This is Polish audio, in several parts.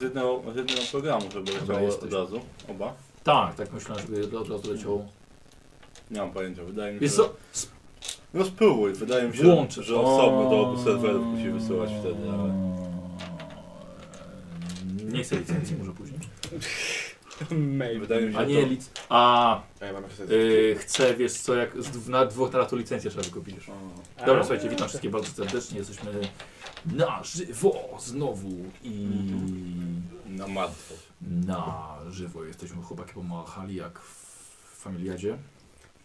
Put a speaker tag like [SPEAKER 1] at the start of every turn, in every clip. [SPEAKER 1] Z jednego, z jednego programu, żeby leciało
[SPEAKER 2] jesteś.
[SPEAKER 1] od razu. Oba.
[SPEAKER 2] Tak, tak myślałem, żeby od razu leciało.
[SPEAKER 1] Nie mam pojęcia, wydaje mi się.
[SPEAKER 2] Wiesz co? S-
[SPEAKER 1] No spróbuj, wydaje mi się,
[SPEAKER 2] Włączę.
[SPEAKER 1] że osobno do obu serwerów musi wysyłać wtedy, ale.
[SPEAKER 2] Nie chcę licencji, może później.
[SPEAKER 3] Maybe.
[SPEAKER 1] Wydaje mi się,
[SPEAKER 2] A
[SPEAKER 1] że
[SPEAKER 2] nie, lic... A,
[SPEAKER 4] A ja mam jeszcze
[SPEAKER 2] y, chcę, wiesz co, jak z- na dwóch teraz to licencję trzeba wykupić.
[SPEAKER 1] to... O,
[SPEAKER 2] Dobra, słuchajcie, witam wszystkich bardzo serdecznie. Jesteśmy na żywo znowu i
[SPEAKER 1] na martwo.
[SPEAKER 2] na żywo jesteśmy. Chłopaki pomachali jak w familiadzie.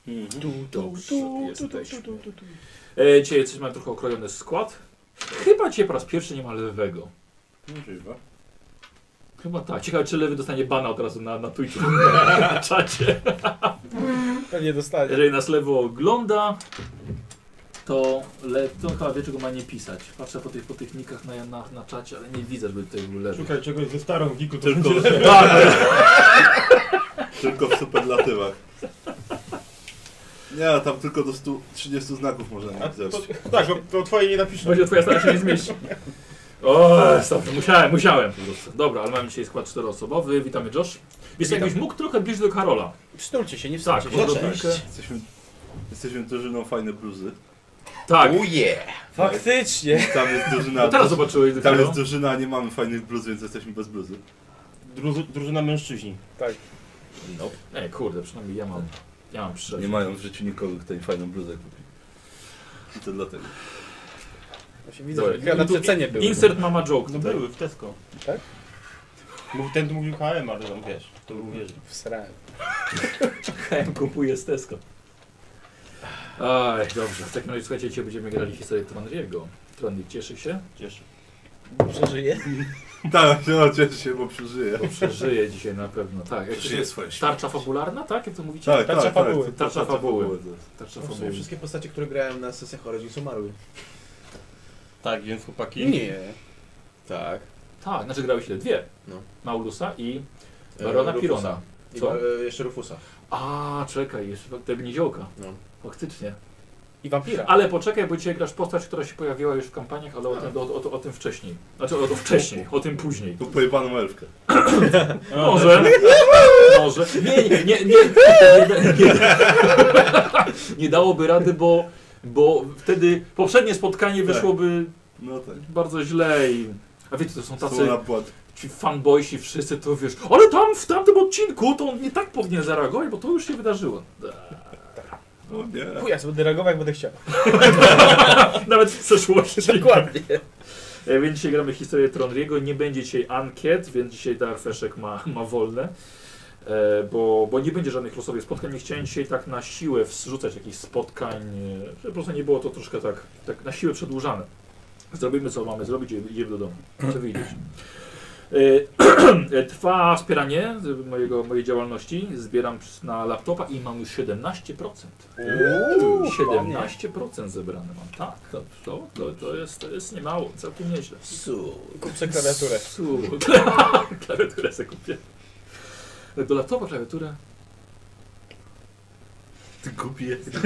[SPEAKER 1] Mhm.
[SPEAKER 2] Dobrze, jesteśmy. E, Dzisiaj jesteśmy, mamy trochę okrojony skład. Chyba dzisiaj po raz pierwszy nie ma lewego.
[SPEAKER 1] Możliwe.
[SPEAKER 2] Chyba tak. Ciekawe, czy lewy dostanie bana od razu na, na Twitchu, na czacie.
[SPEAKER 3] Pewnie dostanie.
[SPEAKER 2] Jeżeli nas lewo ogląda, to, le, to on chyba wie, czego ma nie pisać. Patrzę po tych, po tych nikach na, na, na czacie, ale nie widzę, żeby tutaj był lewy. Tak,
[SPEAKER 3] Szukaj czegoś ze starą Giku, to
[SPEAKER 1] Tylko,
[SPEAKER 3] będzie lepiej.
[SPEAKER 1] tylko w superlatywach. Nie, tam tylko do 130 znaków można
[SPEAKER 3] A
[SPEAKER 1] nie
[SPEAKER 3] to,
[SPEAKER 1] zepsuć.
[SPEAKER 3] tak, to, to twoje nie napiszę.
[SPEAKER 2] Będzie twoja stara się nie zmieści. O, stop, musiałem, musiałem po prostu. Dobra, ale mamy dzisiaj skład czteroosobowy. Witamy Josh. Wiesz, jakbyś mógł trochę bliżej do Karola.
[SPEAKER 4] Przytulcie się, nie
[SPEAKER 2] Tak,
[SPEAKER 4] wstawcie się.
[SPEAKER 2] odrobinkę.
[SPEAKER 1] Jesteśmy, jesteśmy drużyną fajne bluzy.
[SPEAKER 2] Tak.
[SPEAKER 4] Uje!
[SPEAKER 3] Faktycznie.
[SPEAKER 1] Tam jest drużyna.
[SPEAKER 2] No teraz zobaczyłeś do
[SPEAKER 1] tam jest
[SPEAKER 2] Karola.
[SPEAKER 1] drużyna, a nie mamy fajnych bluz, więc jesteśmy bez bluzy.
[SPEAKER 5] Druzu, drużyna mężczyźni.
[SPEAKER 4] No.
[SPEAKER 2] Ej, kurde, przynajmniej ja mam. Ja mam przed.
[SPEAKER 1] Nie mają w życiu nikogo, kto im fajną bluzę kupi. I to dlatego.
[SPEAKER 4] Właśnie widzę, że na
[SPEAKER 2] Tu
[SPEAKER 4] przecenie były.
[SPEAKER 2] Insert mama joke.
[SPEAKER 5] No
[SPEAKER 2] Tutaj.
[SPEAKER 5] były w Tesco.
[SPEAKER 4] Tak?
[SPEAKER 5] Mówi, ten mówił KM, ale tam wiesz, to był wiesz.
[SPEAKER 4] Wsrałem.
[SPEAKER 2] KM kupuje z Tesco. Aj, dobrze. W takim razie słuchajcie, dzisiaj będziemy grali historię Tranriego. Tranrik cieszy się,
[SPEAKER 5] Cieszy.
[SPEAKER 4] Dobrze żyje?
[SPEAKER 1] Tak, no cieszę się, bo przeżyję.
[SPEAKER 2] bo przeżyje dzisiaj na pewno. Tak, jak to się-
[SPEAKER 1] swoje
[SPEAKER 2] Tarcza fabularna, tak? Jak to mówicie?
[SPEAKER 1] Tak,
[SPEAKER 3] Tarcza
[SPEAKER 1] tak,
[SPEAKER 3] fabuły.
[SPEAKER 1] tak.
[SPEAKER 2] Tarcza fabuły.
[SPEAKER 1] to jest.
[SPEAKER 2] Tarcza
[SPEAKER 4] No, W sumie
[SPEAKER 2] fabuły.
[SPEAKER 4] wszystkie postacie, które grałem na sesjach urodzin są marły.
[SPEAKER 5] Tak, więc chłopaki.
[SPEAKER 4] Nie. Tak.
[SPEAKER 2] Tak, znaczy grały się dwie.
[SPEAKER 4] No. E,
[SPEAKER 2] Maulusa i Barona
[SPEAKER 4] Rufusa.
[SPEAKER 2] Pirona.
[SPEAKER 4] I
[SPEAKER 2] Co?
[SPEAKER 4] wa- e, jeszcze Rufusa.
[SPEAKER 2] A, czekaj, jeszcze te gniziołka.
[SPEAKER 4] No.
[SPEAKER 2] Faktycznie.
[SPEAKER 4] I wampira.
[SPEAKER 2] Ale poczekaj, bo dzisiaj grasz postać, która się pojawiła już w kampaniach, ale o
[SPEAKER 4] Tak.
[SPEAKER 2] tym, o, o, o tym wcześniej. Znaczy o, o wcześniej, o tym później.
[SPEAKER 1] Tu pojebaną elfkę.
[SPEAKER 2] Może. Może. Nie, nie, nie. nie, nie, nie, nie dałoby rady, bo, bo wtedy poprzednie spotkanie wyszłoby
[SPEAKER 1] No tak.
[SPEAKER 2] bardzo źle i... A wiecie, to są tacy
[SPEAKER 1] Słona płat.
[SPEAKER 2] ci fanboysi wszyscy, to wiesz, ale tam w tamtym odcinku to on nie tak powinien zareagować, bo to już się wydarzyło.
[SPEAKER 1] O nie.
[SPEAKER 3] Chuj, ja sobie będę reagował, jak będę chciał.
[SPEAKER 2] Nawet w przeszłości.
[SPEAKER 4] Dokładnie.
[SPEAKER 2] E, Więc dzisiaj gramy historię Tronriego. Nie będzie dzisiaj ankiet, więc dzisiaj Darfeszek ma, ma wolne. E, bo, bo nie będzie żadnych losowych spotkań. Nie chciałem dzisiaj tak na siłę wrzucać jakichś spotkań. e, że Po prostu nie było to troszkę tak, tak na siłę przedłużane. Zrobimy co mamy zrobić, idzie- idziemy do domu. Co widzieć. E, Trwa wspieranie z mojego, mojej działalności. Zbieram na laptopa i mam już 17%.
[SPEAKER 4] Uuu,
[SPEAKER 2] 17% zebrane mam, tak. To, to, to, jest, to jest niemało, całkiem nieźle.
[SPEAKER 4] Su.
[SPEAKER 3] Kup sobie klawiaturę.
[SPEAKER 2] Su, klawiaturę sobie kupię. Do laptopa klawiaturę.
[SPEAKER 1] Ty głupi jest.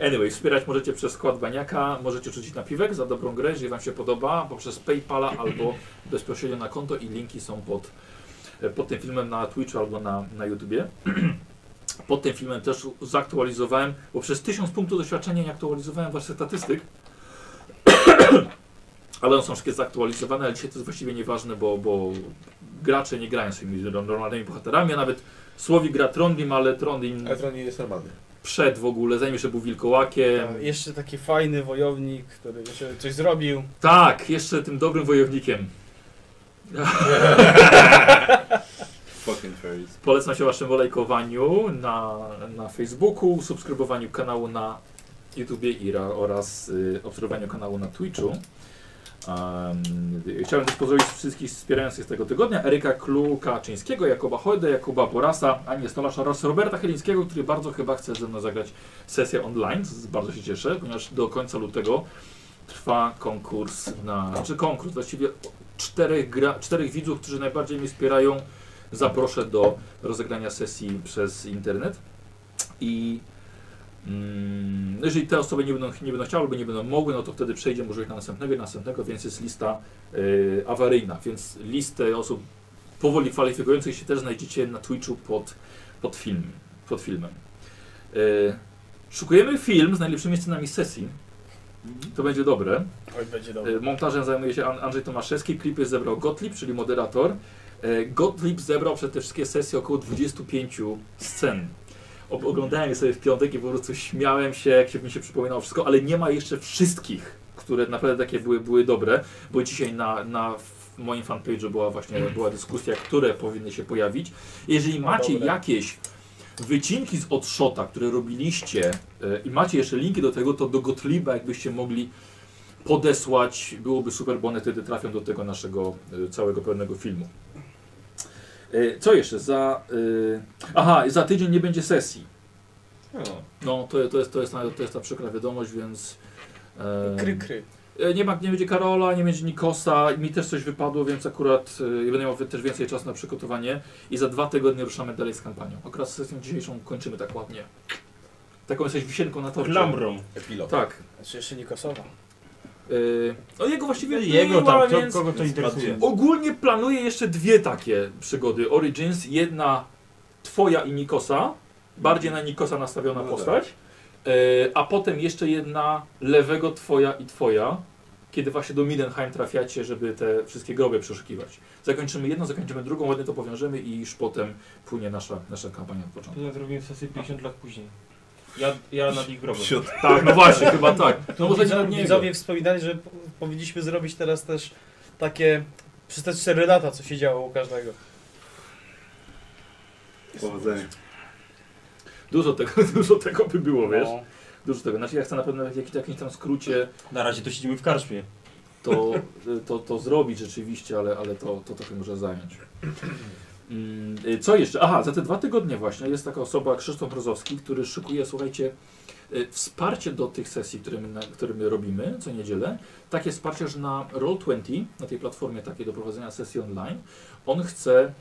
[SPEAKER 2] Anyway, wspierać możecie przez skład baniaka, możecie rzucić na piwek za dobrą grę, jeżeli Wam się podoba, poprzez PayPala albo bezpośrednio na konto i linki są pod, e, pod tym filmem na Twitchu albo na, na YouTubie. Pod tym filmem też zaktualizowałem, bo przez 1000 punktów doświadczenia nie aktualizowałem Waszych statystyk. Ale one są wszystkie zaktualizowane, ale dzisiaj to jest właściwie nieważne, bo, bo gracze nie grają swoimi normalnymi bohaterami, a nawet Słowik gra Trondheim, ale Trondheim
[SPEAKER 4] Ale to nie jest normalny.
[SPEAKER 2] przed w ogóle, zanim jeszcze był wilkołakiem.
[SPEAKER 3] A, Jeszcze taki fajny wojownik, który jeszcze coś zrobił.
[SPEAKER 2] Tak, jeszcze tym dobrym wojownikiem.
[SPEAKER 1] Fucking fairies.
[SPEAKER 2] Polecam się waszym lajkowaniu na, na Facebooku, subskrybowaniu kanału na YouTubie i ra- oraz y, obserwowaniu kanału na Twitchu. Um, chciałem też pozdrowić wszystkich wspierających tego tygodnia. Eryka Klukaczyńskiego, Jakuba Hojdę, Jakuba Borasa, Anię Stolarz oraz Roberta Chylińskiego, który bardzo chyba chce ze mną zagrać sesję online. Z- Bardzo się cieszę, ponieważ do końca lutego trwa konkurs na... czy konkurs, właściwie czterech, gra, czterech widzów, którzy najbardziej mnie wspierają zaproszę do rozegrania sesji przez internet. I Mm, no jeżeli te osoby nie będą, nie będą chciały albo nie będą mogły, no to wtedy przejdzie może na następnego i następnego, więc jest lista y, awaryjna, więc listę osób powoli kwalifikujących się też znajdziecie na Twitchu pod, pod, film, pod filmem. Y, szukujemy film z najlepszymi scenami z sesji. To będzie dobre.
[SPEAKER 6] Oj, będzie dobrze.
[SPEAKER 2] E, Montażem zajmuje się An- Andrzej Tomaszewski, klipy zebrał Gottlieb, czyli moderator. E, Gottlieb zebrał przez te wszystkie sesje około 25 scen. Ob- Oglądałem je sobie w piątek i po prostu śmiałem się, jak się mi się przypominało wszystko, ale nie ma jeszcze wszystkich, które naprawdę takie były, były dobre, bo dzisiaj na, na w moim fanpage'u była właśnie była dyskusja, które powinny się pojawić. Jeżeli
[SPEAKER 6] Mm. No
[SPEAKER 2] macie
[SPEAKER 6] dobra.
[SPEAKER 2] jakieś wycinki z odszota, które robiliście e, i macie jeszcze linki do tego, to do Gottlieba jakbyście mogli podesłać, byłoby super, bo one wtedy trafią do tego naszego e, całego pełnego filmu. E, Co jeszcze? Za, e, aha, za tydzień nie będzie sesji.
[SPEAKER 1] No.
[SPEAKER 2] No, to, to, jest, to, jest, ta- to jest ta przykra wiadomość, więc... e,
[SPEAKER 6] Kry, kry.
[SPEAKER 2] E, Nie, ma, nie będzie Karola, nie będzie Nikosa, mi też coś wypadło, więc akurat y, będę miał też więcej czasu na przygotowanie i za dwa tygodnie ruszamy dalej z kampanią. Akurat sesję dzisiejszą kończymy tak ładnie. Taką jesteś wisienką na torcie.
[SPEAKER 1] Klamrą.
[SPEAKER 3] Epilog.
[SPEAKER 2] Tak.
[SPEAKER 6] Znaczy jeszcze nie Kosowa.
[SPEAKER 2] Y, no jego właściwie
[SPEAKER 1] Jego
[SPEAKER 2] była,
[SPEAKER 1] tam,
[SPEAKER 2] więc...
[SPEAKER 1] to, kogo to
[SPEAKER 7] więc
[SPEAKER 1] interesuje.
[SPEAKER 7] bardziej-
[SPEAKER 2] Ogólnie planuję jeszcze dwie takie przygody. Origins, jedna twoja i Nikosa, bardziej na Nikosa nastawiona
[SPEAKER 7] No
[SPEAKER 2] postać, E, a potem jeszcze jedna lewego twoja i twoja, kiedy właśnie do Midenheim trafiacie, żeby te wszystkie groby przeszukiwać. Zakończymy jedną, zakończymy drugą, ładnie to powiążemy i już potem płynie nasza, nasza kampania od początku.
[SPEAKER 1] Na drugim sesji 50 lat później. Ja, ja nad ich grobem.
[SPEAKER 7] Siód-
[SPEAKER 2] Tak, no właśnie, chyba tak. No może nie
[SPEAKER 6] Widzowie-
[SPEAKER 2] od niego.
[SPEAKER 6] Widzowie wspominali, że po- powinniśmy zrobić teraz też takie przez te 4 lata, co się działo u każdego.
[SPEAKER 7] Powodzenia.
[SPEAKER 2] Dużo tego, dużo tego by było, wiesz?
[SPEAKER 6] No.
[SPEAKER 2] Dużo tego. Znaczy ja chcę na pewno w jakim- jakimś tam skrócie
[SPEAKER 1] Na razie to siedzimy w karczmie.
[SPEAKER 2] to, to, to zrobić rzeczywiście, ale, ale to, to trochę może zająć. Mm, y, Co jeszcze? Aha, za te dwa tygodnie właśnie jest taka osoba, Krzysztof Rozowski, który szykuje, słuchajcie, y, wsparcie do tych sesji, które my, na, które my robimy co niedzielę. Takie wsparcie, że na Roll20, na tej platformie takiej do prowadzenia sesji online, on chce...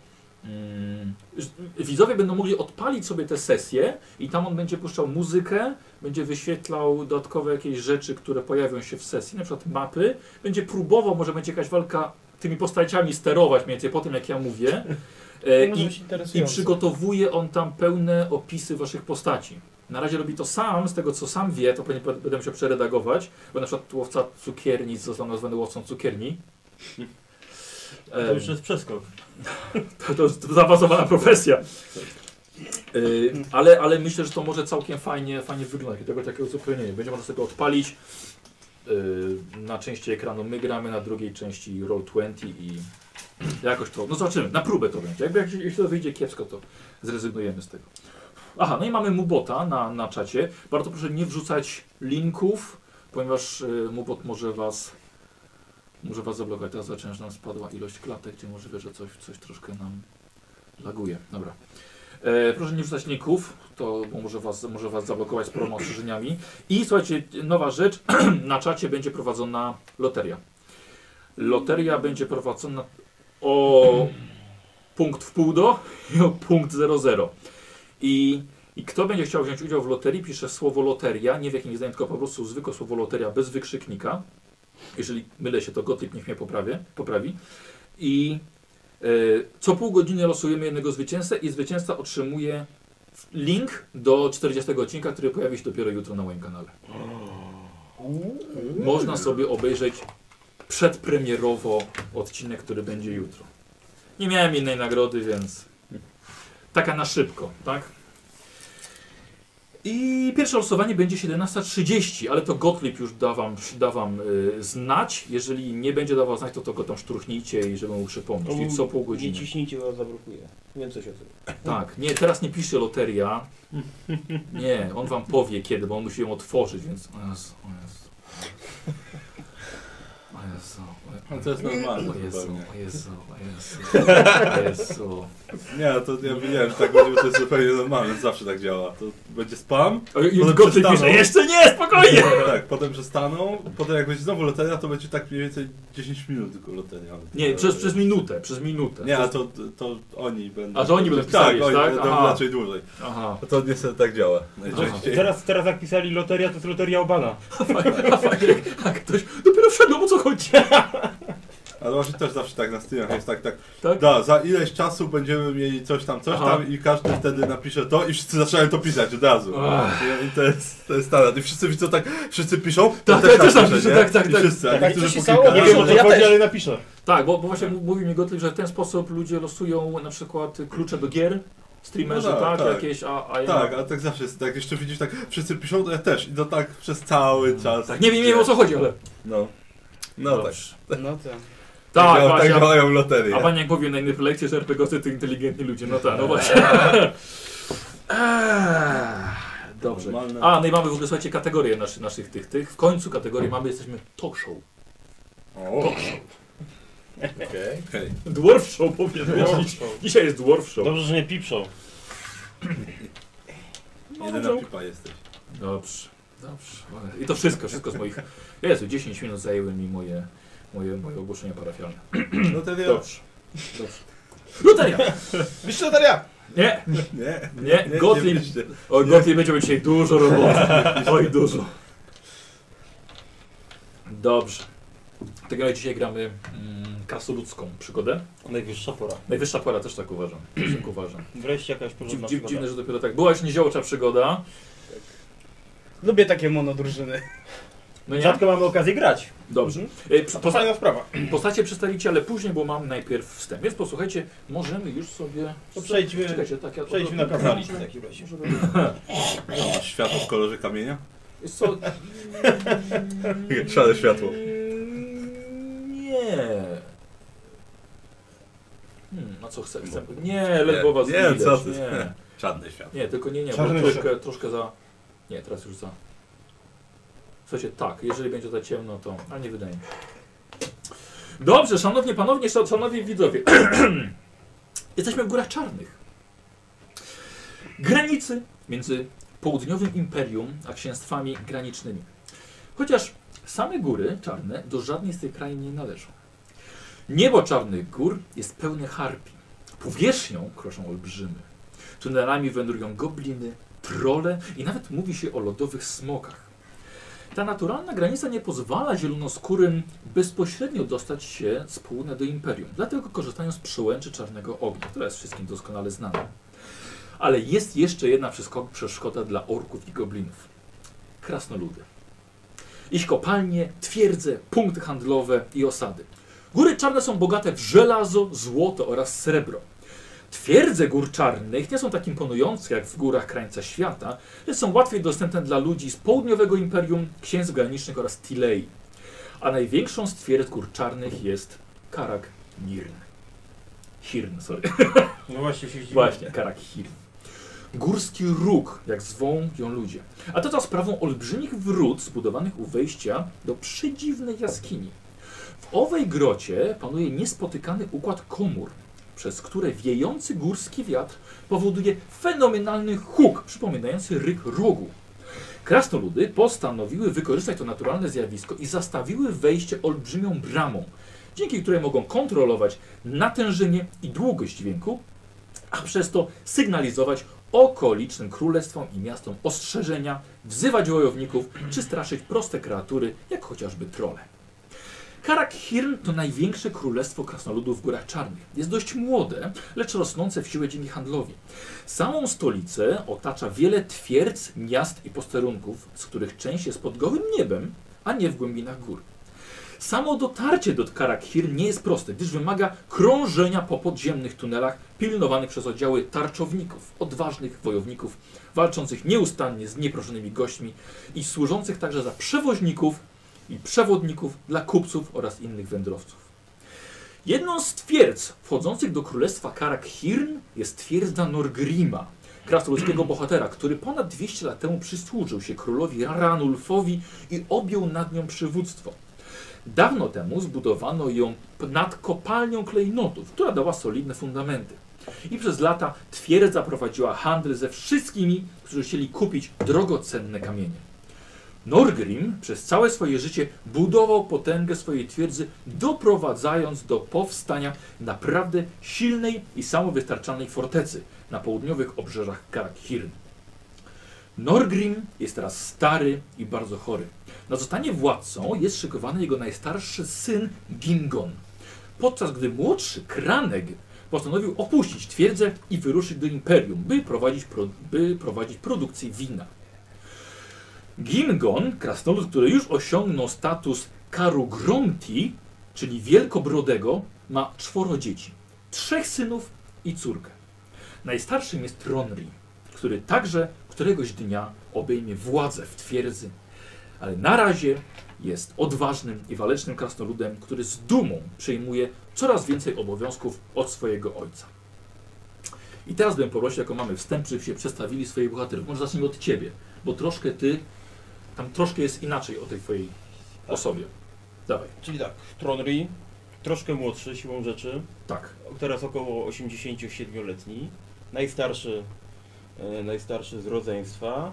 [SPEAKER 2] mm, że Widzowie będą mogli odpalić sobie te sesje i tam on będzie puszczał muzykę, będzie wyświetlał dodatkowe jakieś rzeczy, które pojawią się w sesji, na przykład mapy, będzie próbował, może będzie jakaś walka tymi postaciami sterować mniej więcej po tym, jak ja mówię. E,
[SPEAKER 6] To może
[SPEAKER 2] I,
[SPEAKER 6] być
[SPEAKER 2] I
[SPEAKER 6] interesujące.
[SPEAKER 2] przygotowuje on tam pełne opisy waszych postaci. Na razie robi to sam, z tego co sam wie, to pewnie pe- będę musiał przeredagować, bo na przykład łowca cukiernic został nazwany łowcą cukierni.
[SPEAKER 3] E,
[SPEAKER 1] To już jest przeskok.
[SPEAKER 2] To, to jest zaawansowana profesja. Yy, ale, ale myślę, że to może całkiem fajnie, fajnie wyglądać. I Tego tak takiego uzupełnienia. Będzie można sobie odpalić. Yy, na części ekranu my gramy, na drugiej części Roll20 i jakoś to. No zobaczymy, na próbę to będzie. Jakby jak się- jeśli to wyjdzie kiepsko, to zrezygnujemy z tego. Aha, no i mamy Mubota na, na czacie. Bardzo proszę nie wrzucać linków, ponieważ yy, Mubot może was może was zablokować. Teraz zaczynasz nam spadła ilość klatek, gdzie możliwe, że coś, coś troszkę nam laguje. Dobra. E, proszę nie wrzucać linków, to bo może was, może was zablokować z promo ostrzeżeniami. I słuchajcie, nowa rzecz. na czacie będzie prowadzona loteria. Loteria będzie prowadzona o punkt w pół do i o punkt 00. I, I kto będzie chciał wziąć udział w loterii, pisze słowo loteria, nie w jakimś zdaniu, tylko po prostu zwykłe słowo loteria bez wykrzyknika. Jeżeli mylę się, to Gottlieb niech mnie poprawię, poprawi. I e, co pół godziny losujemy jednego zwycięzcę i zwycięzca otrzymuje link do 40 odcinka, który pojawi się dopiero jutro na moim kanale. Można sobie obejrzeć przedpremierowo odcinek, który będzie jutro. Nie miałem innej nagrody, więc taka na szybko, tak? I pierwsze losowanie będzie 17.30, ale to Gottlieb już da wam, da wam y, znać. Jeżeli nie będzie dawał znać, to, to go tam szturchnijcie i żeby mu przypomnieć. Czyli co pół
[SPEAKER 3] Nie
[SPEAKER 2] godziny.
[SPEAKER 3] ciśnijcie, bo zablokuje. Wiem co się zrobi.
[SPEAKER 2] Tak, nie, teraz nie pisze loteria. Nie, on wam powie kiedy, bo on musi ją otworzyć, więc. O Jezu, o Jezu. Jezu.
[SPEAKER 1] No to jest normalne
[SPEAKER 2] O Jezu,
[SPEAKER 1] zupełnie.
[SPEAKER 2] o Jezu, o Jezu, o Jezu.
[SPEAKER 1] Nie, to ja wiedziałem, że tak będzie, bo to jest zupełnie normalne, zawsze tak działa. To będzie spam,
[SPEAKER 2] O, Już
[SPEAKER 1] Potem
[SPEAKER 2] go ty
[SPEAKER 1] przestaną.
[SPEAKER 2] pisze, jeszcze nie, spokojnie!
[SPEAKER 1] tak, potem przestaną, potem jak będzie znowu loteria, to będzie tak mniej więcej 10 minut tylko loteria.
[SPEAKER 2] Nie, przez, przez minutę, przez minutę.
[SPEAKER 1] Nie, a to, to oni będą...
[SPEAKER 2] Tak. A to oni będą pisali,
[SPEAKER 1] Tak, oni
[SPEAKER 2] tak?
[SPEAKER 1] będą
[SPEAKER 2] Aha.
[SPEAKER 1] raczej dłużej.
[SPEAKER 2] Aha.
[SPEAKER 1] A to nie sobie tak działa. Najczęściej.
[SPEAKER 3] Teraz, teraz jak pisali loteria, to jest loteria Obana.
[SPEAKER 2] A fajnie, a Tak, ktoś dopiero wszedł, o co chodzi.
[SPEAKER 1] Ale właśnie też zawsze tak na streamach jest tak, tak.
[SPEAKER 2] Tak?
[SPEAKER 1] Da, za ileś czasu będziemy mieli coś tam, coś
[SPEAKER 2] Aha.
[SPEAKER 1] tam i każdy wtedy napisze to i wszyscy zaczynają to pisać od razu.
[SPEAKER 2] Ach.
[SPEAKER 1] I to jest, to jest standard. I wszyscy widzą tak, wszyscy piszą, to
[SPEAKER 2] Tak,
[SPEAKER 1] też
[SPEAKER 2] tak, też
[SPEAKER 1] napiszę,
[SPEAKER 2] napiszę,
[SPEAKER 1] nie?
[SPEAKER 2] tak, tak,
[SPEAKER 1] I
[SPEAKER 2] tak.
[SPEAKER 1] wszyscy, a
[SPEAKER 6] Tak,
[SPEAKER 1] niektórzy
[SPEAKER 6] to się
[SPEAKER 1] po
[SPEAKER 6] stało,
[SPEAKER 1] kilka
[SPEAKER 3] Nie
[SPEAKER 6] Ja
[SPEAKER 3] wiem o
[SPEAKER 1] razy.
[SPEAKER 3] co
[SPEAKER 6] też.
[SPEAKER 3] chodzi, ale napiszę.
[SPEAKER 2] Tak, bo, bo właśnie m- mówi mi Gottlieb, że w ten sposób ludzie losują na przykład klucze do gier, streamerzy,
[SPEAKER 1] No
[SPEAKER 2] tak,
[SPEAKER 1] tak, tak.
[SPEAKER 2] jakieś, a, a ja...
[SPEAKER 1] Tak, ale tak zawsze jest, tak jeszcze widzisz, tak wszyscy piszą, to ja też. I to tak przez cały czas.
[SPEAKER 2] tak, nie wiem, nie wiem o co chodzi, ale...
[SPEAKER 1] No, no tak.
[SPEAKER 2] Dobrze.
[SPEAKER 6] No tak.
[SPEAKER 2] Tak,
[SPEAKER 1] działa-
[SPEAKER 2] właśnie,
[SPEAKER 1] tak
[SPEAKER 2] a-
[SPEAKER 1] działają loterie.
[SPEAKER 2] A pan jak mówił na innych lekcjach, że RPGowcy to inteligentni ludzie, no tak, no właśnie. Eee, Dobrze.
[SPEAKER 1] Normalne.
[SPEAKER 2] A, no i mamy w ogóle, słuchajcie, kategorie naszy, naszych tych, tych. W końcu kategorii mamy, jesteśmy talk show.
[SPEAKER 1] O,
[SPEAKER 7] Okej.
[SPEAKER 1] okej.
[SPEAKER 2] Dwarf show powiem powiedzieć. Dzisiaj jest dwarf show. No.
[SPEAKER 3] Dobrze, że nie pipszą.
[SPEAKER 1] Jedyna pipa jesteś.
[SPEAKER 2] Dobrze, dobrze. I to wszystko, wszystko z moich... Jezu, 10 minut zajęły mi moje, moje, moje ogłoszenia parafialne.
[SPEAKER 1] No to wiem.
[SPEAKER 2] Dobrze, dobrze. Loteria!
[SPEAKER 6] Wiesz co, Taria?
[SPEAKER 2] Nie,
[SPEAKER 1] Nie,
[SPEAKER 2] nie,
[SPEAKER 1] nie, nie
[SPEAKER 2] Gottlieb...
[SPEAKER 1] byliście.
[SPEAKER 2] Oj, Gottlieb będzie miał dzisiaj dużo roboty. Oj, dużo. Dobrze. Tak jak dzisiaj gramy mm, krasoludzką przygodę.
[SPEAKER 3] Najwyższa pora.
[SPEAKER 2] Najwyższa pora też tak uważam. Też tak uważam.
[SPEAKER 3] Wreszcie jakaś
[SPEAKER 2] Dziw,
[SPEAKER 3] porządna
[SPEAKER 2] dziw, dziwne,
[SPEAKER 3] przygoda.
[SPEAKER 2] że dopiero tak. Była już nieziołcza przygoda.
[SPEAKER 6] Lubię takie monodrużyny.
[SPEAKER 2] No nie?
[SPEAKER 3] Rzadko mamy okazję grać. Mhm.
[SPEAKER 2] Dobrze. E, przy- posta
[SPEAKER 3] Fajna sprawa.
[SPEAKER 2] postacie przedstawicie, ale później, bo mam najpierw wstęp. Więc posłuchajcie, możemy już sobie...
[SPEAKER 3] To przejdźmy-
[SPEAKER 2] Czekajcie, tak, ja
[SPEAKER 3] Przejdźmy na kawaliczkę w takim razie.
[SPEAKER 2] Może-
[SPEAKER 1] No, Światło w kolorze kamienia?
[SPEAKER 2] Wiesz co?
[SPEAKER 1] Szare światło.
[SPEAKER 2] Nie. Hmm, a co chcę? chcę? Nie, ledwo was
[SPEAKER 1] Nie,
[SPEAKER 2] widać.
[SPEAKER 1] co ty?
[SPEAKER 2] Nie.
[SPEAKER 1] Czarne światło.
[SPEAKER 2] nie, tylko nie, nie, bo
[SPEAKER 3] Czarny
[SPEAKER 2] troszkę, troszkę za... Nie, teraz już za... Słuchajcie, tak, jeżeli będzie za ciemno, to... A nie wydaje mi się. Dobrze, szanowni panowie, szan- szanowni widzowie. Jesteśmy w Górach Czarnych. Granicy między południowym imperium a księstwami granicznymi. Chociaż same góry czarne do żadnej z tych krain nie należą. Niebo czarnych gór jest pełne harpi. Powierzchnią kroczą olbrzymy. Tunelami wędrują gobliny, trole i nawet mówi się o lodowych smokach. Ta naturalna granica nie pozwala zielonoskórym bezpośrednio dostać się z południa do imperium, dlatego korzystają z przełęczy czarnego ognia, która jest wszystkim doskonale znana. Ale jest jeszcze jedna przeskok- przeszkoda dla orków i goblinów. Krasnoludy. Ich kopalnie, twierdze, punkty handlowe i osady. Góry czarne są bogate w żelazo, złoto oraz srebro. Twierdze gór czarnych nie są tak imponujące jak w górach krańca świata, lecz są łatwiej dostępne dla ludzi z południowego imperium, księstw granicznych oraz Tilei. A największą z twierdz gór czarnych jest Karak Nirn. Hirn, sorry.
[SPEAKER 3] No właśnie się dziwię.
[SPEAKER 2] Właśnie, Karak Hirn. Górski róg, jak zwą ją ludzie. A to za sprawą olbrzymich wrót zbudowanych u wejścia do przedziwnej jaskini. W owej grocie panuje niespotykany układ komór, przez które wiejący górski wiatr powoduje fenomenalny huk, przypominający ryk rogu. Krasnoludy postanowiły wykorzystać to naturalne zjawisko i zastawiły wejście olbrzymią bramą, dzięki której mogą kontrolować natężenie i długość dźwięku, a przez to sygnalizować okolicznym królestwom i miastom ostrzeżenia, wzywać wojowników czy straszyć proste kreatury, jak chociażby trole. Karakhirn to największe królestwo krasnoludów w Górach Czarnych. Jest dość młode, lecz rosnące w siłę dzięki handlowi. Samą stolicę otacza wiele twierdz, miast i posterunków, z których część jest pod gołym niebem, a nie w głębinach gór. Samo dotarcie do Karakhir nie jest proste, gdyż wymaga krążenia po podziemnych tunelach pilnowanych przez oddziały tarczowników, odważnych wojowników, walczących nieustannie z nieproszonymi gośćmi i służących także za przewoźników i przewodników dla kupców oraz innych wędrowców. Jedną z twierdz wchodzących do królestwa Karakhirn jest twierdza Norgrima, krasnoludzkiego bohatera, który ponad 200 lat temu przysłużył się królowi Ranulfowi i objął nad nią przywództwo. Dawno temu zbudowano ją p- nad kopalnią klejnotów, która dała solidne fundamenty. I przez lata twierdza prowadziła handel ze wszystkimi, którzy chcieli kupić drogocenne kamienie. Norgrim przez całe swoje życie budował potęgę swojej twierdzy, doprowadzając do powstania naprawdę silnej i samowystarczalnej fortecy na południowych obrzeżach Karakirn. Norgrim jest teraz stary i bardzo chory. Na zostanie władcą jest szykowany jego najstarszy syn Gingon. Podczas gdy młodszy Kraneg postanowił opuścić twierdzę i wyruszyć do Imperium, by prowadzić, pro, by prowadzić produkcję wina. Gingon, krasnolud, który już osiągnął status Karugronti, czyli wielkobrodego, ma czworo dzieci. Trzech synów i córkę. Najstarszym jest Tronri, który także któregoś dnia obejmie władzę w twierdzy. Ale na razie jest odważnym i walecznym krasnoludem, który z dumą przejmuje coraz więcej obowiązków od swojego ojca. I teraz bym poprosił, jako mamy wstęp, żebyście się przedstawili swoich bohaterów. Może zacznijmy od ciebie, bo troszkę ty, tam troszkę jest inaczej o tej twojej
[SPEAKER 3] Tak.
[SPEAKER 2] osobie. Dawaj.
[SPEAKER 3] Czyli tak, Tronry, troszkę młodszy siłą rzeczy,
[SPEAKER 2] Tak.
[SPEAKER 3] teraz około 87-letni, najstarszy, e, najstarszy z rodzeństwa,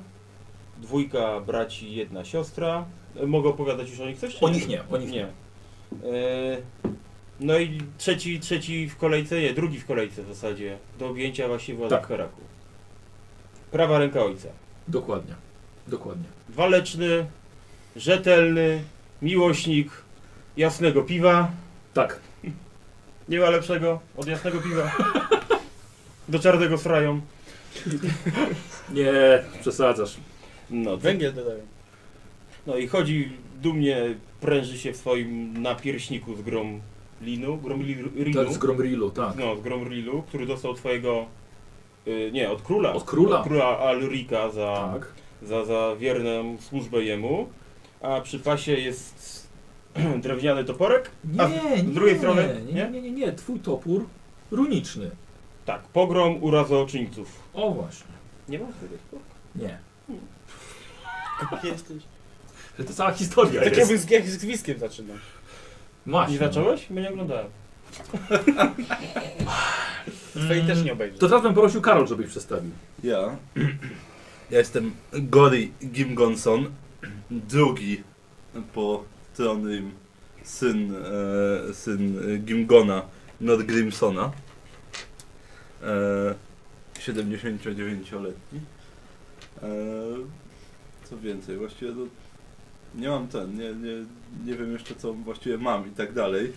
[SPEAKER 3] dwójka braci, jedna siostra. E, Mogę opowiadać już o nich coś? czy
[SPEAKER 2] O
[SPEAKER 3] nie?
[SPEAKER 2] nich nie, o nich nie.
[SPEAKER 3] Nie. E, No i trzeci, trzeci w kolejce, nie, drugi w kolejce w zasadzie, do objęcia właśnie władzy
[SPEAKER 2] Tak.
[SPEAKER 3] w Karaku. Prawa ręka ojca.
[SPEAKER 2] Dokładnie. Dokładnie.
[SPEAKER 3] Waleczny, rzetelny, miłośnik jasnego piwa.
[SPEAKER 2] Tak.
[SPEAKER 3] Nie ma lepszego od jasnego piwa. Do czarnego z frają.
[SPEAKER 2] Nie, przesadzasz.
[SPEAKER 3] No, co-
[SPEAKER 6] Węgiel dodaję.
[SPEAKER 3] no i chodzi dumnie, pręży się w swoim napierśniku z grom linu, grom li, rinu.
[SPEAKER 2] Tak, z Gromrilu, tak.
[SPEAKER 3] No, z Gromrilu, który dostał twojego. Y, nie, od króla.
[SPEAKER 2] Od króla.
[SPEAKER 3] Od króla Alrika za,
[SPEAKER 2] Tak.
[SPEAKER 3] za, za wierną służbę jemu. A przy pasie jest drewniany toporek. A
[SPEAKER 2] Nie, nie.
[SPEAKER 3] z drugiej strony?
[SPEAKER 2] Nie, nie, nie, nie. Twój topór runiczny.
[SPEAKER 3] Tak, pogrom urazoczyńców.
[SPEAKER 2] O właśnie.
[SPEAKER 3] Nie ma wtedy.
[SPEAKER 2] Nie.
[SPEAKER 6] Jesteś.
[SPEAKER 2] To cała historia
[SPEAKER 6] Tak
[SPEAKER 2] jest.
[SPEAKER 6] jakby z, jak z gwizdkiem zaczynam.
[SPEAKER 2] Masz.
[SPEAKER 3] Nie zacząłeś? Mnie nie oglądałem.
[SPEAKER 2] Mm.
[SPEAKER 6] Twojej też nie obejrzę.
[SPEAKER 2] no. To teraz bym prosił Karol, żebyś przedstawił.
[SPEAKER 1] Ja. Ja jestem Gory Gimgonson, drugi po tronym syn, e, syn Gimgona Norgrimsona. E, 79-letni. E, co więcej, właściwie to nie mam ten, nie, nie, nie wiem jeszcze co właściwie mam i tak dalej.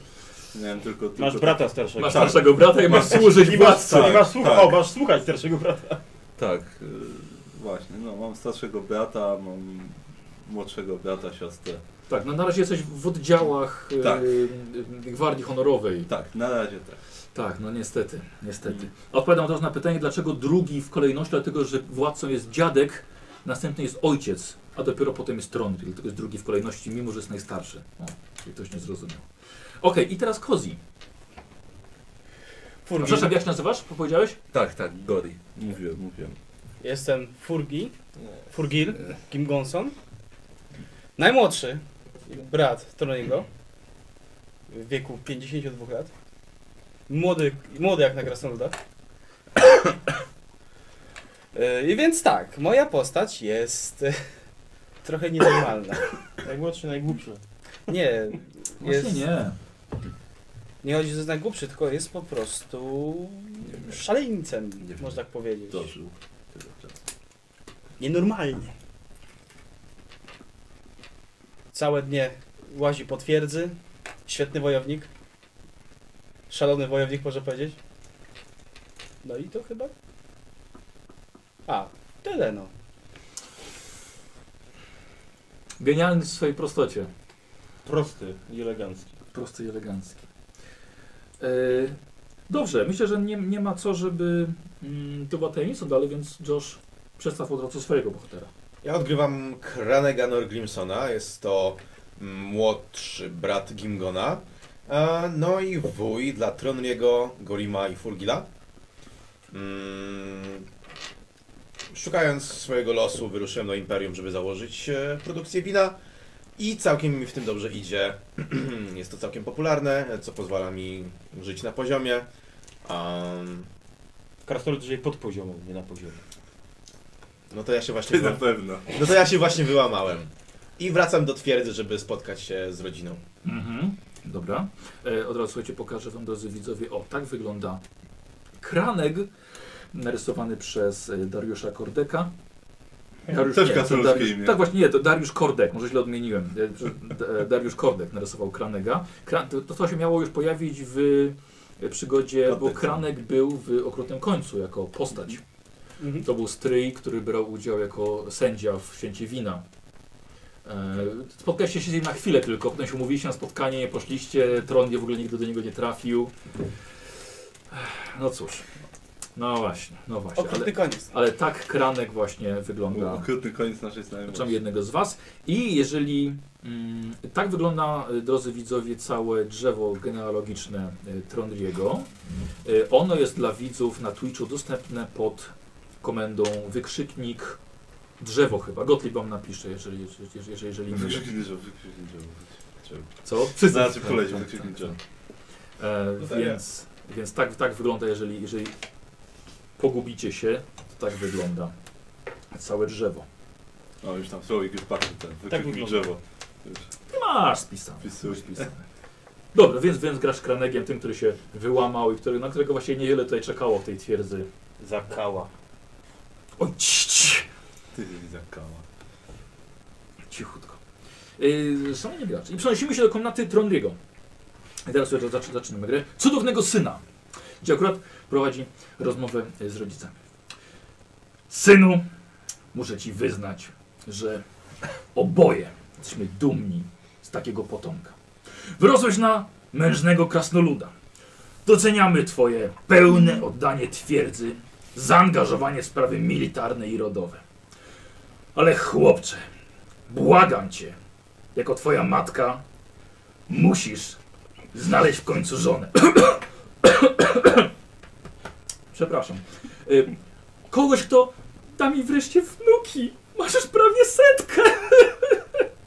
[SPEAKER 1] Miałem tylko, tylko
[SPEAKER 3] Masz brata starszego.
[SPEAKER 2] Masz
[SPEAKER 1] Tak.
[SPEAKER 2] starszego brata i masz służyć
[SPEAKER 3] I masz,
[SPEAKER 2] władcy.
[SPEAKER 1] tak,
[SPEAKER 3] i masz, słuch-
[SPEAKER 1] tak.
[SPEAKER 3] o, masz słuchać starszego brata.
[SPEAKER 1] Tak, y, właśnie. No, mam starszego brata, mam młodszego brata, siostrę.
[SPEAKER 2] Tak, no na razie jesteś w oddziałach e,
[SPEAKER 1] Tak.
[SPEAKER 2] e, Gwardii Honorowej.
[SPEAKER 1] Tak, na razie tak.
[SPEAKER 2] Tak, no niestety, niestety. Odpowiadam teraz na pytanie, dlaczego drugi w kolejności, dlatego że władcą jest dziadek, następny jest ojciec, a dopiero potem jest Trondril, dlatego jest drugi w kolejności, mimo że jest najstarszy. O, czyli ktoś nie zrozumiał. Okej, i teraz Kozi.
[SPEAKER 6] Furgi.
[SPEAKER 2] Przepraszam, jak się nazywasz? Powiedziałeś?
[SPEAKER 1] Tak, tak, Gori. Mówiłem, mówiłem.
[SPEAKER 6] Jestem Furgi. Furgil. Kim Gonson. Najmłodszy. Brat Troniego. W wieku 52 lat. Młody, młody jak na krasnoludach. Yy, I więc tak, moja postać jest e, trochę nienormalna.
[SPEAKER 3] Najmłodszy, najgłupszy.
[SPEAKER 6] Nie, jest,
[SPEAKER 2] Właśnie nie.
[SPEAKER 6] nie chodzi, że jest najgłupszy, tylko jest po prostu szaleńcem,
[SPEAKER 1] wiem.
[SPEAKER 6] można tak powiedzieć.
[SPEAKER 1] Dożył.
[SPEAKER 6] Nienormalnie. Całe dnie łazi po twierdzy. Świetny wojownik. Szalony wojownik, może powiedzieć. No i to chyba. A, tyle no.
[SPEAKER 2] Genialny w swojej prostocie.
[SPEAKER 3] Prosty i elegancki.
[SPEAKER 2] Prosty i elegancki. E, dobrze, myślę, że nie, nie ma co, żeby mm, to była tajemnica dalej, więc Josh przedstaw od razu swojego bohatera.
[SPEAKER 4] Ja odgrywam Kranega Norgrimsona, jest to młodszy brat Gimgona, e, no i wuj dla Tronriego, Gorima i Furgila. Mm, Szukając swojego losu, wyruszyłem do Imperium, żeby założyć e, produkcję wina. I całkiem mi w tym dobrze idzie. Jest to całkiem popularne, co pozwala mi żyć na poziomie. Um,
[SPEAKER 3] Krasnolud żyje pod poziomem, nie na poziomie.
[SPEAKER 4] no to ja się właśnie
[SPEAKER 1] Ty na
[SPEAKER 4] wyła...
[SPEAKER 1] pewno.
[SPEAKER 4] No to ja się właśnie wyłamałem. I wracam do twierdzy, żeby spotkać się z rodziną.
[SPEAKER 2] Mhm. Dobra. E, od razu słuchajcie, pokażę wam drodzy widzowie. O, tak wygląda kranek narysowany przez e, Dariusza Kordeka.
[SPEAKER 1] Też
[SPEAKER 2] nie,
[SPEAKER 1] katolickie
[SPEAKER 2] Dariusz,
[SPEAKER 1] imię.
[SPEAKER 2] Tak właśnie, nie, to Dariusz Kordek, może źle odmieniłem. E, prze- D- e, Dariusz Kordek narysował Kranega. Kra to, to, co się miało już pojawić w e, przygodzie, bo
[SPEAKER 1] Kordek.
[SPEAKER 2] Kranek był w Okrutnym Końcu jako postać.
[SPEAKER 6] Mhm.
[SPEAKER 2] To był stryj, który brał udział jako sędzia w święcie wina. E, Spotkaliście się z nim na chwilę tylko, potem się umówiliście na spotkanie, nie poszliście, tron nie, w ogóle nigdy do niego nie trafił. Ech, No cóż, no właśnie, no właśnie, ale,
[SPEAKER 6] Okrutny koniec.
[SPEAKER 2] ale tak kranek właśnie wygląda,
[SPEAKER 1] Okrutny koniec naszej znajomości.
[SPEAKER 2] przynajmniej jednego z was. I jeżeli, mm, tak wygląda, y, drodzy widzowie, całe drzewo genealogiczne y, Trondriego. Y, Ono jest dla widzów na Twitchu dostępne pod komendą wykrzyknik drzewo chyba. Gottlieb wam napisze, jeżeli, jeżeli, jeżeli, jeżeli nie.
[SPEAKER 1] Wykrzyknij drzewo, wykrzyknij drzewo.
[SPEAKER 2] Co? Wszyscy.
[SPEAKER 1] Znaczy poleciał,
[SPEAKER 2] Tak, tak,
[SPEAKER 1] wykrzyknij
[SPEAKER 2] tak.
[SPEAKER 1] drzewo.
[SPEAKER 2] E,
[SPEAKER 1] No tak
[SPEAKER 2] więc więc tak, tak wygląda, jeżeli, jeżeli pogubicie się, to tak wygląda całe drzewo.
[SPEAKER 1] O, No, już tam słowik już patrzy ten. Wykrzyknij
[SPEAKER 3] wygląda.
[SPEAKER 1] drzewo. Już
[SPEAKER 2] Masz spisane.
[SPEAKER 1] wpisuj.
[SPEAKER 2] Dobra, więc, więc grasz kranegiem, tym, który się wyłamał i który, na którego właśnie niewiele tutaj czekało w tej twierdzy.
[SPEAKER 3] Zakała.
[SPEAKER 2] Oj, cii, cii.
[SPEAKER 1] Ty zakała.
[SPEAKER 2] cichutko. Yy, szanowni gracze, i przenosimy się do komnaty Trondriego. I teraz już zac- zaczynamy grę. Cudownego syna, gdzie akurat prowadzi rozmowę y, z rodzicami. Synu, muszę ci wyznać, że oboje jesteśmy dumni z takiego potomka. Wyrosłeś na mężnego krasnoluda. Doceniamy twoje pełne oddanie twierdzy, zaangażowanie w sprawy militarne i rodowe. Ale chłopcze, Błagam cię, jako twoja matka, musisz znaleźć w końcu żonę. Przepraszam. Y, Kogoś, kto da mi wreszcie wnuki. Masz już prawie setkę.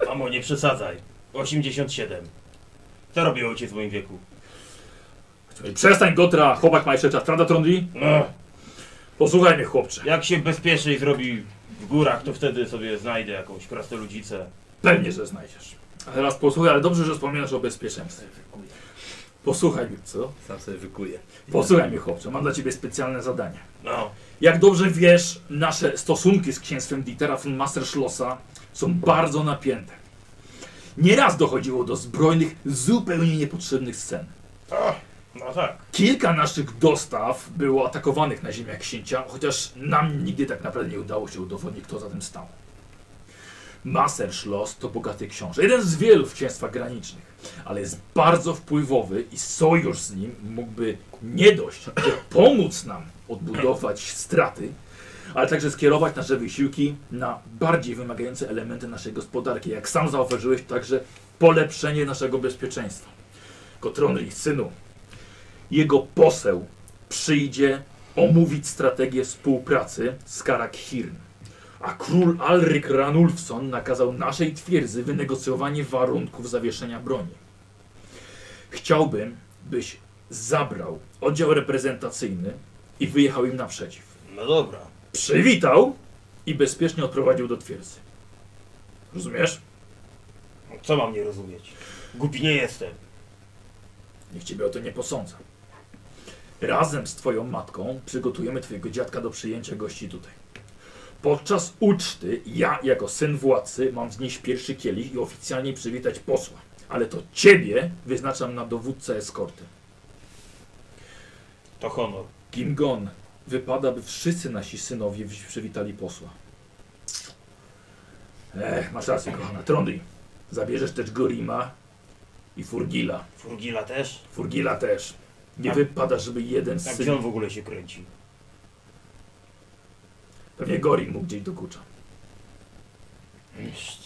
[SPEAKER 3] Mamo, nie przesadzaj. 87. Co robił ojciec w moim wieku?
[SPEAKER 2] Przestań, Gotra, chłopak ma jeszcze czas. Prawda, Trondli?
[SPEAKER 3] No,
[SPEAKER 2] Posłuchaj mnie, chłopcze.
[SPEAKER 3] jak się bezpieczniej zrobi w górach, to wtedy sobie znajdę jakąś krasnoludzicę.
[SPEAKER 2] Pewnie, że znajdziesz. A teraz posłuchaj, ale dobrze, że wspominasz o bezpieczeństwie. Posłuchaj mnie, co?
[SPEAKER 7] Sam sobie wykuję.
[SPEAKER 2] Posłuchaj mnie, chłopcze. Mam dla ciebie specjalne zadanie.
[SPEAKER 3] No,
[SPEAKER 2] Jak dobrze wiesz, nasze stosunki z księstwem Dietera von Masterschlossa są bardzo napięte. Nieraz dochodziło do zbrojnych, zupełnie niepotrzebnych scen.
[SPEAKER 3] no tak.
[SPEAKER 2] Kilka naszych dostaw było atakowanych na ziemiach księcia, chociaż nam nigdy tak naprawdę nie udało się udowodnić, kto za tym stał. Masterschloss to bogaty książę, jeden z wielu w księstwach granicznych, ale jest bardzo wpływowy i sojusz z nim mógłby nie dość, że pomóc nam odbudować straty, ale także skierować nasze wysiłki na bardziej wymagające elementy naszej gospodarki, jak sam zauważyłeś, także polepszenie naszego bezpieczeństwa. Kotronry, synu, jego poseł przyjdzie omówić strategię współpracy z Karakhirn. A król Alryk Ranulfson nakazał naszej twierdzy wynegocjowanie warunków zawieszenia broni. Chciałbym, byś zabrał oddział reprezentacyjny i wyjechał im naprzeciw.
[SPEAKER 3] No dobra.
[SPEAKER 2] Przywitał i bezpiecznie odprowadził do twierdzy. Rozumiesz?
[SPEAKER 3] Co mam nie rozumieć? Głupi nie jestem.
[SPEAKER 2] Niech ciebie o to nie posądza. Razem z twoją matką przygotujemy twojego dziadka do przyjęcia gości tutaj. Podczas uczty ja, jako syn władcy, mam znieść pierwszy kielich i oficjalnie przywitać posła. Ale to ciebie wyznaczam na dowódcę eskorty.
[SPEAKER 3] To honor.
[SPEAKER 2] Gimgon, wypada, by wszyscy nasi synowie wzi- przywitali posła. Ech, masz rację, kochana. Trondri, zabierzesz też Gorima i Furgila.
[SPEAKER 3] Furgila też?
[SPEAKER 2] Furgila też. Nie
[SPEAKER 3] A-
[SPEAKER 2] wypada, żeby jeden z
[SPEAKER 3] A
[SPEAKER 2] synów...
[SPEAKER 3] gdzie on w ogóle się kręci?
[SPEAKER 2] Pewnie Gorin mu gdzieś dokucza.
[SPEAKER 3] Pszt,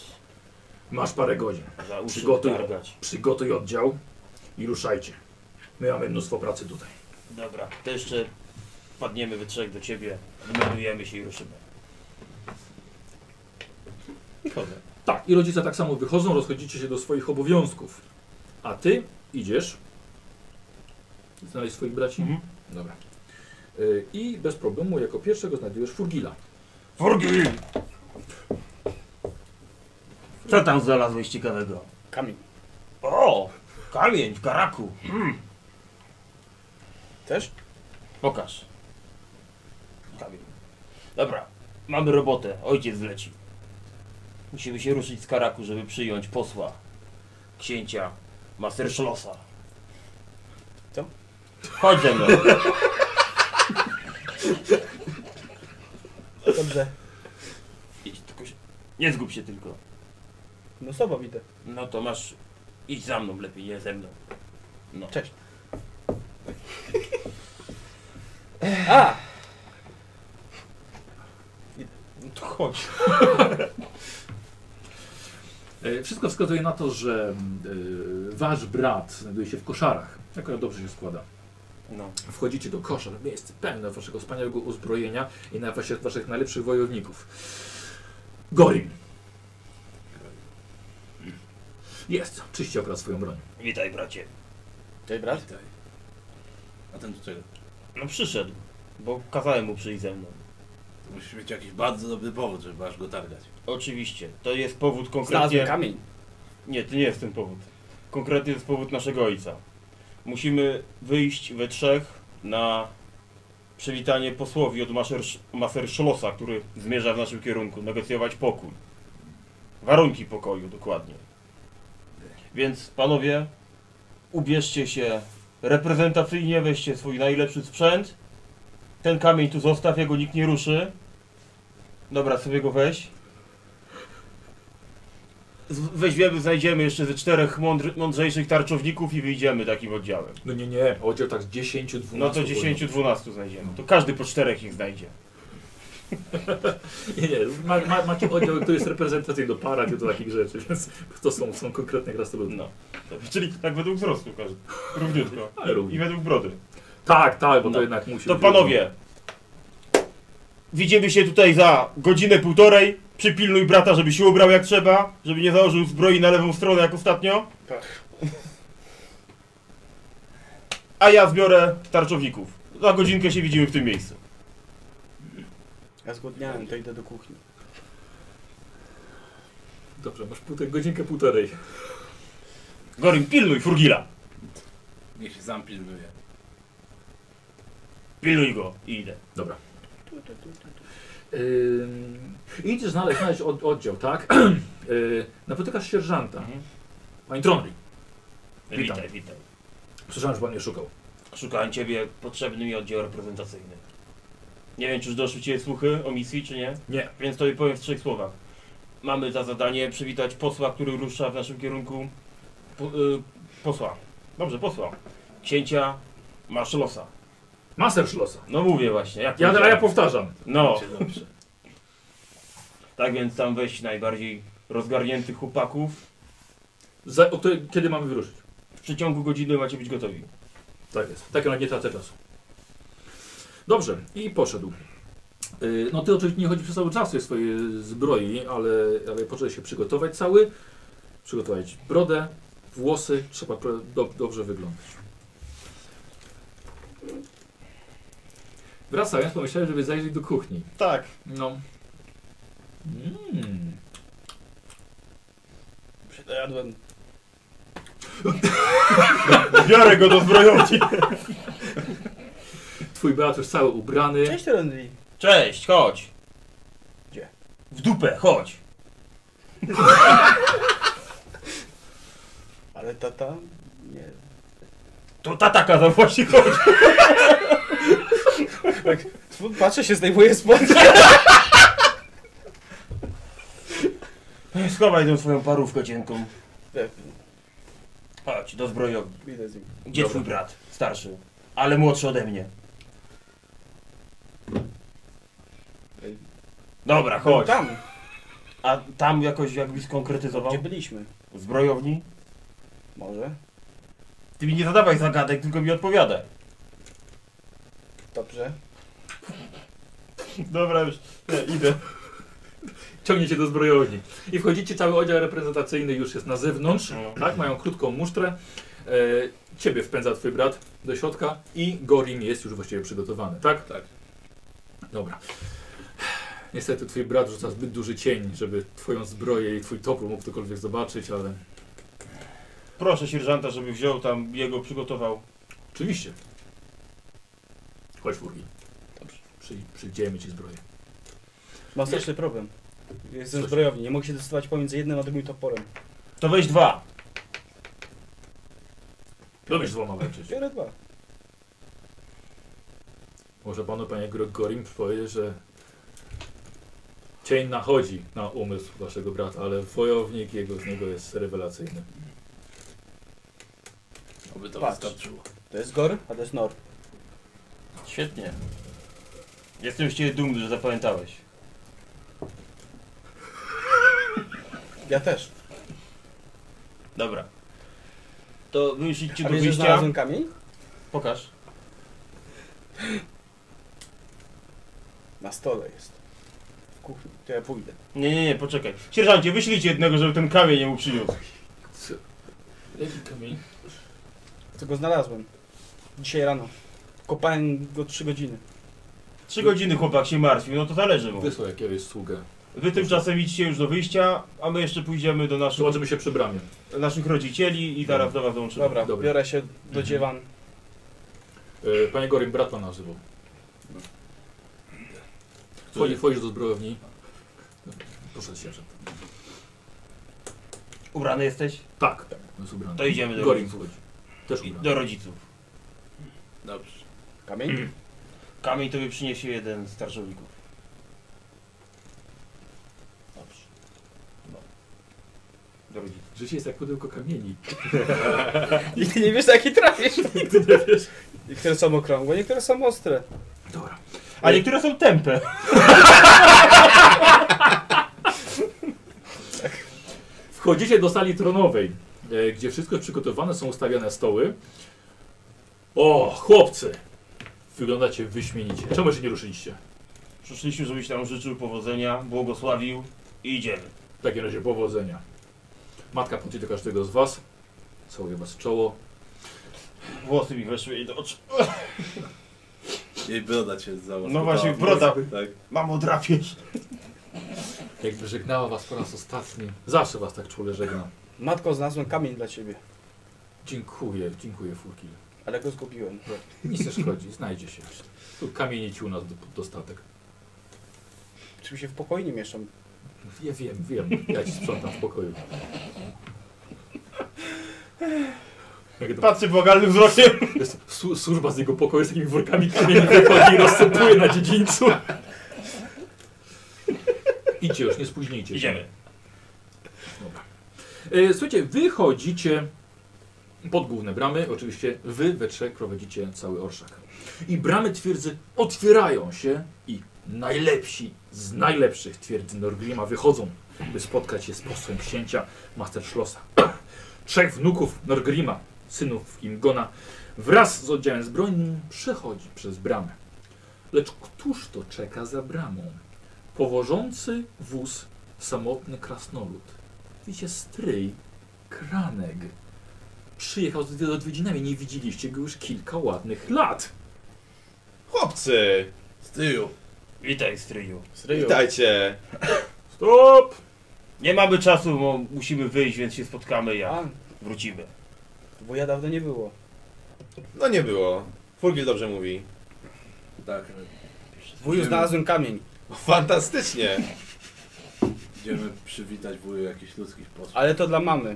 [SPEAKER 2] Masz parę godzin.
[SPEAKER 3] Za uszy
[SPEAKER 2] Przygotuj.
[SPEAKER 3] targać.
[SPEAKER 2] Przygotuj oddział i ruszajcie. My mamy mnóstwo pracy tutaj.
[SPEAKER 3] Dobra, to jeszcze padniemy we trzech do ciebie, wymeldujemy się i ruszymy. I chodzę.
[SPEAKER 2] Tak, i rodzice tak samo wychodzą, rozchodzicie się do swoich obowiązków. A ty idziesz znaleźć swoich braci.
[SPEAKER 3] Mhm.
[SPEAKER 2] Dobra. Y, I bez problemu jako pierwszego znajdujesz Furgila.
[SPEAKER 3] Furgi! Co tam znalazłeś ciekawego?
[SPEAKER 6] Kamień.
[SPEAKER 3] O! Kamień w karaku. Mm.
[SPEAKER 6] Też?
[SPEAKER 3] Pokaż. Kamień. Dobra, mamy robotę. Ojciec zleci. Musimy się ruszyć z karaku, żeby przyjąć posła. Księcia Masterschlossa.
[SPEAKER 6] Co?
[SPEAKER 3] Chodź ze mną.
[SPEAKER 6] Dobrze.
[SPEAKER 3] Idź, tylko się... Nie zgub się tylko.
[SPEAKER 6] No z tobą idę.
[SPEAKER 3] No to masz... Idź za mną lepiej, nie ze mną. No.
[SPEAKER 6] Cześć. A!
[SPEAKER 3] No to chodź.
[SPEAKER 2] E, Wszystko wskazuje na to, że e, wasz brat znajduje się w koszarach. Akurat dobrze się składa.
[SPEAKER 3] No.
[SPEAKER 2] Wchodzicie do koszar, miejsce pełne waszego wspaniałego uzbrojenia i na waszych, waszych najlepszych wojowników. Gorim. Jest, czyści okradł swoją broń.
[SPEAKER 3] Witaj, bracie.
[SPEAKER 6] Cześć brat.
[SPEAKER 1] Witaj. A ten do czego?
[SPEAKER 3] No przyszedł, bo kazałem mu przyjść ze mną.
[SPEAKER 1] To musisz mieć jakiś bardzo dobry powód, żeby aż go targać.
[SPEAKER 3] Oczywiście, to jest powód
[SPEAKER 6] Znalazłem
[SPEAKER 3] konkretnie...
[SPEAKER 6] kamień.
[SPEAKER 3] Nie, to nie jest ten powód. Konkretnie jest powód naszego ojca. Musimy wyjść we trzech na przywitanie posłowi od Maser- Maserschlossa, który zmierza w naszym kierunku, negocjować pokój. Warunki pokoju, dokładnie. Więc panowie, ubierzcie się reprezentacyjnie, weźcie swój najlepszy sprzęt. Ten kamień tu zostaw, jego nikt nie ruszy. Dobra, sobie go weź. Z- Weźmiemy, znajdziemy jeszcze ze czterech mądr, mądrzejszych tarczowników i wyjdziemy takim oddziałem.
[SPEAKER 2] No nie, nie, oddział tak z 10, 12.
[SPEAKER 3] No to 10-12 znajdziemy. To każdy po czterech ich znajdzie.
[SPEAKER 2] Nie, nie, ma, ma, macie oddział, który jest reprezentacyjny do parad i do takich rzeczy, więc to są, są konkretne krasnoludki.
[SPEAKER 3] No. Czyli tak według wzrostu każdy. Równiutko.
[SPEAKER 2] Ale
[SPEAKER 3] I
[SPEAKER 2] równie.
[SPEAKER 3] według brody.
[SPEAKER 2] Tak, tak, bo
[SPEAKER 3] No.
[SPEAKER 2] to jednak musi
[SPEAKER 3] To
[SPEAKER 2] być-
[SPEAKER 3] panowie, widzimy się tutaj za godzinę, półtorej. Przypilnuj brata, żeby się ubrał jak trzeba, żeby nie założył zbroi na lewą stronę jak ostatnio. Tak. A ja zbiorę tarczowników. Za godzinkę się widzimy w tym miejscu.
[SPEAKER 6] Ja zgłodniałem, to idę do kuchni.
[SPEAKER 2] Dobrze, masz półtorej, godzinkę, półtorej.
[SPEAKER 3] Gorim, pilnuj Furgila.
[SPEAKER 1] Niech się sam pilnuje.
[SPEAKER 3] Pilnuj go i idę.
[SPEAKER 2] Dobra. Ym, idziesz znaleźć, znaleźć od, oddział, tak? Yy, napotykasz sierżanta.
[SPEAKER 3] Mhm.
[SPEAKER 2] Panie Tronry, Witam.
[SPEAKER 3] Witaj, witaj.
[SPEAKER 2] słyszałem, że pan mnie szukał.
[SPEAKER 3] Szukałem ciebie, potrzebny mi oddział reprezentacyjny. Nie wiem, czy już doszły ciebie słuchy o misji, czy nie?
[SPEAKER 2] Nie.
[SPEAKER 3] Więc tobie powiem w trzech słowach. Mamy za zadanie przywitać posła, który rusza w naszym kierunku. Po, y, posła. Dobrze, posła. Księcia Marszlosa.
[SPEAKER 2] Master Schlossa.
[SPEAKER 3] No mówię właśnie. Jak
[SPEAKER 2] Ja, a ja
[SPEAKER 3] powiedziałem.
[SPEAKER 2] powtarzam.
[SPEAKER 3] No.
[SPEAKER 1] Cię dobrze.
[SPEAKER 3] Tak więc tam weź najbardziej rozgarniętych chłopaków.
[SPEAKER 2] Za, o której, kiedy mamy wyruszyć?
[SPEAKER 3] W przeciągu godziny macie być gotowi.
[SPEAKER 2] Tak jest. Tak, ale nie tracę czasu. Dobrze, i poszedł. Yy, No ty oczywiście nie chodzi przez cały czas tej swojej zbroi, ale, ale poczęłeś się przygotować cały. Przygotować brodę, włosy, trzeba pro- do, dobrze wyglądać. Wracając, pomyślałem, żeby zajrzeć do kuchni.
[SPEAKER 3] Tak.
[SPEAKER 2] No. Mm.
[SPEAKER 6] Przejadłem.
[SPEAKER 3] Biorę go do zbrojowni.
[SPEAKER 2] Twój brat już cały ubrany.
[SPEAKER 6] Cześć Renly.
[SPEAKER 3] Cześć, chodź.
[SPEAKER 6] Gdzie?
[SPEAKER 3] W dupę, chodź.
[SPEAKER 6] Ale tata... Nie.
[SPEAKER 3] To tata kazał właśnie chodź.
[SPEAKER 6] Patrzę się, zdejmuję spod.
[SPEAKER 3] No Schowaj tą swoją parówkę cienką. Chodź, do zbrojowni.
[SPEAKER 6] Idę z nim.
[SPEAKER 3] Gdzie twój brat? Starszy. Ale młodszy ode mnie.
[SPEAKER 6] Ej.
[SPEAKER 3] Dobra, chodź.
[SPEAKER 6] Tam,
[SPEAKER 3] A tam jakoś jakbyś
[SPEAKER 6] gdzie
[SPEAKER 2] No.
[SPEAKER 3] skonkretyzował?
[SPEAKER 6] byliśmy.
[SPEAKER 3] W zbrojowni?
[SPEAKER 6] Może.
[SPEAKER 3] Ty mi nie zadawaj zagadek, tylko mi odpowiadaj.
[SPEAKER 6] Dobrze.
[SPEAKER 3] Dobra, już. idę.
[SPEAKER 2] Ciągnie się E, do zbrojowni. I wchodzicie, cały oddział reprezentacyjny już jest na zewnątrz.
[SPEAKER 3] No.
[SPEAKER 2] Tak, mają krótką musztrę. E, ciebie wpędza twój brat do środka i Gorim jest już właściwie przygotowany, tak?
[SPEAKER 1] Tak.
[SPEAKER 2] Dobra. Niestety twój brat rzuca zbyt duży cień, żeby twoją zbroję i twój topór mógł ktokolwiek zobaczyć, ale
[SPEAKER 3] Proszę sierżanta, żeby wziął tam, jego przygotował.
[SPEAKER 2] oczywiście. Chodź Furgi. Dobrze. Przy, przyjdziemy ci zbroję.
[SPEAKER 6] Mam straszny problem. Jestem
[SPEAKER 2] Coś.
[SPEAKER 6] zbrojowni, nie mogę się dostosować pomiędzy jednym a drugim toporem.
[SPEAKER 3] To weź dwa.
[SPEAKER 2] Lubisz z dwoma walczyć.
[SPEAKER 6] Biorę dwa.
[SPEAKER 2] Może panu, panie Gregorim, powie, że cień nachodzi na umysł waszego brata, ale wojownik jego z niego jest rewelacyjny.
[SPEAKER 7] Oby to
[SPEAKER 4] Patrz.
[SPEAKER 7] wystarczyło.
[SPEAKER 4] To jest Gor?
[SPEAKER 6] A to jest nor.
[SPEAKER 7] Świetnie.
[SPEAKER 3] Jestem z ciebie dumny, że zapamiętałeś.
[SPEAKER 4] Ja też.
[SPEAKER 3] Dobra. To wy już idźcie
[SPEAKER 6] A
[SPEAKER 3] do
[SPEAKER 6] wiesz, że
[SPEAKER 3] wyjścia.
[SPEAKER 6] znalazłem kamień?
[SPEAKER 3] Pokaż.
[SPEAKER 6] Na stole jest. W kuchni. To ja pójdę.
[SPEAKER 3] Nie, nie, nie, poczekaj. Sierżancie, wyślijcie jednego, żeby ten kamień mu przyniósł.
[SPEAKER 2] Co? Jaki kamień?
[SPEAKER 6] Co go znalazłem. Dzisiaj rano. Kopałem go trzy godziny.
[SPEAKER 3] Trzy godziny chłopak się martwił, no to zależy mu.
[SPEAKER 2] Wysłał jakiegoś sługę.
[SPEAKER 3] Wy tymczasem idźcie już do wyjścia, a my jeszcze pójdziemy do naszych,
[SPEAKER 2] Zobaczymy się przy bramie.
[SPEAKER 3] naszych rodzicieli i zaraz do was dołączymy.
[SPEAKER 6] Dobra,
[SPEAKER 2] Dobra.
[SPEAKER 6] biorę się do
[SPEAKER 2] Mhm.
[SPEAKER 6] dziewan.
[SPEAKER 2] E, Panie Gorim, brat pana nazywał. No. Wchodzi- Wchodzisz do zbrojowni. Proszę sierżant.
[SPEAKER 3] Ubrany jesteś?
[SPEAKER 2] Tak, on jest ubrany.
[SPEAKER 3] To idziemy do
[SPEAKER 2] Gorim
[SPEAKER 3] rodziców.
[SPEAKER 2] wchodzi. Też
[SPEAKER 3] I-
[SPEAKER 2] ubrany.
[SPEAKER 3] Do rodziców.
[SPEAKER 7] Dobrze.
[SPEAKER 6] Kamień?
[SPEAKER 3] Kamień tobie przyniesie jeden z starszowników. Dobrze. No. Do rodziców.
[SPEAKER 2] Życie jest jak pudełko kamieni.
[SPEAKER 6] Nigdy nie wiesz, jaki trafisz.
[SPEAKER 2] Nigdy nie wiesz.
[SPEAKER 6] Niektóre są okrągłe, niektóre są ostre.
[SPEAKER 2] Dobra.
[SPEAKER 3] A niektóre są tępe.
[SPEAKER 2] Wchodzicie do sali tronowej, e, gdzie wszystko jest przygotowane, są ustawiane stoły. O, chłopcy! Wyglądacie wyśmienicie. Czemu się nie ruszyliście?
[SPEAKER 3] Przyszliśmy, żebyś nam życzył powodzenia, błogosławił i idziemy.
[SPEAKER 2] W takim razie powodzenia. Matka podchodzi do każdego z was. Całuje was w czoło.
[SPEAKER 3] Włosy mi weszły jej do oczu.
[SPEAKER 1] Jej broda cię załatwiła.
[SPEAKER 3] No właśnie, broda.
[SPEAKER 1] Tak.
[SPEAKER 3] Mamo, drapiesz.
[SPEAKER 2] Jakby żegnała was po raz ostatni. Zawsze was tak czule żegna.
[SPEAKER 6] Matko, znalazłem kamień dla ciebie,
[SPEAKER 2] Dziękuję, dziękuję Furki.
[SPEAKER 6] ale go zgubiłem.
[SPEAKER 2] Nic nie szkodzi, znajdzie się. Tu kamieni ci u nas do, dostatek.
[SPEAKER 6] Czym się w pokoju nie mieszam?
[SPEAKER 2] Ja wiem, wiem. Ja ci sprzątam w pokoju. Jak do
[SPEAKER 3] Patrzy błagalnym wzrokiem.
[SPEAKER 2] Jest su- służba z jego pokoju z takimi workami kamieni wychodzi i rozsypuje na dziedzińcu. Idźcie już, nie spóźnijcie się.
[SPEAKER 3] Idziemy.
[SPEAKER 2] Dobra. E, Słuchajcie, wychodzicie pod główne bramy. Oczywiście wy we trzech prowadzicie cały orszak. I bramy twierdzy otwierają się i najlepsi z najlepszych twierdzy Norgrima wychodzą, by spotkać się z posłem księcia Master Schlossa. Trzech wnuków Norgrima, synów Imgona, wraz z oddziałem zbrojnym przechodzi przez bramę. Lecz któż to czeka za bramą? Powożący wóz samotny krasnolud. Widzicie stryj, kranek. Przyjechał z odwiedzinami, nie widzieliście go już kilka ładnych lat.
[SPEAKER 4] Chłopcy!
[SPEAKER 1] Z tyłu.
[SPEAKER 3] Witaj, stryju.
[SPEAKER 7] No
[SPEAKER 4] Witajcie!
[SPEAKER 2] Stop!
[SPEAKER 3] Nie mamy czasu, bo musimy wyjść, więc się spotkamy
[SPEAKER 6] A,
[SPEAKER 3] jak wrócimy.
[SPEAKER 6] bo ja dawno nie było.
[SPEAKER 4] No nie było. Furgil dobrze mówi.
[SPEAKER 1] Tak.
[SPEAKER 6] Wuju, znalazłem kamień,
[SPEAKER 4] Fantastycznie!
[SPEAKER 1] Idziemy przywitać wuju jakichś ludzkich posłów.
[SPEAKER 6] ale to dla mamy.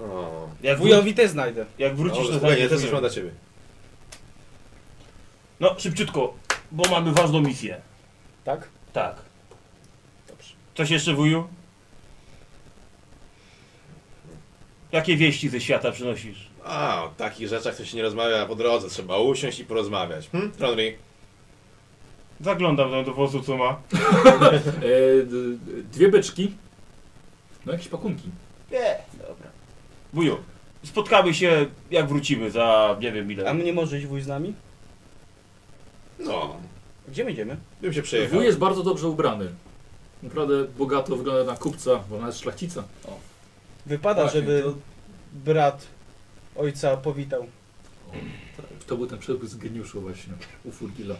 [SPEAKER 4] O.
[SPEAKER 3] Jak, wró-
[SPEAKER 6] Wujowi też znajdę.
[SPEAKER 3] jak wrócisz,
[SPEAKER 4] Wrócisz
[SPEAKER 3] to
[SPEAKER 4] do zdania, też
[SPEAKER 3] znajdziesz-
[SPEAKER 4] mam dla ciebie.
[SPEAKER 3] No, szybciutko, bo mamy ważną misję.
[SPEAKER 6] Tak?
[SPEAKER 3] Tak. Dobrze. Coś jeszcze, wuju? Jakie wieści ze świata przynosisz?
[SPEAKER 4] A, o takich rzeczach to się nie rozmawia po drodze. Trzeba usiąść i porozmawiać. Hm? Tronry,
[SPEAKER 3] Zaglądam tam do wozu, co ma.
[SPEAKER 2] E, d- d- dwie beczki. No jakieś pakunki.
[SPEAKER 3] Nie, dobra. Wuju, spotkamy się, jak wrócimy, za nie wiem
[SPEAKER 6] A
[SPEAKER 3] ile.
[SPEAKER 6] my nie może iść wuj z nami?
[SPEAKER 4] no,
[SPEAKER 6] Gdzie my idziemy?
[SPEAKER 4] bym się przejechał.
[SPEAKER 2] Wuj jest bardzo dobrze ubrany. Naprawdę bogato wygląda na kupca, bo ona jest szlachcica.
[SPEAKER 6] Wypada,
[SPEAKER 1] Właśnie,
[SPEAKER 6] żeby
[SPEAKER 1] to-
[SPEAKER 6] brat ojca powitał.
[SPEAKER 2] To był ten przepis geniuszu właśnie u Furgila.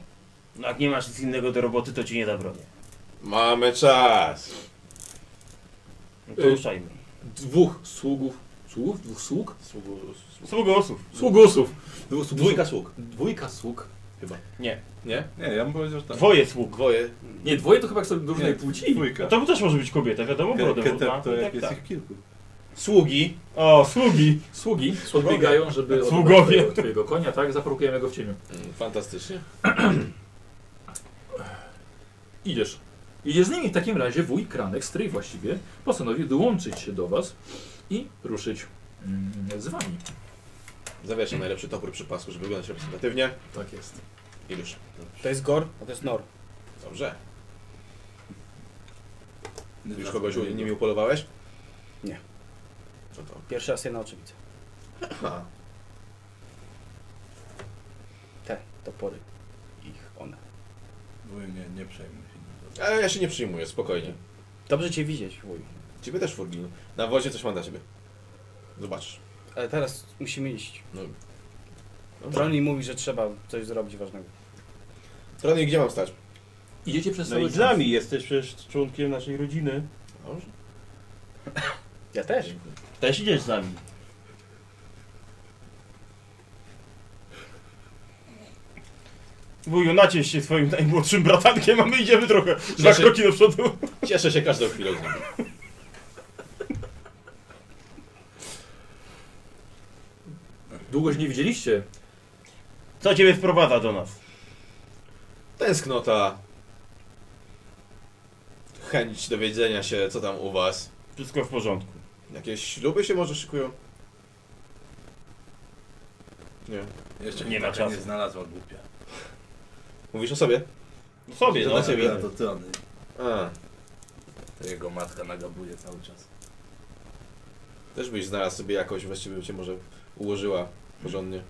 [SPEAKER 3] No jak nie masz nic innego do roboty, to ci nie zabronię.
[SPEAKER 4] Mamy czas.
[SPEAKER 3] No
[SPEAKER 6] Y-
[SPEAKER 3] to ruszajmy.
[SPEAKER 2] Dwóch sługów. Sługów? Dwóch sług?
[SPEAKER 4] Sługu- sługu-
[SPEAKER 3] Sługosów.
[SPEAKER 2] Sługusów. Dwóch sługów.
[SPEAKER 4] Dwójka sług,
[SPEAKER 2] Dwójka sług.
[SPEAKER 3] Nie.
[SPEAKER 4] nie?
[SPEAKER 1] Nie, ja bym powiedział, że tak.
[SPEAKER 3] Dwoje sług.
[SPEAKER 4] Dwoje.
[SPEAKER 2] Nie, dwoje to chyba są różnej
[SPEAKER 1] Nie,
[SPEAKER 2] płci.
[SPEAKER 1] Dwójka.
[SPEAKER 3] No to też może być kobieta, wiadomo,
[SPEAKER 1] Ke-
[SPEAKER 3] brodę.
[SPEAKER 1] Ketep to
[SPEAKER 3] ma. I
[SPEAKER 1] jak
[SPEAKER 3] tak,
[SPEAKER 1] jest
[SPEAKER 3] tak.
[SPEAKER 1] ich kilku.
[SPEAKER 4] Sługi.
[SPEAKER 3] O, sługi.
[SPEAKER 2] Sługi podbiegają, żeby odebrać
[SPEAKER 3] Sługowie.
[SPEAKER 2] twojego- twojego konia, tak? Zaparkujemy go w ciemię.
[SPEAKER 4] Mm, Fantastycznie.
[SPEAKER 2] Idziesz. Idziesz z nimi. W takim razie wuj Kranek, stryj właściwie, postanowił dołączyć się do was i ruszyć mm, z wami.
[SPEAKER 4] Zawieszam najlepszy topór przy pasku, żeby wyglądać reprezentatywnie.
[SPEAKER 2] Tak jest.
[SPEAKER 4] I już.
[SPEAKER 6] To jest Gor, a to jest Nor.
[SPEAKER 4] Dobrze.
[SPEAKER 1] Nie
[SPEAKER 4] Już
[SPEAKER 1] wracam
[SPEAKER 4] kogoś
[SPEAKER 1] do
[SPEAKER 4] u-
[SPEAKER 1] niego.
[SPEAKER 4] nimi upolowałeś?
[SPEAKER 6] Nie.
[SPEAKER 4] Co to?
[SPEAKER 6] Pierwszy raz je na oczy widzę.
[SPEAKER 4] Aha.
[SPEAKER 6] Te topory. Ich, one.
[SPEAKER 1] Wuj, nie, nie przejmuj się. nim.
[SPEAKER 4] Ale ja się nie przyjmuję, spokojnie.
[SPEAKER 6] Dobrze cię widzieć, wuj.
[SPEAKER 4] Ciebie też, Furgin. Na wozie coś mam dla ciebie. Zobaczysz.
[SPEAKER 6] Ale teraz musimy iść.
[SPEAKER 4] No. Dobrze.
[SPEAKER 6] Troni mówi, że trzeba coś zrobić ważnego.
[SPEAKER 4] Tronie, gdzie mam stać?
[SPEAKER 2] Idziecie przez
[SPEAKER 3] No
[SPEAKER 2] cały
[SPEAKER 3] i z nami jesteś przecież członkiem naszej rodziny.
[SPEAKER 4] Dobrze.
[SPEAKER 6] Ja też.
[SPEAKER 3] Też idziesz z nami. Wuju, naciesz się swoim najmłodszym bratankiem, a my idziemy trochę dwa
[SPEAKER 4] Znaczy-
[SPEAKER 3] kroki do przodu.
[SPEAKER 4] Cieszę się każdą chwilą z nimi.
[SPEAKER 2] Długo się nie widzieliście.
[SPEAKER 3] Co ciebie wprowadza do nas?
[SPEAKER 4] Tęsknota. Chęć dowiedzenia się, co tam u was.
[SPEAKER 3] Wszystko w porządku.
[SPEAKER 4] Jakieś śluby się może szykują? Nie.
[SPEAKER 1] Jeszcze
[SPEAKER 3] Nie ma
[SPEAKER 1] taka
[SPEAKER 3] czasu.
[SPEAKER 1] Nie znalazła głupia.
[SPEAKER 4] Mówisz o sobie?
[SPEAKER 3] Sobie,
[SPEAKER 4] To
[SPEAKER 3] no.
[SPEAKER 4] dla ciebie.
[SPEAKER 1] To ty, on.
[SPEAKER 4] A,
[SPEAKER 1] Jego matka nagabuje cały czas.
[SPEAKER 4] też byś znalazł sobie jakoś, właściwie by cię może ułożyła porządnie.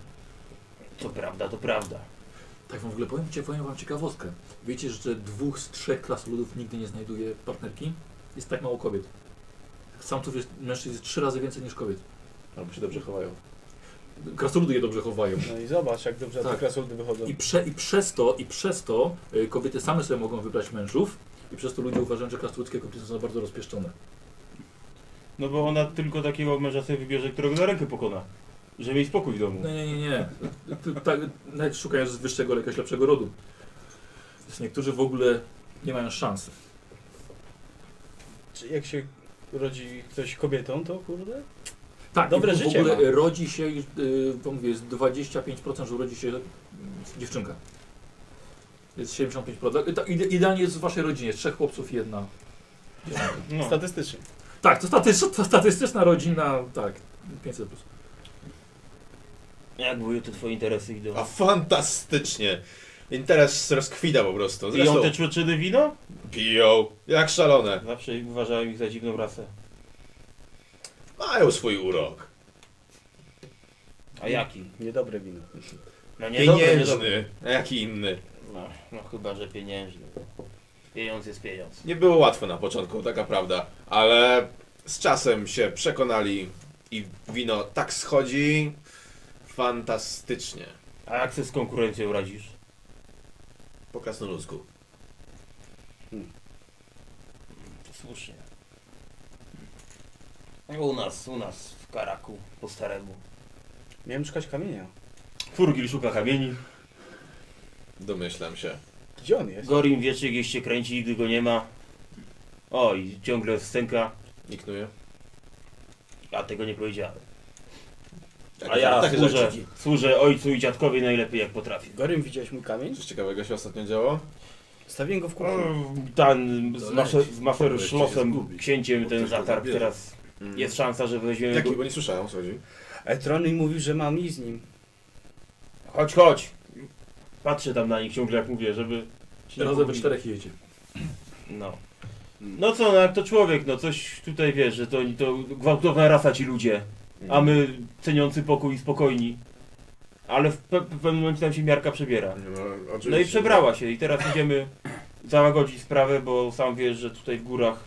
[SPEAKER 3] To prawda, to prawda.
[SPEAKER 2] Tak wam w ogóle powiem, cie- powiem wam ciekawostkę. Wiecie, że dwóch z trzech klas ludów nigdy nie znajduje partnerki? Jest tak mało kobiet. Samców jest, mężczyzn jest trzy razy więcej niż kobiet.
[SPEAKER 4] Albo się dobrze chowają.
[SPEAKER 2] Krasnoludy je dobrze chowają.
[SPEAKER 6] No i zobacz, jak dobrze
[SPEAKER 2] Tak.
[SPEAKER 6] te krasoldy wychodzą.
[SPEAKER 2] I, prze, I przez to, i przez to y, kobiety same sobie mogą wybrać mężów i przez to ludzie uważają, że krasnoludzkie kobiety są za bardzo rozpieszczone.
[SPEAKER 3] No bo ona tylko takiego męża sobie wybierze, którego na rękę pokona. Żeby jej spokój w domu.
[SPEAKER 2] No nie, nie, nie. T- Tak, nawet szukając wyższego ale jakiegoś lepszego rodu. Więc niektórzy w ogóle nie mają szansy.
[SPEAKER 6] Czy jak się rodzi ktoś kobietą, to kurde?
[SPEAKER 2] Tak,
[SPEAKER 6] Dobre
[SPEAKER 2] i w,
[SPEAKER 6] życie
[SPEAKER 2] w ogóle
[SPEAKER 6] ma.
[SPEAKER 2] rodzi się, już, y, wam mówię, jest 25%, że urodzi się mm, dziewczynka. Jest 75%. Ta- ide- Idealnie jest w waszej rodzinie, trzech chłopców, jedna.
[SPEAKER 3] No.
[SPEAKER 6] Statystycznie.
[SPEAKER 2] Tak, to staty- to statystyczna rodzina, tak, 500+. Plus.
[SPEAKER 3] Jak były te twoje interesy idą?
[SPEAKER 4] A fantastycznie! Interes rozkwita po prostu.
[SPEAKER 3] I on
[SPEAKER 4] Zresztą
[SPEAKER 3] te człoczyny wino?
[SPEAKER 4] piją jak szalone.
[SPEAKER 3] Zawsze ich uważałem ich za dziwną rasę.
[SPEAKER 4] Mają swój urok.
[SPEAKER 3] A jaki?
[SPEAKER 6] Niedobre wino.
[SPEAKER 3] No nie, dobre, nie dobre.
[SPEAKER 4] Pieniężny, a jaki inny.
[SPEAKER 3] No, no chyba, że pieniężny. Pieniądz jest pieniądz.
[SPEAKER 4] Nie było łatwo na początku, taka prawda, ale z czasem się przekonali i wino tak schodzi fantastycznie.
[SPEAKER 3] A jak sobie z konkurencją radzisz?
[SPEAKER 4] Po krasnoludzku.
[SPEAKER 3] To słusznie. No U nas, u nas w Karaku, po staremu.
[SPEAKER 6] Miałem szukać kamienia.
[SPEAKER 3] Furgil szuka kamieni.
[SPEAKER 4] Domyślam się.
[SPEAKER 6] Gdzie on jest?
[SPEAKER 3] Gorim wieczy gdzieś się kręci, gdy go nie ma. O, i ciągle stęka.
[SPEAKER 4] Niknuje.
[SPEAKER 3] A tego nie powiedziałem.
[SPEAKER 4] Takie-
[SPEAKER 3] A ja
[SPEAKER 4] takie
[SPEAKER 3] służę,
[SPEAKER 4] rzeczy.
[SPEAKER 3] służę ojcu i dziadkowi najlepiej jak potrafię.
[SPEAKER 6] Gorym widziałeś mój kamień?
[SPEAKER 4] Coś ciekawego się ostatnio działo?
[SPEAKER 6] Stawiłem go w kuchni.
[SPEAKER 3] Mm, Ten z,
[SPEAKER 1] To
[SPEAKER 3] mafer,
[SPEAKER 1] leci.
[SPEAKER 3] z
[SPEAKER 1] To
[SPEAKER 3] mafer
[SPEAKER 1] jeszcze się
[SPEAKER 3] szlosem,
[SPEAKER 1] zgubi.
[SPEAKER 3] księciem
[SPEAKER 1] Bo
[SPEAKER 3] ten
[SPEAKER 1] ktoś go
[SPEAKER 3] zatarł
[SPEAKER 1] zabierze.
[SPEAKER 3] teraz.
[SPEAKER 4] Mm.
[SPEAKER 3] Jest szansa, że weźmiemy
[SPEAKER 4] Jaki,
[SPEAKER 3] go...
[SPEAKER 4] bo nie słyszałem, o co chodzi.
[SPEAKER 6] Ale Trony mówił, że mam i z nim.
[SPEAKER 3] Chodź, chodź! Patrzę tam na nich ciągle jak mówię, żeby... ci nie
[SPEAKER 2] Razem we
[SPEAKER 3] pomówili.
[SPEAKER 2] czterech jedziecie.
[SPEAKER 3] No.
[SPEAKER 1] Mm.
[SPEAKER 3] No co, no jak to człowiek, no coś tutaj wiesz, że to, to gwałtowna rasa ci ludzie, a
[SPEAKER 1] Mm.
[SPEAKER 3] my ceniący pokój i spokojni. Ale w, pe w pewnym momencie tam się miarka przebiera.
[SPEAKER 4] No,
[SPEAKER 3] No i
[SPEAKER 4] oczywiście.
[SPEAKER 3] przebrała się i teraz idziemy załagodzi sprawę, bo sam wiesz, że tutaj w górach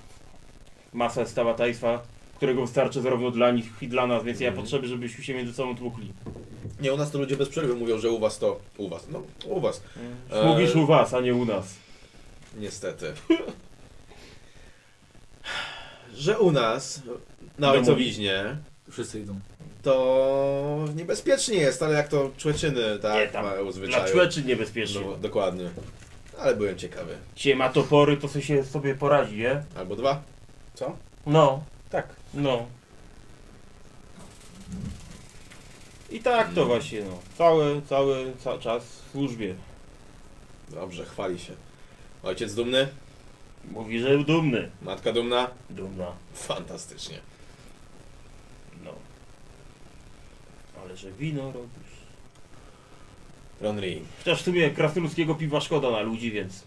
[SPEAKER 3] masa jest tałatajstwa, którego wystarczy zarówno dla nich, jak i dla nas, więc ja
[SPEAKER 4] Mhm.
[SPEAKER 3] potrzeby, żebyśmy się między sobą tłukli.
[SPEAKER 4] Nie, u nas to ludzie bez przerwy mówią, że u was to... U was, no u was,
[SPEAKER 3] Mm. Mówisz
[SPEAKER 4] Eee.
[SPEAKER 3] u was, a nie u nas.
[SPEAKER 4] niestety. że u nas, na ojcowiźnie,
[SPEAKER 2] Wszyscy idą.
[SPEAKER 4] to niebezpiecznie jest, ale jak to człeczyny,
[SPEAKER 3] Nie,
[SPEAKER 4] tak,
[SPEAKER 3] tam
[SPEAKER 4] mają
[SPEAKER 3] Dla
[SPEAKER 4] zwyczaju.
[SPEAKER 3] człeczy niebezpiecznie.
[SPEAKER 4] No, dokładnie. Ale byłem ciekawy.
[SPEAKER 3] Cie ma topory, to se się sobie poradzi, nie?
[SPEAKER 4] Albo dwa.
[SPEAKER 3] No,
[SPEAKER 6] Tak.
[SPEAKER 3] no. I tak to właśnie, no. Cały, cały ca czas w służbie.
[SPEAKER 4] Dobrze, chwali się. Ojciec dumny,
[SPEAKER 3] Mówi, że dumny.
[SPEAKER 4] matka dumna.
[SPEAKER 3] Dumna.
[SPEAKER 4] Fantastycznie.
[SPEAKER 3] No. Ale że wino robisz.
[SPEAKER 4] Ronri,
[SPEAKER 3] Chociaż w sumie krasnoludzkiego piwa szkoda na ludzi, więc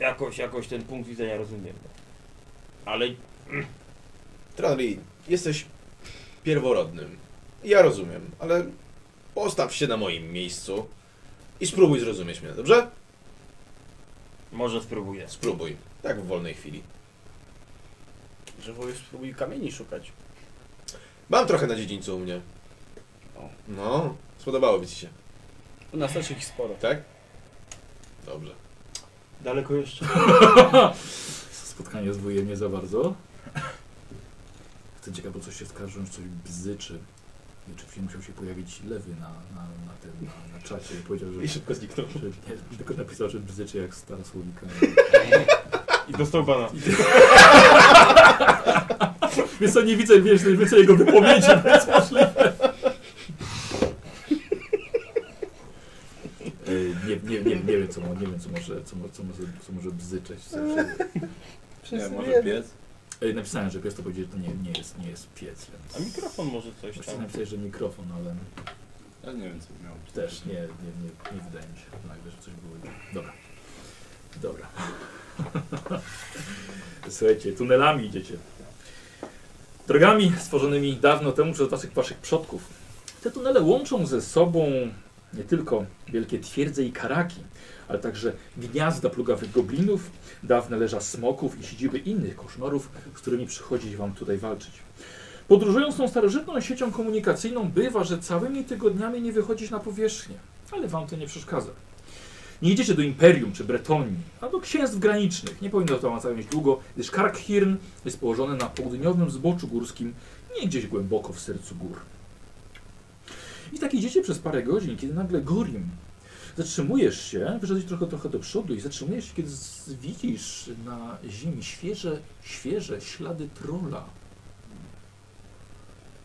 [SPEAKER 3] jakoś, jakoś ten punkt widzenia rozumiem. No. Ale
[SPEAKER 4] Tronri, jesteś pierworodnym. Ja rozumiem, ale postaw się na moim miejscu i spróbuj zrozumieć mnie, dobrze?
[SPEAKER 3] może spróbuję.
[SPEAKER 4] Spróbuj, tak w wolnej chwili.
[SPEAKER 6] Że wolisz spróbuj kamieni szukać.
[SPEAKER 4] Mam trochę na dziedzińcu u mnie. No, spodobało ci się,
[SPEAKER 6] U nas też ich sporo.
[SPEAKER 4] tak? Dobrze.
[SPEAKER 3] Daleko jeszcze.
[SPEAKER 2] Spotkanie z wujem nie za bardzo. Jestem ciekaw, bo coś się skarżą, że coś bzyczy. I Oczywiście musiał się pojawić lewy na, na, na tym, na, na czacie i powiedział, że...
[SPEAKER 4] I szybko zniknął.
[SPEAKER 2] że nie, tylko napisał, że bzyczy jak stara słowika.
[SPEAKER 3] I dostał bana.
[SPEAKER 2] Więc to nie widzę, wiesz, nie widzę jego wypowiedzi, więc możliwe. Ej, E, Nie, nie, nie, nie wiem, co, mo- nie wiem co, może, co, mo- co, może, co może bzyczeć. W sensie,
[SPEAKER 1] Nie,
[SPEAKER 6] Wszyscy
[SPEAKER 1] może
[SPEAKER 6] wiemy.
[SPEAKER 1] piec?
[SPEAKER 2] Ej, napisałem, że pies to powiedział, że to nie, nie, jest, nie jest piec,
[SPEAKER 3] A
[SPEAKER 2] więc...
[SPEAKER 3] mikrofon może coś
[SPEAKER 2] Właściwie
[SPEAKER 3] tam.
[SPEAKER 2] napisałeś, że mikrofon, ale
[SPEAKER 1] Ja nie wiem, co miał być.
[SPEAKER 2] też nie, nie, nie, nie wydaje mi się nagle, że coś było. tak. Dobra. Dobra. Słuchajcie, tunelami idziecie. Drogami stworzonymi dawno temu przez waszych, waszych przodków. Te tunele łączą ze sobą nie tylko wielkie twierdze i karaki, ale także gniazda plugawych goblinów, dawne leża smoków i siedziby innych koszmarów, z którymi przychodzi wam tutaj walczyć. Podróżując tą starożytną siecią komunikacyjną, bywa, że całymi tygodniami nie wychodzisz na powierzchnię, ale wam to nie przeszkadza. Nie idziecie do Imperium czy Bretonii, a do księstw granicznych. Nie powinno to wam zająć długo, gdyż Karkhirn jest położony na południowym zboczu górskim, nie gdzieś głęboko w sercu gór. I tak idziecie przez parę godzin, kiedy nagle Gorim zatrzymujesz się, wyszedłeś trochę, trochę do przodu i zatrzymujesz się, kiedy z- widzisz na ziemi świeże, świeże ślady trola.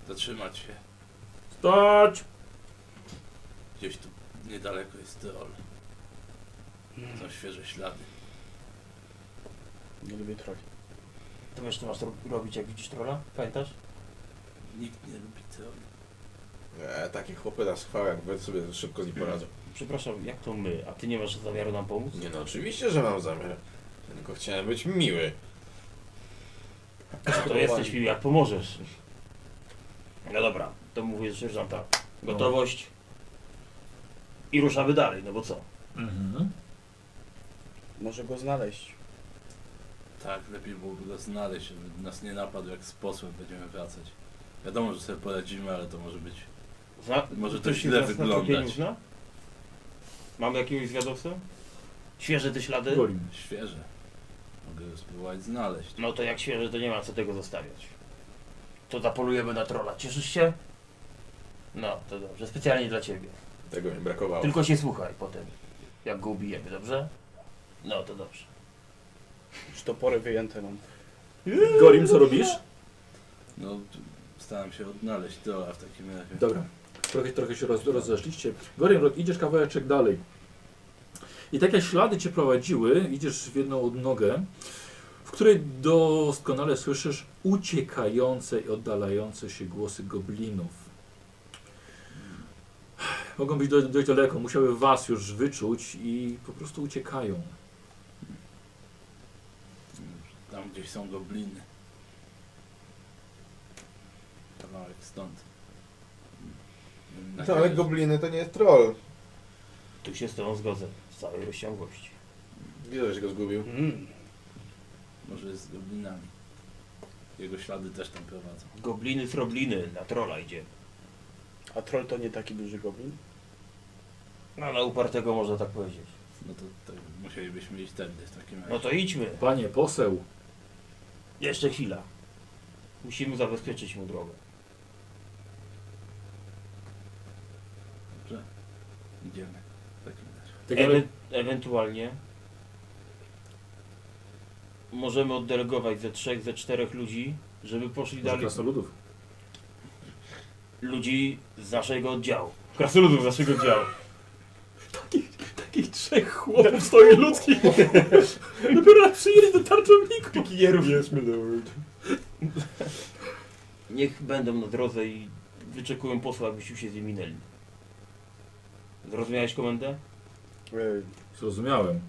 [SPEAKER 1] Zatrzymać się.
[SPEAKER 2] Stać!
[SPEAKER 1] Gdzieś tu niedaleko jest Teol. Są świeże ślady.
[SPEAKER 6] Nie lubię troli.
[SPEAKER 3] To wiesz, co masz ro- robić, jak widzisz trolla? Pamiętasz?
[SPEAKER 1] Nikt nie lubi Teol.
[SPEAKER 4] E, takie chłopy na schwał, jakby sobie szybko z nim poradzą.
[SPEAKER 3] Przepraszam, jak to my? A ty nie masz zamiaru nam pomóc?
[SPEAKER 4] Nie no, oczywiście, że mam zamiar. Tylko chciałem być miły.
[SPEAKER 3] To jesteś miły, jak pomożesz. No dobra, to mówię, że sierżant tak. Gotowość. I ruszamy dalej, no bo co?
[SPEAKER 2] Mhm.
[SPEAKER 6] Może go znaleźć.
[SPEAKER 1] Tak, lepiej byłoby go znaleźć, żeby nas nie napadł jak z posłem będziemy wracać. Wiadomo, że sobie poradzimy, ale to może być...
[SPEAKER 3] Zna...
[SPEAKER 1] Może to
[SPEAKER 3] ktoś
[SPEAKER 1] źle
[SPEAKER 3] z nas na
[SPEAKER 1] wyglądać.
[SPEAKER 3] trupieniu zna? Mamy jakiegoś zwiadowcę? Świeże te ślady?
[SPEAKER 2] Gorim.
[SPEAKER 1] Świeże. Mogę go spróbować znaleźć.
[SPEAKER 3] No to jak świeże, to nie ma co tego zostawiać. To zapolujemy na trolla. Cieszysz się? No, to dobrze. Specjalnie dla ciebie.
[SPEAKER 4] Tego mi brakowało.
[SPEAKER 3] Tylko się słuchaj potem, jak go ubijemy, dobrze? No to dobrze.
[SPEAKER 6] Czy topory wyjęte mam.
[SPEAKER 2] Gorim, co robisz?
[SPEAKER 1] No, t- staram się odnaleźć Teola w takim razie.
[SPEAKER 2] Dobra. Trochę, trochę się roz, rozeszliście. Gorim, ro- idziesz kawałeczek dalej. I takie ślady cię prowadziły, idziesz w jedną odnogę, w której doskonale słyszysz uciekające i oddalające się głosy goblinów. Mogą być do- dość daleko, musiały was już wyczuć i po prostu uciekają.
[SPEAKER 1] Tam gdzieś są gobliny. Kawałek stąd.
[SPEAKER 4] No ale gobliny to nie jest troll.
[SPEAKER 3] Tu się z tobą zgodzę, z całej rozciągłości.
[SPEAKER 4] Widzę, że go zgubił.
[SPEAKER 6] Mm.
[SPEAKER 1] Może jest z goblinami. Jego ślady też tam prowadzą.
[SPEAKER 3] Gobliny srobliny, na trola idzie.
[SPEAKER 6] A troll to nie taki duży goblin?
[SPEAKER 3] No ale upartego można tak powiedzieć.
[SPEAKER 1] No to, to musielibyśmy iść tędy w takim razie.
[SPEAKER 3] No to idźmy.
[SPEAKER 2] Panie poseł,
[SPEAKER 3] Jeszcze chwila. Musimy zabezpieczyć mu drogę.
[SPEAKER 1] Dobrze. Idziemy. W takim razie.
[SPEAKER 2] tak
[SPEAKER 3] Ewe-
[SPEAKER 2] jakby-
[SPEAKER 3] ewentualnie możemy oddelegować ze trzech, ze czterech ludzi, żeby poszli
[SPEAKER 2] może
[SPEAKER 3] dalej.
[SPEAKER 2] krasnoludów.
[SPEAKER 3] Ludzi z naszego oddziału. Krasoludów z naszego oddziału.
[SPEAKER 2] Takich trzech chłopów stoi ludzkich. Dopiero przyjęli do tarczowników. Pikierów. Yes, my lord.
[SPEAKER 3] Niech będą na drodze i wyczekują posła, abyśmy się z nimi minęli. Zrozumiałeś komendę?
[SPEAKER 4] E,
[SPEAKER 6] Ej,
[SPEAKER 2] Zrozumiałem.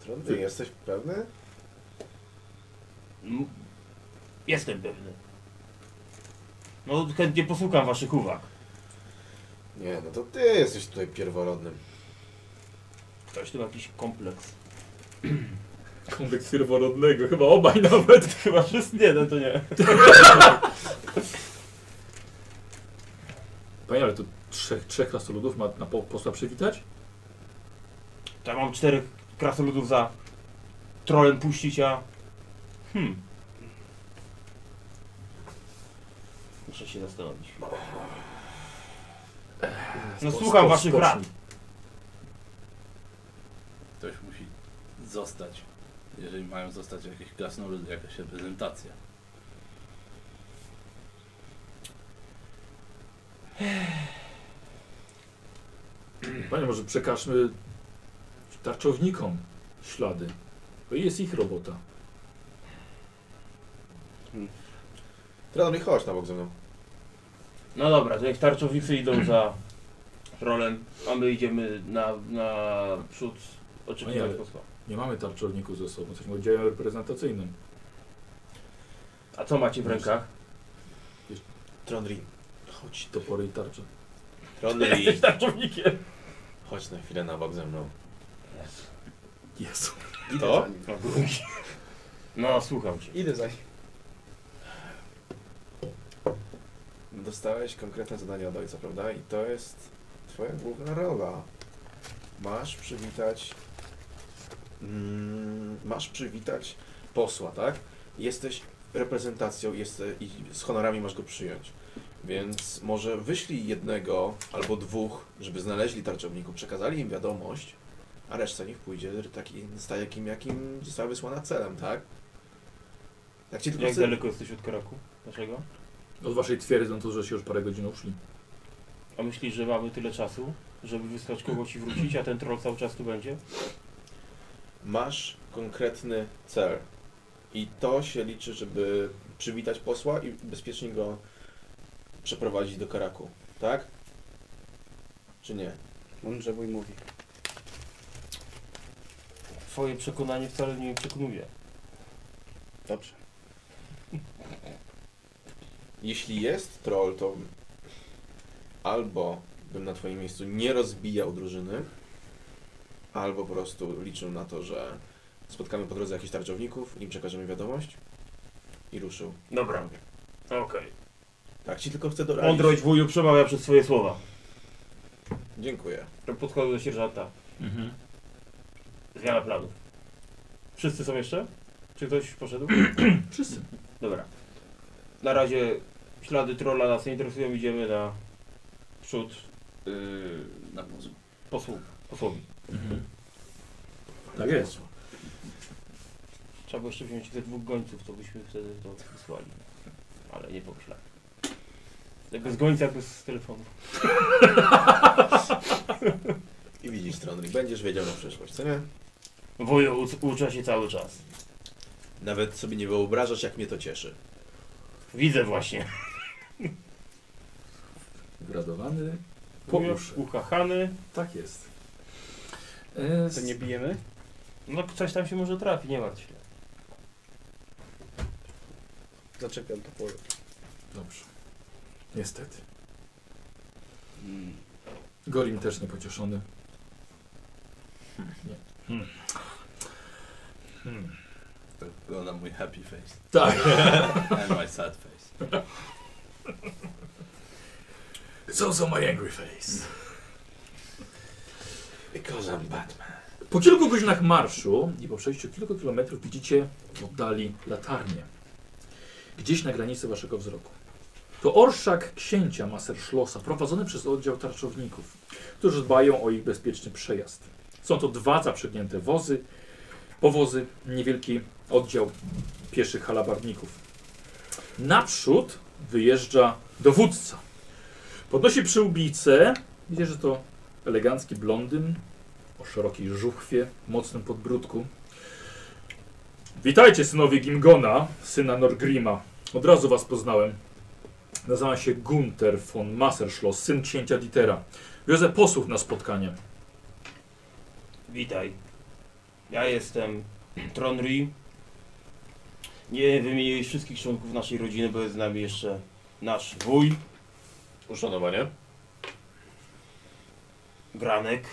[SPEAKER 4] Tron, ty jesteś pewny?
[SPEAKER 3] M- Jestem pewny. No chętnie posłucham waszych uwag.
[SPEAKER 4] Nie, no to ty jesteś tutaj pierworodnym.
[SPEAKER 3] Ktoś tu ma jakiś kompleks.
[SPEAKER 2] Kompleks pierworodnego, chyba obaj nawet.
[SPEAKER 3] Chyba wszyscy nie, no to nie.
[SPEAKER 2] Panie, ale tu trzech, trzech krasnoludów ma na po, posła przywitać?
[SPEAKER 3] Tam mam czterech krasoludów za trolem puścić, a... Hmm. Muszę się zastanowić. No
[SPEAKER 2] Spo-
[SPEAKER 3] słucham
[SPEAKER 2] spo-
[SPEAKER 3] waszych
[SPEAKER 2] spocznij.
[SPEAKER 3] rad.
[SPEAKER 1] Ktoś musi zostać. Jeżeli mają zostać jakieś krasnoludy, jakaś reprezentacja.
[SPEAKER 2] Panie, może przekażmy tarczownikom ślady. To jest ich robota.
[SPEAKER 4] Tron, i chodź na bok ze mną.
[SPEAKER 3] No dobra, to jak tarczownicy idą za rolem, a my idziemy na, na przód oczekiwania
[SPEAKER 2] Ojej.
[SPEAKER 3] posła.
[SPEAKER 2] Nie mamy tarczowników ze sobą, jesteśmy oddziałem reprezentacyjnym.
[SPEAKER 3] A co macie w rękach?
[SPEAKER 4] Tronrin, chodź do...
[SPEAKER 2] Topory i tarcze.
[SPEAKER 4] Tronrin,
[SPEAKER 3] Tarczownikiem!
[SPEAKER 4] chodź na chwilę na bok ze mną.
[SPEAKER 2] Jezu.
[SPEAKER 6] Idę
[SPEAKER 4] To?
[SPEAKER 6] za nim.
[SPEAKER 3] No, słucham cię.
[SPEAKER 6] Idę za nim.
[SPEAKER 4] Dostałeś konkretne zadanie od ojca, prawda? I to jest twoja główna rola. Masz przywitać... Mm, masz przywitać posła, tak? Jesteś reprezentacją jest, i z honorami masz go przyjąć. Więc może wyślij jednego albo dwóch, żeby znaleźli tarczowników, przekazali im wiadomość, a reszta niech pójdzie taki, z takim, jakim została wysłana celem, tak? Jak ci tylko
[SPEAKER 3] Jak
[SPEAKER 4] chce-
[SPEAKER 3] daleko jesteś od Kraku? Dlaczego?
[SPEAKER 2] Od waszej twierdzy, no to że się już parę godzin uszli.
[SPEAKER 3] A myślisz, że mamy tyle czasu, żeby wysłać kogoś i wrócić, a ten troll cały czas tu będzie?
[SPEAKER 4] masz konkretny cel. I to się liczy, żeby przywitać posła i bezpiecznie go przeprowadzić do Karaku, tak? Czy nie?
[SPEAKER 6] Mądrze wuj mówi.
[SPEAKER 3] Twoje przekonanie wcale mnie nie przekonuje.
[SPEAKER 6] Dobrze.
[SPEAKER 4] Jeśli jest troll, to albo bym na twoim miejscu nie rozbijał drużyny, albo po prostu liczył na to, że spotkamy po drodze jakichś tarczowników, im przekażemy wiadomość i ruszył.
[SPEAKER 3] Dobra. Okej.
[SPEAKER 4] Tak, ci tylko chcę doradzić.
[SPEAKER 3] Mądrość wuju przemawia przez swoje słowa.
[SPEAKER 4] Dziękuję.
[SPEAKER 3] To Podchodzę do sierżanta.
[SPEAKER 2] Mhm.
[SPEAKER 3] Zmiana planów. Wszyscy są jeszcze? Czy ktoś poszedł?
[SPEAKER 2] Wszyscy.
[SPEAKER 3] Dobra. Na razie ślady trolla nas nie interesują, idziemy na przód yy,
[SPEAKER 1] Na pozór.
[SPEAKER 3] posłu, posłowi.
[SPEAKER 2] Tak jest.
[SPEAKER 3] Trzeba było jeszcze wziąć tych dwóch gońców, to byśmy wtedy to wysłali. Ale nie pomyślałem. Jak bez gońca, jak bez telefonu.
[SPEAKER 4] I widzisz, Tronry, będziesz wiedział na przyszłość, co nie?
[SPEAKER 3] Wuju u- ucza się cały czas.
[SPEAKER 4] Nawet sobie nie wyobrażasz, jak mnie to cieszy.
[SPEAKER 3] Widzę właśnie.
[SPEAKER 2] Gradowany. Po
[SPEAKER 3] Wuju
[SPEAKER 2] uszy.
[SPEAKER 3] uchachany.
[SPEAKER 2] Tak jest. E,
[SPEAKER 6] To nie bijemy?
[SPEAKER 3] No coś tam się może trafi, nie martw się.
[SPEAKER 6] Zaczepiam to pole.
[SPEAKER 2] Dobrze. Niestety.
[SPEAKER 7] mm,
[SPEAKER 2] Gorim też niepocieszony. Nie. Hmm.
[SPEAKER 1] To wygląda mój happy face.
[SPEAKER 2] Tak.
[SPEAKER 1] And my sad face.
[SPEAKER 2] It's also my angry face.
[SPEAKER 4] Because I'm Batman.
[SPEAKER 2] Po kilku godzinach marszu i po przejściu kilku kilometrów widzicie w oddali latarnię. Gdzieś na granicy waszego wzroku. To orszak księcia Maserschlossa, prowadzony przez oddział tarczowników, którzy dbają o ich bezpieczny przejazd. Są to dwa zaprzęgnięte wozy, powozy, niewielki oddział pieszych halabarników. Naprzód wyjeżdża dowódca. Podnosi przyłbicę. Widzicie, że to elegancki blondyn o szerokiej żuchwie, mocnym podbródku. Witajcie synowie Gimgona, syna Norgrima. Od razu was poznałem. Nazywam się Gunther von Masserschloss, syn księcia Ditera. Wiozę posłów na spotkanie.
[SPEAKER 3] Witaj. Ja jestem Tronry. Nie wymienię wszystkich członków naszej rodziny, bo jest z nami jeszcze nasz wuj,
[SPEAKER 4] Uszanowanie.
[SPEAKER 3] Granek.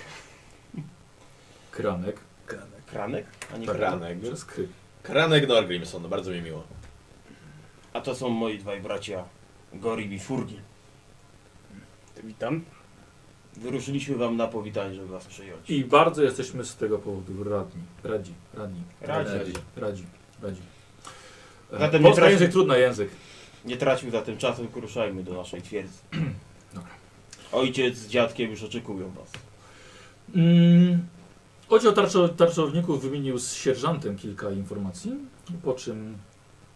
[SPEAKER 2] Kranek
[SPEAKER 3] Kranek? A nie
[SPEAKER 2] Tak.
[SPEAKER 3] Kranek.
[SPEAKER 4] Kranek.
[SPEAKER 2] przez kry.
[SPEAKER 4] Kranek Norgrimson, bardzo mi miło.
[SPEAKER 3] A to są moi dwaj bracia, Gorim i Furgil.
[SPEAKER 6] Witam.
[SPEAKER 3] Wyruszyliśmy wam na powitanie, żeby was przyjąć.
[SPEAKER 2] I bardzo jesteśmy z tego powodu radni. Radzi, radni.
[SPEAKER 3] Radzi.
[SPEAKER 2] Radzi, radzi.
[SPEAKER 3] Zatem
[SPEAKER 2] Zatem
[SPEAKER 3] nie
[SPEAKER 2] Polska
[SPEAKER 3] traci-
[SPEAKER 2] język, trudny język.
[SPEAKER 3] Nie traćmy zatem czasu, tylko ruszajmy do naszej twierdzy.
[SPEAKER 2] Dobra. Tak.
[SPEAKER 3] Ojciec z dziadkiem już oczekują was.
[SPEAKER 2] Mm, oddział tarczo, tarczowników wymienił z sierżantem kilka informacji, po czym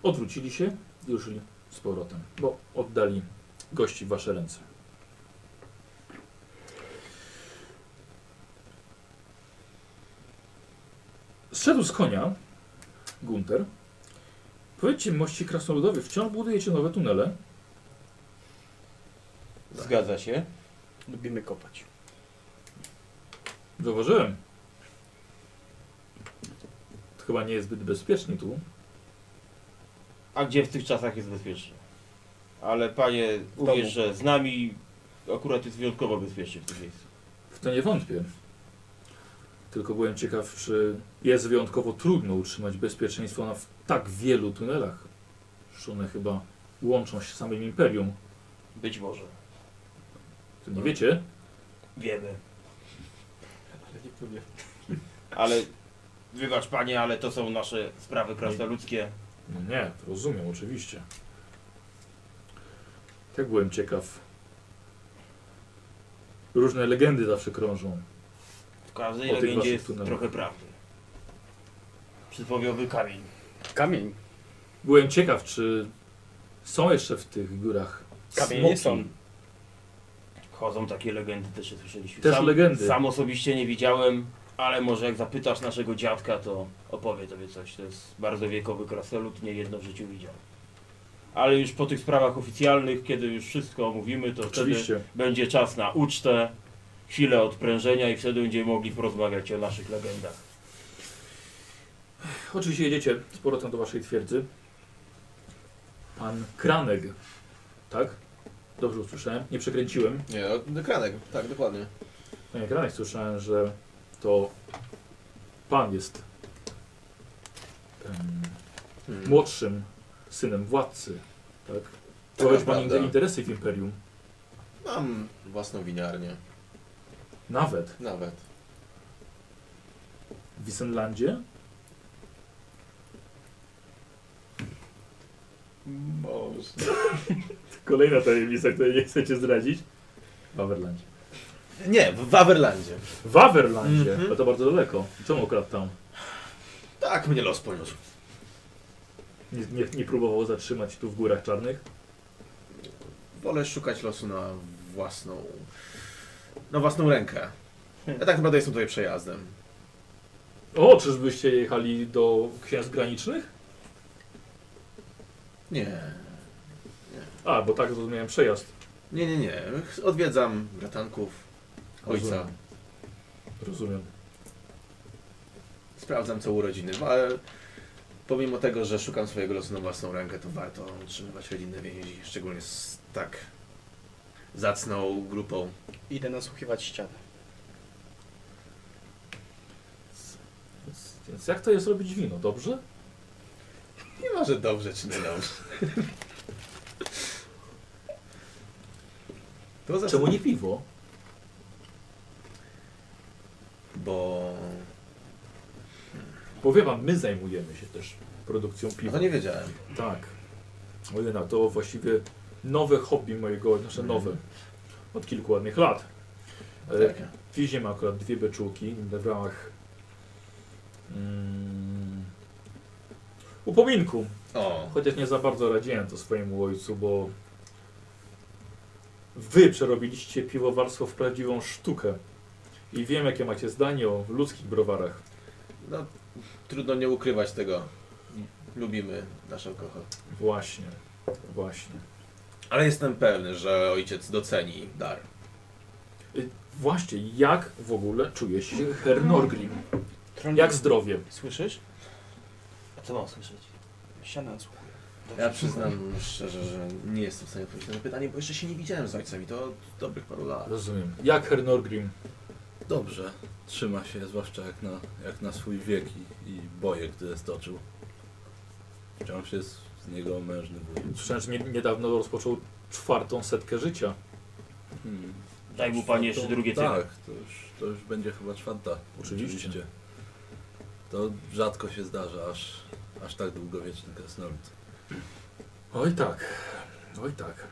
[SPEAKER 2] odwrócili się i ruszyli z powrotem, bo oddali gości w wasze ręce. Zszedł z konia Gunter. Powiedzcie, mości krasnoludowie, wciąż budujecie nowe tunele?
[SPEAKER 3] Zgadza się?
[SPEAKER 6] Lubimy kopać.
[SPEAKER 2] Zauważyłem. To chyba nie jest zbyt bezpiecznie tu.
[SPEAKER 3] A gdzie w tych czasach jest bezpiecznie? Ale panie, uwierz, że z nami akurat jest wyjątkowo bezpiecznie w tym miejscu.
[SPEAKER 2] W to nie wątpię. Tylko byłem ciekaw, czy jest wyjątkowo trudno utrzymać bezpieczeństwo na w tak wielu tunelach. Przecież one chyba łączą się z samym imperium.
[SPEAKER 3] Być może.
[SPEAKER 2] To
[SPEAKER 6] Tak.
[SPEAKER 2] nie wiecie?
[SPEAKER 3] Wiemy.
[SPEAKER 4] Ale nie powiem.
[SPEAKER 3] Ale wybacz panie, ale to są nasze sprawy krasnoludzkie.
[SPEAKER 2] No nie, to rozumiem, oczywiście. Tak byłem ciekaw. Różne legendy zawsze krążą.
[SPEAKER 3] W
[SPEAKER 2] O
[SPEAKER 3] każdej
[SPEAKER 2] tych
[SPEAKER 3] legendzie
[SPEAKER 2] waszych
[SPEAKER 3] jest
[SPEAKER 2] tunelach.
[SPEAKER 3] trochę prawdy. Przysłowiowy kamień.
[SPEAKER 6] Kamień.
[SPEAKER 2] Byłem ciekaw, czy są jeszcze w tych górach
[SPEAKER 6] Kamienie
[SPEAKER 2] smoki.
[SPEAKER 6] są.
[SPEAKER 3] Chodzą takie legendy, też je słyszeliśmy.
[SPEAKER 2] Też legendy.
[SPEAKER 3] Sam osobiście nie widziałem, ale może jak zapytasz naszego dziadka, to opowie tobie coś. To jest bardzo wiekowy krasnolud, nie jedno w życiu widział. Ale już po tych sprawach oficjalnych, kiedy już wszystko omówimy, to wtedy
[SPEAKER 2] Oczywiście.
[SPEAKER 3] będzie czas na ucztę, chwilę odprężenia i wtedy będziemy mogli porozmawiać o naszych legendach.
[SPEAKER 2] Oczywiście jedziecie z powrotem do waszej twierdzy. Pan Kranek, tak? Dobrze usłyszałem, nie przekręciłem.
[SPEAKER 4] Nie, no, kranek, tak, dokładnie.
[SPEAKER 2] Panie Kranek, słyszałem, że to pan jest em,
[SPEAKER 4] Hmm.
[SPEAKER 2] młodszym synem władcy, tak? Prowadzi pan
[SPEAKER 4] prawda.
[SPEAKER 2] inne interesy w imperium,
[SPEAKER 4] Mam własną winiarnię,
[SPEAKER 2] nawet
[SPEAKER 4] nawet.
[SPEAKER 2] w Wisenlandzie.
[SPEAKER 4] Boże.
[SPEAKER 2] Kolejna tajemnica, której nie chcecie zdradzić. Wawerlandzie.
[SPEAKER 4] Nie, w Waverlandzie.
[SPEAKER 2] Wawerlandzie,
[SPEAKER 4] Mhm.
[SPEAKER 2] ale No to bardzo daleko. Czemu akurat tam?
[SPEAKER 4] Tak mnie los poniósł.
[SPEAKER 2] Nie, nie, nie próbował zatrzymać tu w górach czarnych?
[SPEAKER 4] Wolę szukać losu na własną... na własną rękę. Ja tak naprawdę jestem tutaj przejazdem.
[SPEAKER 2] O, czyżbyście jechali do księstw granicznych?
[SPEAKER 4] Nie,
[SPEAKER 2] A, bo tak zrozumiałem przejazd.
[SPEAKER 4] nie, nie, nie. Odwiedzam bratanków, ojca.
[SPEAKER 2] Rozumiem. Rozumiem.
[SPEAKER 4] Sprawdzam co u rodziny, ale pomimo tego, że szukam swojego losu na własną rękę, to warto utrzymywać rodzinne więzi, szczególnie z tak zacną grupą.
[SPEAKER 6] Idę nasłuchiwać ścianę.
[SPEAKER 2] Więc jak to jest robić wino, dobrze?
[SPEAKER 4] Nie ma, że dobrze czy niedobrze. To
[SPEAKER 2] Czemu
[SPEAKER 4] zasad...
[SPEAKER 2] nie piwo?
[SPEAKER 4] Bo...
[SPEAKER 2] Powiem wam, my zajmujemy się też produkcją
[SPEAKER 4] No
[SPEAKER 2] piwa.
[SPEAKER 4] to nie wiedziałem.
[SPEAKER 2] Tak. Ojej, no to właściwie nowe hobby mojego, znaczy
[SPEAKER 4] Mhm.
[SPEAKER 2] nowe, od kilku ładnych lat. E,
[SPEAKER 4] Tak.
[SPEAKER 2] Wiezie ma akurat dwie beczułki w ramach mm, upominku.
[SPEAKER 4] O,
[SPEAKER 2] Chociaż nie za bardzo radziłem to swojemu ojcu, bo wy przerobiliście piwowarstwo w prawdziwą sztukę. I wiem, jakie macie zdanie o ludzkich browarach.
[SPEAKER 4] no trudno nie ukrywać tego. Lubimy nasz alkohol.
[SPEAKER 2] Właśnie, właśnie.
[SPEAKER 4] Ale jestem pewny, że ojciec doceni dar.
[SPEAKER 2] Właśnie, jak w ogóle czuje się Herr Norgrim? Jak zdrowie?
[SPEAKER 6] Słyszysz?
[SPEAKER 3] A co mam słyszeć?
[SPEAKER 6] Siana słuchuje.
[SPEAKER 4] Ja przyznam szczerze, że nie jestem w stanie odpowiedzieć na to pytanie, bo jeszcze się nie widziałem z ojcem i to od dobrych paru lat.
[SPEAKER 2] Rozumiem. Jak Herr Norgrim?
[SPEAKER 7] Dobrze, trzyma się, zwłaszcza jak na, jak na swój wiek i, i boje, które stoczył. Wciąż jest z niego mężny wójt.
[SPEAKER 2] Słyszałem, że nie, niedawno rozpoczął czwartą setkę życia.
[SPEAKER 7] Hmm.
[SPEAKER 3] Daj mu panie Tak, jeszcze
[SPEAKER 7] Czwartą-
[SPEAKER 3] drugie tyle.
[SPEAKER 7] Tak, to już, to już będzie chyba czwarta.
[SPEAKER 2] Oczywiście.
[SPEAKER 7] To rzadko się zdarza, aż, aż tak długowieczny krasnolud.
[SPEAKER 2] Oj tak, oj tak.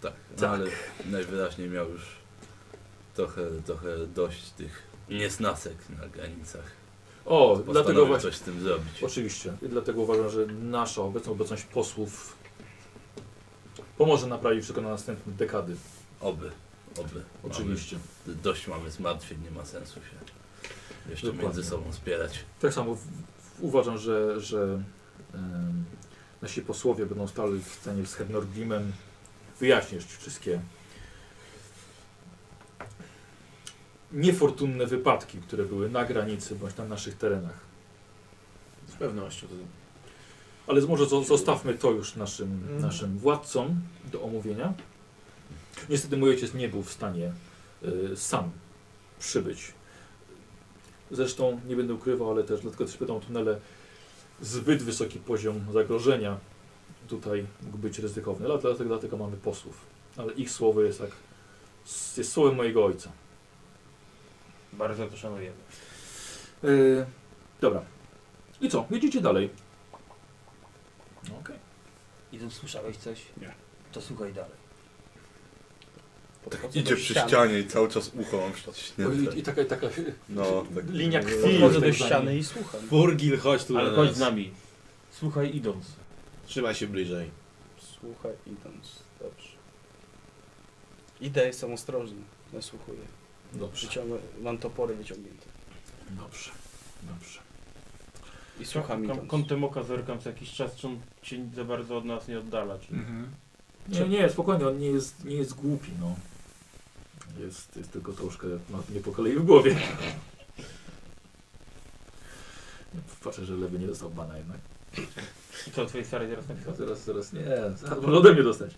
[SPEAKER 7] Tak,
[SPEAKER 2] Tak.
[SPEAKER 7] No, ale najwyraźniej miał już trochę, trochę dość tych niesnasek na granicach.
[SPEAKER 2] O, dlatego
[SPEAKER 7] Postanowił
[SPEAKER 2] właśnie.
[SPEAKER 7] coś z tym zrobić.
[SPEAKER 2] Oczywiście. I dlatego uważam, że nasza obecna obecność posłów pomoże naprawić wszystko na następne dekady.
[SPEAKER 7] Oby, oby.
[SPEAKER 2] Oczywiście.
[SPEAKER 7] Mamy, dość mamy zmartwień, nie ma sensu się jeszcze
[SPEAKER 2] Dokładnie.
[SPEAKER 7] między sobą spierać.
[SPEAKER 2] Tak samo w, w, uważam, że, że em, nasi posłowie będą stali w stanie z Hednorgrimem wyjaśnić wszystkie niefortunne wypadki, które były na granicy bądź na naszych terenach.
[SPEAKER 4] Z pewnością. To...
[SPEAKER 2] Ale może zo- zostawmy to już naszym,
[SPEAKER 4] Mm.
[SPEAKER 2] naszym władcom do omówienia. Niestety mój ojciec nie był w stanie y, sam przybyć. Zresztą nie będę ukrywał, ale też dlatego też pytam o tunele. Zbyt wysoki poziom zagrożenia tutaj mógł być ryzykowny. Dla- Dlatego, dlatego mamy posłów. Ale ich słowo jest tak. jest słowem mojego ojca.
[SPEAKER 3] Bardzo to szanujemy.
[SPEAKER 2] Y, dobra. I co? Jedziecie dalej. No, Okej.
[SPEAKER 8] I tu słyszałeś coś?
[SPEAKER 1] Nie.
[SPEAKER 8] To słuchaj dalej.
[SPEAKER 1] Tak idzie przy ścianie i cały czas ucho mam
[SPEAKER 2] I,
[SPEAKER 1] przyciśnięte.
[SPEAKER 2] I taka, taka
[SPEAKER 1] No, tak.
[SPEAKER 2] linia krwi.
[SPEAKER 6] Podchodzę
[SPEAKER 2] tak
[SPEAKER 6] do
[SPEAKER 2] za
[SPEAKER 6] ściany
[SPEAKER 2] nim.
[SPEAKER 6] i słucham.
[SPEAKER 4] Burgil, chodź tu
[SPEAKER 3] Ale
[SPEAKER 4] do
[SPEAKER 3] chodź
[SPEAKER 4] nas.
[SPEAKER 3] z nami. Słuchaj idąc.
[SPEAKER 4] Trzymaj się bliżej.
[SPEAKER 6] Słuchaj idąc. Dobrze. Idę, jestem ostrożny. Nasłuchuję.
[SPEAKER 2] Dobrze,
[SPEAKER 6] Przyciągnę, mam topory wyciągnięte.
[SPEAKER 2] dobrze, dobrze.
[SPEAKER 6] I słucham
[SPEAKER 3] Kam-
[SPEAKER 6] idąc.
[SPEAKER 3] Kątem oka zerkam co jakiś czas, czy on się za bardzo od nas nie oddala. Czy...
[SPEAKER 2] Mhm. Nie, nie, spokojnie, on nie jest, nie jest głupi, no. Jest, jest tylko troszkę, ma nie po kolei w głowie. Patrzę, że lewy nie dostał bana jednak.
[SPEAKER 3] I co, twojej starej teraz
[SPEAKER 2] A
[SPEAKER 3] napisał?
[SPEAKER 2] teraz, teraz nie, zaraz może ode mnie dostać.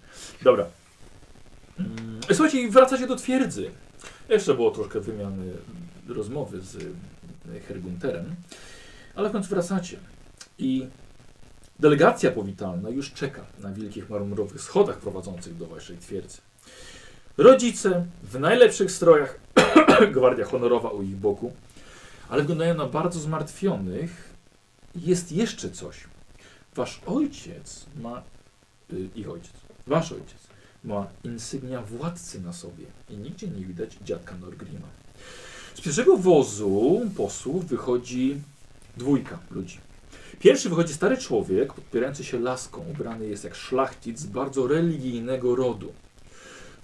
[SPEAKER 2] Dobra. Mm, Słuchajcie, i wracacie do twierdzy. Jeszcze było troszkę wymiany rozmowy z y, Hergunterem, ale w końcu wracacie. I delegacja powitalna już czeka na wielkich marmurowych schodach prowadzących do waszej twierdzy. Rodzice w najlepszych strojach, gwardia honorowa u ich boku, ale wyglądają na bardzo zmartwionych. Jest jeszcze coś. Wasz ojciec ma. y, Ich ojciec. Wasz ojciec ma insygnia władcy na sobie i nigdzie nie widać dziadka Norgrima. Z pierwszego wozu posłów wychodzi dwójka ludzi. Pierwszy wychodzi stary człowiek, podpierający się laską, ubrany jest jak szlachcic z bardzo religijnego rodu.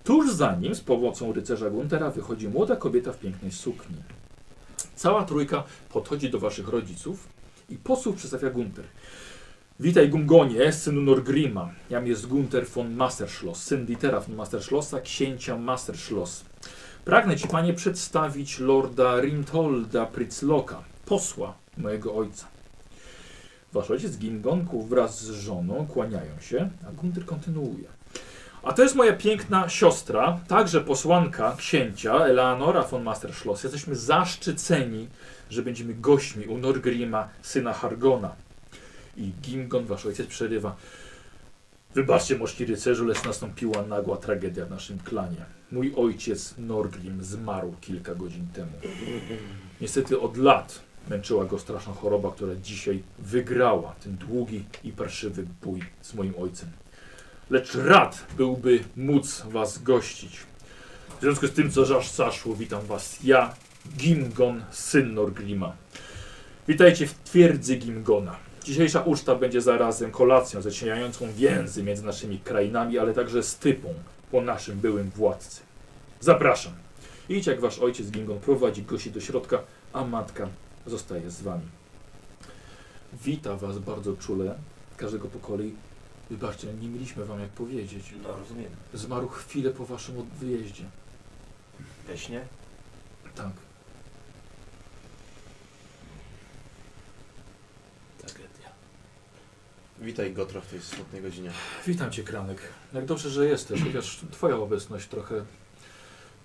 [SPEAKER 2] Tuż za nim, z pomocą rycerza Guntera, wychodzi młoda kobieta w pięknej sukni. Cała trójka podchodzi do waszych rodziców i posłów przedstawia Gunter. Witaj Gungonie, synu Norgrima. Jam jest Gunter von Masterschloss, syn Dietera von Masterschlossa, księcia Masterschloss. Pragnę ci, panie, przedstawić lorda Rintolda Pritzloka, posła mojego ojca. Wasz ojciec Gingonku wraz z żoną kłaniają się, a Gunter kontynuuje. A to jest moja piękna siostra, także posłanka księcia Eleonora von Masterschloss. Jesteśmy zaszczyceni, że będziemy gośćmi u Norgrima, syna Hargona. I Gingon, wasz ojciec, przerywa. Wybaczcie, mości rycerzu, lecz nastąpiła nagła tragedia w naszym klanie. Mój ojciec Norgrim zmarł kilka godzin temu. Niestety od lat męczyła go straszna choroba, która dzisiaj wygrała ten długi i parszywy bój z moim ojcem lecz rad byłby móc was gościć. W związku z tym, co żaż zaszło, witam was ja, Gimgon, syn Norgrima. Witajcie w twierdzy Gimgona. Dzisiejsza uczta będzie zarazem kolacją zacierającą więzy między naszymi krainami, ale także stypą po naszym byłym władcy. Zapraszam. Idź jak wasz ojciec Gimgon prowadzi gości do środka, a matka zostaje z wami. Wita was bardzo czule, każdego po kolei. Wybaczcie, nie mieliśmy wam jak powiedzieć.
[SPEAKER 8] No rozumiem.
[SPEAKER 2] Zmarł chwilę po waszym od- wyjeździe.
[SPEAKER 4] We śnie?
[SPEAKER 2] Tak.
[SPEAKER 8] Tragedia.
[SPEAKER 4] Witaj Gotra w tej smutnej godzinie.
[SPEAKER 2] Witam cię, Kranek. Jak dobrze, że jesteś, chociaż twoja obecność trochę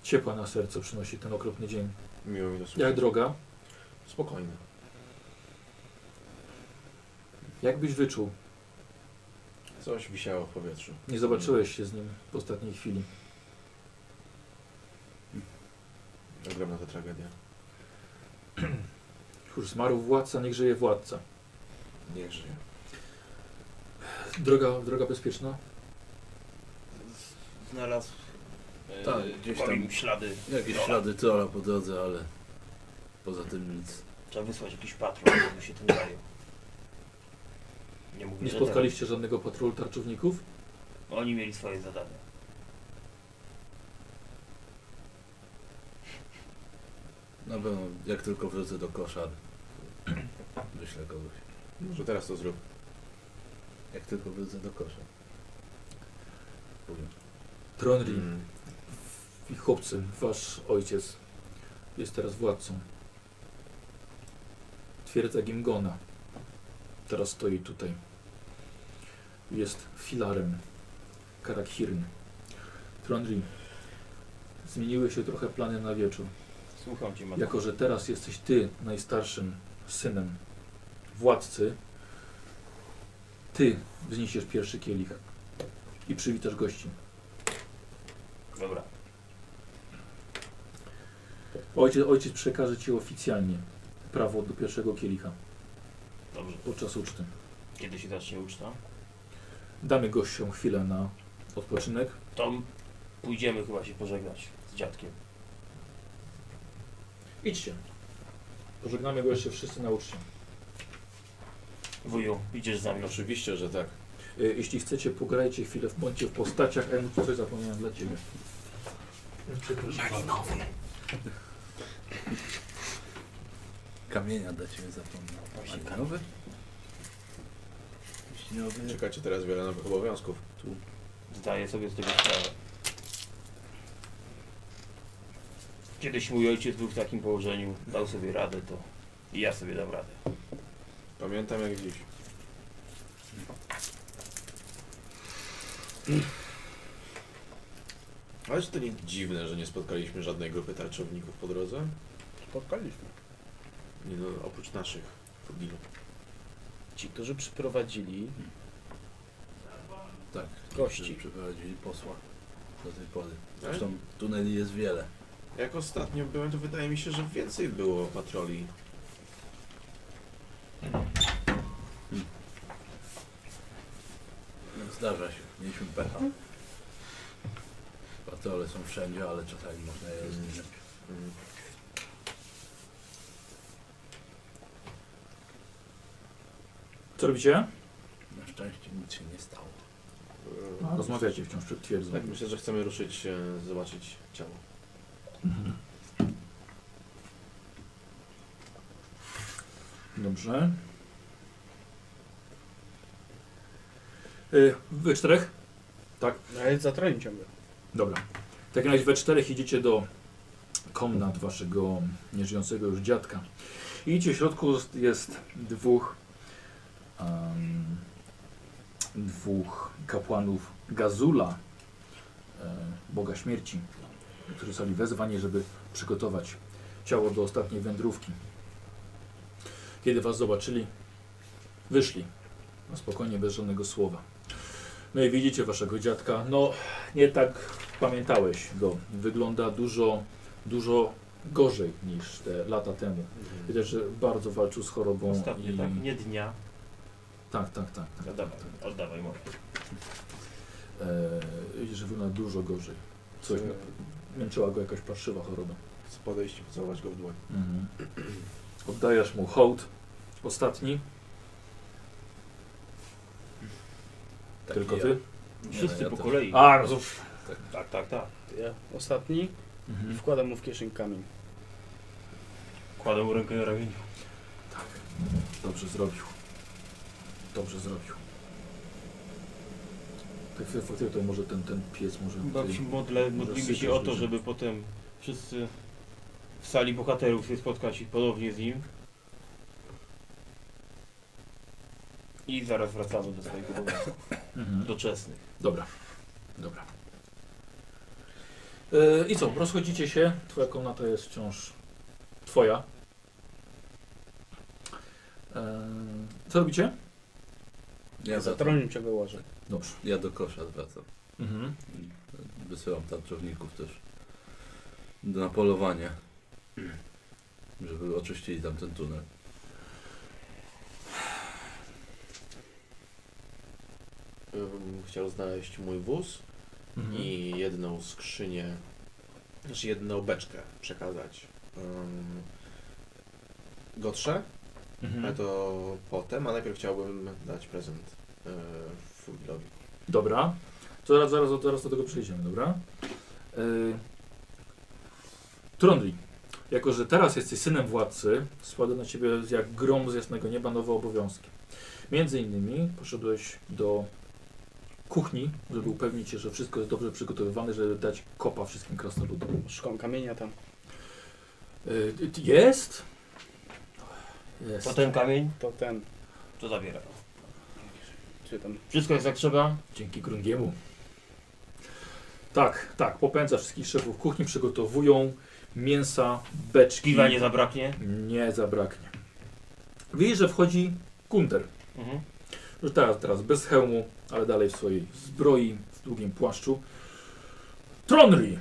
[SPEAKER 2] ciepła na serce przynosi ten okropny dzień.
[SPEAKER 4] Miło mi to słyszeć.
[SPEAKER 2] Jak droga?
[SPEAKER 4] Spokojny.
[SPEAKER 2] Jak byś wyczuł?
[SPEAKER 4] Coś wisiało w powietrzu.
[SPEAKER 2] Nie zobaczyłeś się z nim w ostatniej chwili.
[SPEAKER 4] Ogromna to tragedia.
[SPEAKER 2] Cóż, zmarł władca, niech żyje władca.
[SPEAKER 4] Niech żyje.
[SPEAKER 2] Droga, droga bezpieczna?
[SPEAKER 3] Znalazł e,
[SPEAKER 7] Tak, gdzieś
[SPEAKER 3] po
[SPEAKER 7] tam.
[SPEAKER 3] nim ślady.
[SPEAKER 2] No.
[SPEAKER 7] Jakieś ślady trola po drodze, ale poza tym nic.
[SPEAKER 8] Trzeba wysłać jakiś patrol, żeby się tym zajął. Nie, mówię,
[SPEAKER 2] Nie
[SPEAKER 8] że ten.
[SPEAKER 2] spotkaliście żadnego patrolu tarczowników?
[SPEAKER 8] Oni mieli swoje zadania.
[SPEAKER 7] Na pewno, jak tylko wrócę do koszar, wyślę kogoś.
[SPEAKER 4] Może teraz to zrób.
[SPEAKER 7] Jak tylko wrócę do koszar. Powiem.
[SPEAKER 2] Tronri
[SPEAKER 4] Mm.
[SPEAKER 2] i chłopcy, wasz ojciec jest teraz władcą. Twierdza Gimgona. Teraz stoi tutaj. Jest filarem Karakhirn. Tronri, zmieniły się trochę plany na wieczór.
[SPEAKER 3] Słucham cię, matko.
[SPEAKER 2] Jako, że teraz jesteś ty najstarszym synem władcy, ty wzniesiesz pierwszy kielich i przywitasz gości.
[SPEAKER 3] Dobra.
[SPEAKER 2] Ojciec, ojciec przekaże ci oficjalnie prawo do pierwszego kielicha
[SPEAKER 3] Dobrze.
[SPEAKER 2] podczas uczty.
[SPEAKER 3] Kiedy się zacznie uczta?
[SPEAKER 2] Damy gościom chwilę na odpoczynek.
[SPEAKER 3] To pójdziemy chyba się pożegnać z dziadkiem.
[SPEAKER 2] Idźcie. Pożegnamy go jeszcze wszyscy na uczcie.
[SPEAKER 3] Wuju, idziesz za mną.
[SPEAKER 4] Oczywiście, że tak.
[SPEAKER 2] Y, Jeśli chcecie, pograjcie chwilę w bądźcie w postaciach. Emu, coś zapomniałem dla ciebie.
[SPEAKER 7] Kamienia dla ciebie zapomniał.
[SPEAKER 8] Właśnie
[SPEAKER 7] Malinowy? Wiśniowy?
[SPEAKER 4] Czekacie teraz wiele nowych obowiązków.
[SPEAKER 3] Zdaję sobie z tego sprawę. Kiedyś mój ojciec był w takim położeniu, dał sobie radę, to i ja sobie dam radę.
[SPEAKER 4] Pamiętam jak dziś. Ale czy to nie dziwne, że nie spotkaliśmy żadnej grupy tarczowników po drodze?
[SPEAKER 1] Spotkaliśmy.
[SPEAKER 4] Nie no, oprócz naszych. Fugilu.
[SPEAKER 6] Ci, którzy przyprowadzili
[SPEAKER 7] Tak. którzy
[SPEAKER 6] gości.
[SPEAKER 7] Przyprowadzili posła do tej pory.
[SPEAKER 4] Ale
[SPEAKER 7] Zresztą tuneli jest wiele.
[SPEAKER 4] Jak ostatnio byłem, to wydaje mi się, że więcej było patroli.
[SPEAKER 7] Zdarza się. Mieliśmy pecha. Patrole są wszędzie, ale czasami można je rozliczyć.
[SPEAKER 4] Mm.
[SPEAKER 2] Co robicie?
[SPEAKER 7] Na szczęście nic się nie stało.
[SPEAKER 4] E,
[SPEAKER 2] Rozmawiacie wciąż przed twierdzą.
[SPEAKER 4] Tak, myślę, że chcemy ruszyć, e, zobaczyć ciało.
[SPEAKER 2] Dobrze. Y, Wy czterech?
[SPEAKER 6] No, Ale za trojem ciągle.
[SPEAKER 2] Dobra. W takim razie we czterech idziecie do komnat waszego nieżyjącego już dziadka. Idziecie w środku jest dwóch em, dwóch kapłanów Gazula e, Boga Śmierci, którzy zostali wezwani, żeby przygotować ciało do ostatniej wędrówki. Kiedy was zobaczyli, wyszli. Na spokojnie, bez żadnego słowa. No i widzicie waszego dziadka. No, nie tak pamiętałeś go. Wygląda dużo, dużo gorzej niż te lata temu. Widać, że bardzo walczył z chorobą.
[SPEAKER 3] Ostatnio,
[SPEAKER 2] i...
[SPEAKER 3] tak? Nie dnia.
[SPEAKER 2] tak, tak, tak. tak.
[SPEAKER 3] Oddawaj, oddawaj moje.
[SPEAKER 2] E, widzisz, że wygląda dużo gorzej. Coś
[SPEAKER 4] Chcę
[SPEAKER 2] męczyła go jakaś parszywa choroba.
[SPEAKER 4] chcę podejść i pocałować go w dłoń.
[SPEAKER 2] Oddajesz mu hołd ostatni,
[SPEAKER 7] Taki
[SPEAKER 2] tylko
[SPEAKER 7] Tak ja.
[SPEAKER 2] ty.
[SPEAKER 7] Nie,
[SPEAKER 3] Wszyscy
[SPEAKER 7] ja
[SPEAKER 3] po
[SPEAKER 7] też.
[SPEAKER 3] kolei.
[SPEAKER 2] A, no rozumiem.
[SPEAKER 3] Tak, tak, tak.
[SPEAKER 6] Ja ostatni i
[SPEAKER 2] Mhm.
[SPEAKER 6] wkładam mu w kieszeń kamień.
[SPEAKER 3] Kładę mu rękę na ramieniu.
[SPEAKER 2] Dobrze zrobił. Dobrze zrobił. Tak faktycznie to może ten, ten pies może...
[SPEAKER 3] Baw się modlę, modlimy się o to, żeby potem wszyscy w sali bohaterów się spotkać i ponownie z nim. I zaraz wracamy do swoich obowiązków
[SPEAKER 2] Mhm.
[SPEAKER 3] doczesnych.
[SPEAKER 2] Dobra, dobra. E, I co, rozchodzicie się, twoja komnata jest wciąż twoja. E, co robicie?
[SPEAKER 7] Ja, za to,
[SPEAKER 6] Zatronił cię łoże.
[SPEAKER 2] Dobrze.
[SPEAKER 7] ja do kosza zwracam.
[SPEAKER 2] Mhm.
[SPEAKER 7] Wysyłam tarczowników też na polowanie, żeby oczyścili tam ten tunel.
[SPEAKER 4] Bym chciał znaleźć mój wóz
[SPEAKER 2] Mhm.
[SPEAKER 4] i jedną skrzynię, znaczy jedną beczkę przekazać um, Gotrze, ale
[SPEAKER 2] Mhm.
[SPEAKER 4] to potem, a najpierw chciałbym dać prezent yy, Fugilowi.
[SPEAKER 2] Dobra. To zaraz, zaraz, zaraz do tego przejdziemy, dobra? E, Trondli, jako że teraz jesteś synem władcy, spada na ciebie jak grom z jasnego nieba nowe obowiązki. Między innymi poszedłeś do kuchni, żeby upewnić się, że wszystko jest dobrze przygotowywane, żeby dać kopa wszystkim krasnoludom.
[SPEAKER 6] Szukam kamienia tam.
[SPEAKER 2] Y, y, Jest? Jest.
[SPEAKER 3] To ten kamień,
[SPEAKER 6] To ten,
[SPEAKER 3] to zabiera.
[SPEAKER 6] czy tam
[SPEAKER 3] Wszystko jest jak trzeba.
[SPEAKER 2] Dzięki Grungiemu. Tak, tak, popędza wszystkich szefów kuchni, przygotowują mięsa, beczki.
[SPEAKER 3] Piwa nie zabraknie.
[SPEAKER 2] Nie zabraknie. Widzisz, że wchodzi Kunter.
[SPEAKER 3] Mhm.
[SPEAKER 2] Już teraz, teraz bez hełmu, ale dalej w swojej zbroi, w długim płaszczu. Tronry!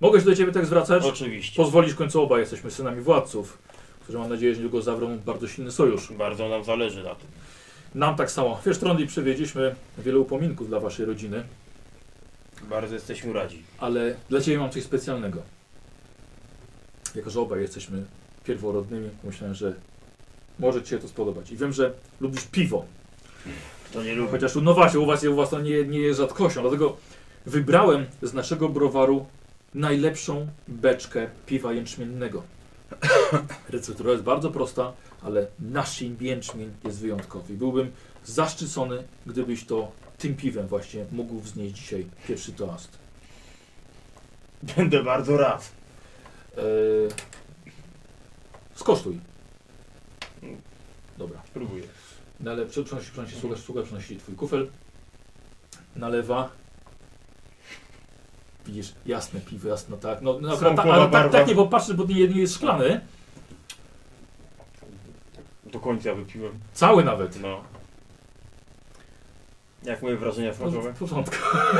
[SPEAKER 2] Mogę się do ciebie tak zwracać?
[SPEAKER 3] Oczywiście.
[SPEAKER 2] Pozwolisz końcowo, obaj jesteśmy synami władców, którzy mam nadzieję, że niedługo zawrą bardzo silny sojusz.
[SPEAKER 3] Bardzo nam zależy na tym.
[SPEAKER 2] Nam tak samo. Wiesz, Trondi, przywieźliśmy wiele upominków dla waszej rodziny,
[SPEAKER 3] Bardzo jesteśmy radzi.
[SPEAKER 2] ale dla ciebie mam coś specjalnego. Jako, że obaj jesteśmy pierworodnymi, myślałem, że może ci się to spodobać. I wiem, że lubisz piwo,
[SPEAKER 3] Kto nie lubi.
[SPEAKER 2] chociaż no właśnie, u was, u was to nie, nie jest rzadkością, dlatego wybrałem z naszego browaru najlepszą beczkę piwa jęczmiennego. Receptura jest bardzo prosta, ale nasz jęczmień jest wyjątkowy. Byłbym zaszczycony, gdybyś to tym piwem właśnie mógł wznieść dzisiaj pierwszy toast.
[SPEAKER 3] Będę bardzo rad.
[SPEAKER 2] Eee, skosztuj. Dobra.
[SPEAKER 3] Spróbuję.
[SPEAKER 2] Nale, przy- przynosi, przynosi sługa, sługa przynosi twój kufel. Nalewa. Widzisz, jasne piwo, jasno tak. No, no akurat ta,
[SPEAKER 3] Smokowa
[SPEAKER 2] ale tak,
[SPEAKER 3] barwa.
[SPEAKER 2] tak nie popatrzysz, bo nie, nie jest szklany.
[SPEAKER 3] Do końca wypiłem.
[SPEAKER 2] Cały nawet.
[SPEAKER 3] No. Jak moje wrażenia
[SPEAKER 2] No,
[SPEAKER 3] smakowe?
[SPEAKER 2] W porządku.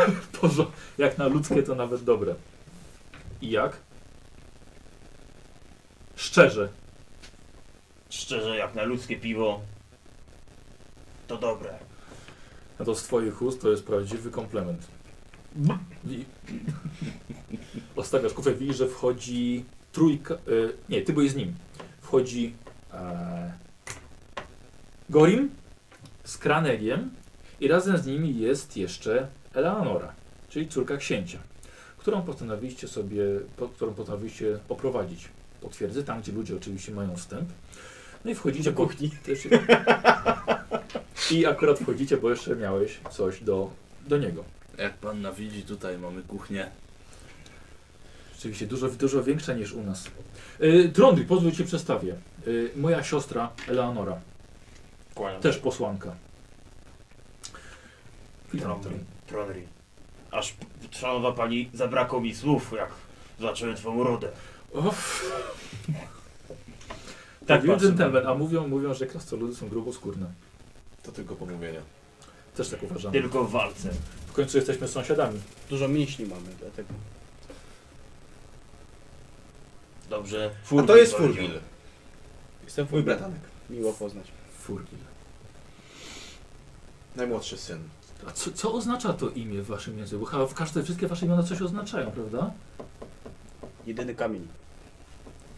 [SPEAKER 2] W porządku. Jak na ludzkie to nawet dobre. I jak? Szczerze.
[SPEAKER 3] Szczerze, jak na ludzkie piwo, to dobre.
[SPEAKER 2] A to z twoich ust to jest prawdziwy komplement. I... Ostawiasz kufel, widzisz, że wchodzi trójka... Y, nie, ty byłeś z nim. Wchodzi e, Gorim z Kranegiem i razem z nimi jest jeszcze Eleonora, czyli córka księcia, którą postanowiliście sobie, po, którą postanowiliście oprowadzić po twierdzy, tam gdzie ludzie oczywiście mają wstęp. No i wchodzicie
[SPEAKER 6] Do
[SPEAKER 2] po-
[SPEAKER 6] kuchni.
[SPEAKER 2] Też, i akurat wchodzicie, bo jeszcze miałeś coś do, do niego.
[SPEAKER 7] Jak pan nawidzi, tutaj mamy kuchnię.
[SPEAKER 2] Rzeczywiście dużo, dużo większa niż u nas. Yy, Trondy, pozwól cię przedstawię. Y, moja siostra Eleonora,
[SPEAKER 3] Kłaniam.
[SPEAKER 2] też posłanka. Witam,
[SPEAKER 3] Trondy. Tronry. Aż, szanowna pani, zabrakło mi słów, jak zacząłem twą rodę.
[SPEAKER 2] Off.
[SPEAKER 3] Tak
[SPEAKER 2] Tak,
[SPEAKER 3] patrzę. no.
[SPEAKER 2] gentleman, a mówią, mówią, że krasnoludy są gruboskórne.
[SPEAKER 4] To tylko pomówienia.
[SPEAKER 2] Też tak uważam.
[SPEAKER 8] Tylko w walce.
[SPEAKER 2] W końcu jesteśmy sąsiadami.
[SPEAKER 6] Dużo mięśni mamy, dlatego.
[SPEAKER 8] Dobrze.
[SPEAKER 4] A to jest Furwil.
[SPEAKER 6] Jestem
[SPEAKER 4] Mój bratanek.
[SPEAKER 6] Miło poznać.
[SPEAKER 2] Furgil.
[SPEAKER 4] Najmłodszy syn.
[SPEAKER 2] A co, co oznacza to imię w waszym języku? Chyba w każde, wszystkie wasze imiona coś oznaczają, prawda?
[SPEAKER 6] Jedyny kamień.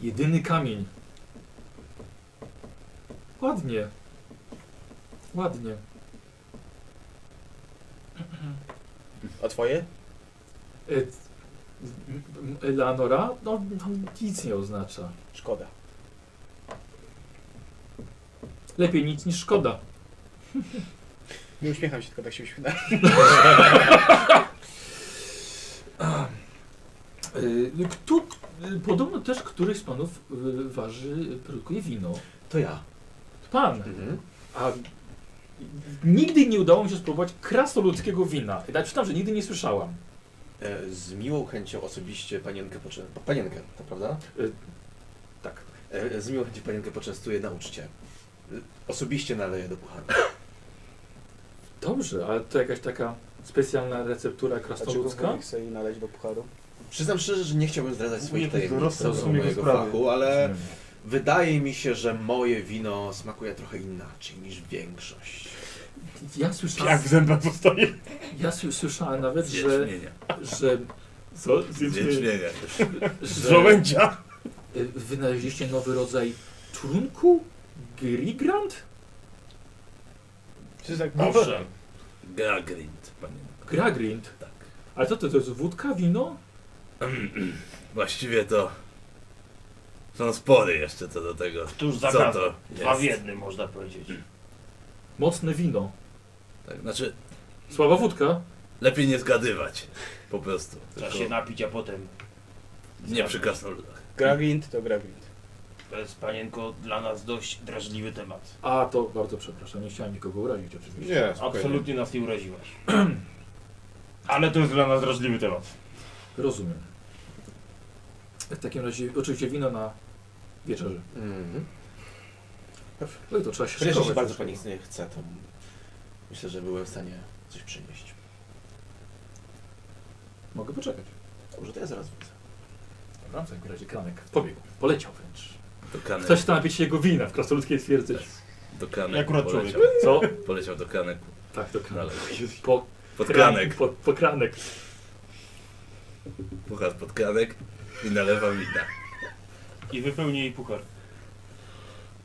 [SPEAKER 2] Jedyny kamień. Ładnie. Ładnie.
[SPEAKER 6] A twoje?
[SPEAKER 2] E, m- m- Eleanora? No, no nic nie oznacza.
[SPEAKER 6] Szkoda.
[SPEAKER 2] Lepiej nic niż szkoda.
[SPEAKER 6] Nie uśmiecham się, tylko tak się uśmiecham.
[SPEAKER 2] E, Kto, e, podobno też któryś z panów e, waży, e, produkuje wino.
[SPEAKER 4] To ja.
[SPEAKER 2] Pan,
[SPEAKER 4] Mhm.
[SPEAKER 2] a nigdy nie udało mi się spróbować krasnoludzkiego wina. Ja czytam, że nigdy nie słyszałam.
[SPEAKER 4] E, Z miłą chęcią osobiście panienkę poczęstuję. Panienkę, to prawda?
[SPEAKER 2] Tak.
[SPEAKER 4] E, e, Z miłą chęcią panienkę poczęstuję na uczcie. E, Osobiście naleję do pucharka.
[SPEAKER 2] Dobrze, ale to jakaś taka specjalna receptura krasnoludzka?
[SPEAKER 6] Dlaczego sobie naleźć do pucharu?
[SPEAKER 4] Przyznam szczerze, że nie chciałbym zdradzać swoich
[SPEAKER 3] Jakoś
[SPEAKER 4] tajemnic
[SPEAKER 3] dorosłe
[SPEAKER 4] tego
[SPEAKER 3] są jego
[SPEAKER 4] mojego
[SPEAKER 3] sprawy.
[SPEAKER 4] fachu, ale
[SPEAKER 2] E,
[SPEAKER 4] wydaje mi się, że moje wino smakuje trochę inaczej niż większość.
[SPEAKER 2] Ja słyszałem,
[SPEAKER 3] Jak w zębach zostaje.
[SPEAKER 2] ja sły- słyszałem nawet, że,
[SPEAKER 7] Zwiecznienia.
[SPEAKER 2] że,
[SPEAKER 3] Co?
[SPEAKER 7] Zwiecznienia.
[SPEAKER 3] Z
[SPEAKER 2] że
[SPEAKER 3] żołędzia.
[SPEAKER 2] y, wynaleźliście nowy rodzaj trunku? Grigrant?
[SPEAKER 6] Czy tak
[SPEAKER 3] Owszem.
[SPEAKER 7] Gagrind, panie.
[SPEAKER 2] Gragrind.
[SPEAKER 7] Tak.
[SPEAKER 2] Ale co to, to jest wódka, wino?
[SPEAKER 7] Właściwie to są spory jeszcze co do tego.
[SPEAKER 8] Któż
[SPEAKER 7] Co
[SPEAKER 8] zagadł?
[SPEAKER 7] to
[SPEAKER 8] Dwa w
[SPEAKER 7] jest?
[SPEAKER 8] jednym można powiedzieć.
[SPEAKER 2] Mocne wino.
[SPEAKER 7] Tak, znaczy,
[SPEAKER 2] Słaba wódka?
[SPEAKER 7] lepiej nie zgadywać. Po prostu.
[SPEAKER 8] Trzeba
[SPEAKER 7] Tylko
[SPEAKER 8] się napić, a potem.
[SPEAKER 7] Nie przy krasnoludach.
[SPEAKER 6] Graglint to Graglint.
[SPEAKER 8] To jest panienko dla nas dość drażliwy temat.
[SPEAKER 2] A, to bardzo przepraszam, nie chciałem nikogo urazić oczywiście.
[SPEAKER 3] Absolutnie.
[SPEAKER 8] Absolutnie nas nie uraziłaś.
[SPEAKER 3] Ale to jest dla nas drażliwy temat.
[SPEAKER 2] Rozumiem. W takim razie, oczywiście wino na wieczerze.
[SPEAKER 4] Mhm.
[SPEAKER 2] No i to trzeba się
[SPEAKER 4] Chociaż jeśli
[SPEAKER 2] szykować.
[SPEAKER 4] bardzo pani nie chce, to myślę, że byłem w stanie coś przynieść.
[SPEAKER 2] Mogę poczekać.
[SPEAKER 4] Może to ja zaraz wrócę.
[SPEAKER 2] Dobra, w takim razie kranek pobiegł. Poleciał wręcz.
[SPEAKER 7] Do kanek.
[SPEAKER 2] Ktoś tam napić się jego wina w krasnoludzkiej twierdzy.
[SPEAKER 7] Do kanek.
[SPEAKER 3] Akurat
[SPEAKER 7] poleciał.
[SPEAKER 2] Co?
[SPEAKER 7] Poleciał do kanek.
[SPEAKER 2] Tak, to kranek.
[SPEAKER 7] Dalej.
[SPEAKER 2] Po
[SPEAKER 7] Pod kanek.
[SPEAKER 2] Po, po kranek.
[SPEAKER 7] Puchar pod kanek i nalewa wina.
[SPEAKER 3] I wypełni jej puchar.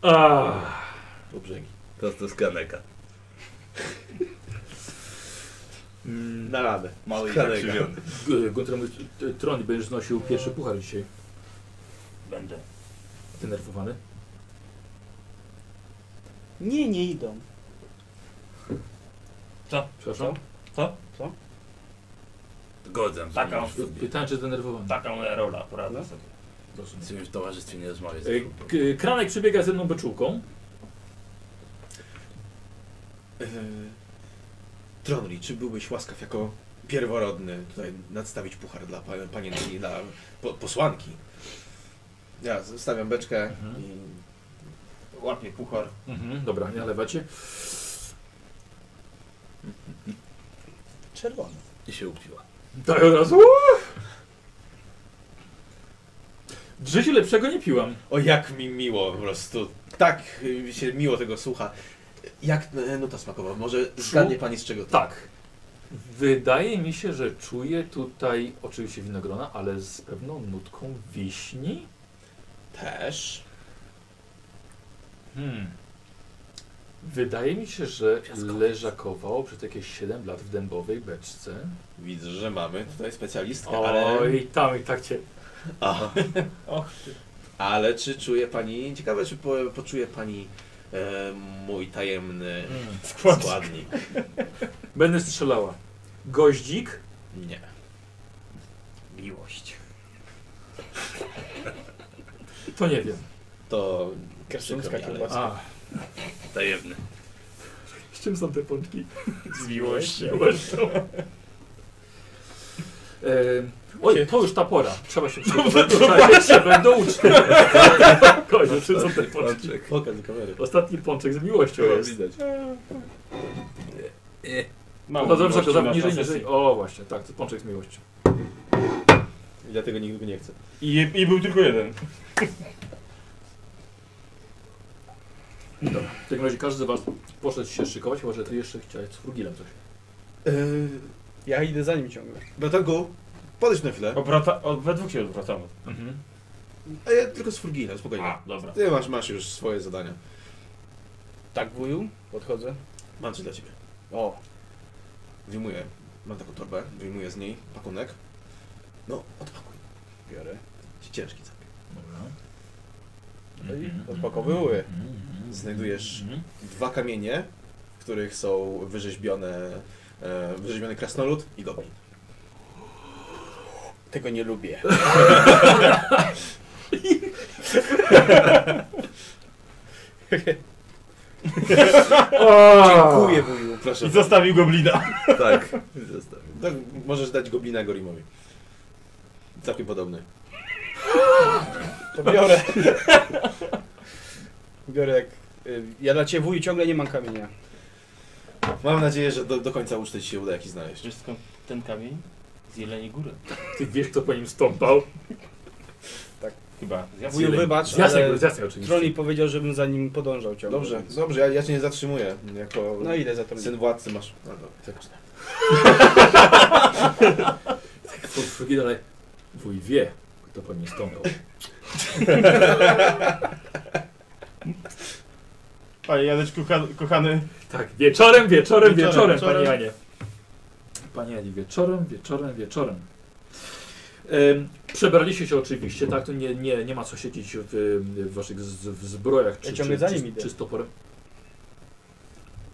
[SPEAKER 2] Ah,
[SPEAKER 4] Do brzegi.
[SPEAKER 7] Prosto z kaneka.
[SPEAKER 2] Mm,
[SPEAKER 4] Na radę.
[SPEAKER 7] Mały i
[SPEAKER 4] Kaneka.
[SPEAKER 7] zakrzywiony.
[SPEAKER 2] G- Gunter mówi, "Ty, Troni, będziesz znosił pierwszy puchar dzisiaj.
[SPEAKER 8] Będę.
[SPEAKER 2] Denerwowany.
[SPEAKER 6] Nie, nie idą.
[SPEAKER 2] Przepraszam?
[SPEAKER 7] Zgodzę.
[SPEAKER 8] Taka-
[SPEAKER 7] że mówisz sobie.
[SPEAKER 2] Pytałem, czy zdenerwowany.
[SPEAKER 8] Taka moja rola, poradzę
[SPEAKER 6] No.
[SPEAKER 8] sobie.
[SPEAKER 7] Z tym w towarzystwie nie rozmawiać.
[SPEAKER 2] E, k- Kranek przybiega z jedną beczułką.
[SPEAKER 4] Yy, Tronli, czy byłbyś łaskaw jako pierworodny tutaj nadstawić puchar dla pa- panienki, dla po, posłanki? Ja z- stawiam beczkę
[SPEAKER 2] Mhm.
[SPEAKER 4] i
[SPEAKER 3] Łapie puchar.
[SPEAKER 2] Mhm, dobra, nie nalewacie.
[SPEAKER 6] Czerwony.
[SPEAKER 7] I się upiła.
[SPEAKER 2] Tak od razu. uuu! W życiu lepszego nie piłam.
[SPEAKER 4] o jak mi miło po prostu, tak y, się miło tego słucha. Jak y, nuta smakowa? Może zgadnie pani z czego to?
[SPEAKER 2] Tak. Wydaje mi się, że czuję tutaj oczywiście winogrona, ale z pewną nutką wiśni.
[SPEAKER 4] Też.
[SPEAKER 2] Hmm. Wydaje mi się, że leżakowało przez jakieś 7 lat w dębowej beczce.
[SPEAKER 4] Widzę, że mamy tutaj specjalistkę, ale,
[SPEAKER 2] Oj, tam i tak cię.
[SPEAKER 4] ale czy czuje pani, ciekawe czy po, poczuje pani e, mój tajemny
[SPEAKER 2] Mm.
[SPEAKER 4] składnik?
[SPEAKER 2] Będę strzelała. Goździk,
[SPEAKER 4] Nie.
[SPEAKER 8] Miłość.
[SPEAKER 2] to nie wiem.
[SPEAKER 4] To
[SPEAKER 6] Krasnoludzka
[SPEAKER 4] przykro mi, ale-
[SPEAKER 6] kiełbasa.
[SPEAKER 2] A,
[SPEAKER 7] Tajemny.
[SPEAKER 2] z czym są te pączki?
[SPEAKER 3] Z miłością.
[SPEAKER 2] Zresztą. Em, Oj, to już ta pora. Trzeba się przygotować. Trzeba się będą uczniów. Kozie, czy są te pączki?
[SPEAKER 6] Pokaż do kamery.
[SPEAKER 2] Ostatni pączek z miłością
[SPEAKER 7] Było
[SPEAKER 2] jest.
[SPEAKER 7] widać.
[SPEAKER 3] Mało
[SPEAKER 2] No dobrze,
[SPEAKER 3] miłości
[SPEAKER 2] to
[SPEAKER 3] masz
[SPEAKER 2] za-
[SPEAKER 3] na
[SPEAKER 2] niżej,
[SPEAKER 3] sesji.
[SPEAKER 2] niżej. O, właśnie, tak, to pączek z miłością.
[SPEAKER 4] I dlatego nikt go nie chce.
[SPEAKER 3] I, I był tylko jeden.
[SPEAKER 2] Dobra. W takim razie każdy z was poszedł się szykować, chyba że ty jeszcze chciałeś z frugilem coś.
[SPEAKER 4] Yy,
[SPEAKER 6] Ja idę za nim ciągle.
[SPEAKER 4] bratanku, podejdź na chwilę.
[SPEAKER 3] Obrata, o, we dwóch się odwracamy.
[SPEAKER 4] A ja tylko z Furgina, spokojnie.
[SPEAKER 3] A, dobra.
[SPEAKER 4] Ty masz, masz już swoje zadania.
[SPEAKER 6] Tak, wuju? Podchodzę.
[SPEAKER 4] Mam coś dla ciebie.
[SPEAKER 6] O,
[SPEAKER 4] Wyjmuję. Mam taką torbę, wyjmuję z niej pakunek. No, odpakuj.
[SPEAKER 6] biorę.
[SPEAKER 4] Ciężki całkiem.
[SPEAKER 2] Dobra.
[SPEAKER 6] No i
[SPEAKER 1] Mhm.
[SPEAKER 6] odpakowuję.
[SPEAKER 7] Mhm.
[SPEAKER 3] Mhm.
[SPEAKER 6] Mhm.
[SPEAKER 4] Znajdujesz dwa kamienie, w których są wyrzeźbione, e, wyrzeźbiony krasnolud i goblin.
[SPEAKER 6] Tego nie lubię. Dziękuję, wuju.
[SPEAKER 4] Proszę.
[SPEAKER 3] I zostawił goblina.
[SPEAKER 7] Tak, zostawię.
[SPEAKER 4] No, możesz dać goblina Gorimowi. Całkiem podobny.
[SPEAKER 6] To biorę. Biorę jak... y, Ja dla ciebie wuju ciągle nie mam kamienia.
[SPEAKER 4] Mam nadzieję, że do, do końca uczty ci się uda jakiś znaleźć.
[SPEAKER 3] Wiesz skąd ten kamień? Z Jeleniej Góry.
[SPEAKER 2] Ty wiesz, kto po nim stąpał?
[SPEAKER 3] Chyba. Z Jasnej
[SPEAKER 6] Wuju,
[SPEAKER 3] Jeleni.
[SPEAKER 6] wybacz,
[SPEAKER 2] Z jasnej,
[SPEAKER 6] ale
[SPEAKER 2] góry, z jasnej oczywiście.
[SPEAKER 6] Trolli powiedział, żebym za nim podążał ciągle.
[SPEAKER 4] Dobrze, dobrze, ja, ja cię nie zatrzymuję. Jako
[SPEAKER 6] No idę za tym.
[SPEAKER 4] syn władcy masz. No, dobra.
[SPEAKER 2] Pod frugilem, ale wuj wie, kto po nim stąpał.
[SPEAKER 3] Panie Janeczku, ka- kochany.
[SPEAKER 2] Tak, wieczorem, wieczorem, wieczorem,
[SPEAKER 3] Wieczorem,
[SPEAKER 2] panie
[SPEAKER 3] wieczorem.
[SPEAKER 2] Janie. Panie Janie, wieczorem, wieczorem, wieczorem. Em, Przebraliście się oczywiście, tak? To nie, nie, nie ma co siedzieć w, w waszych z, w zbrojach czy,
[SPEAKER 6] Ja ciągle
[SPEAKER 2] czy,
[SPEAKER 6] za
[SPEAKER 2] czy,
[SPEAKER 6] nim
[SPEAKER 2] czy,
[SPEAKER 6] idę.
[SPEAKER 2] z toporem.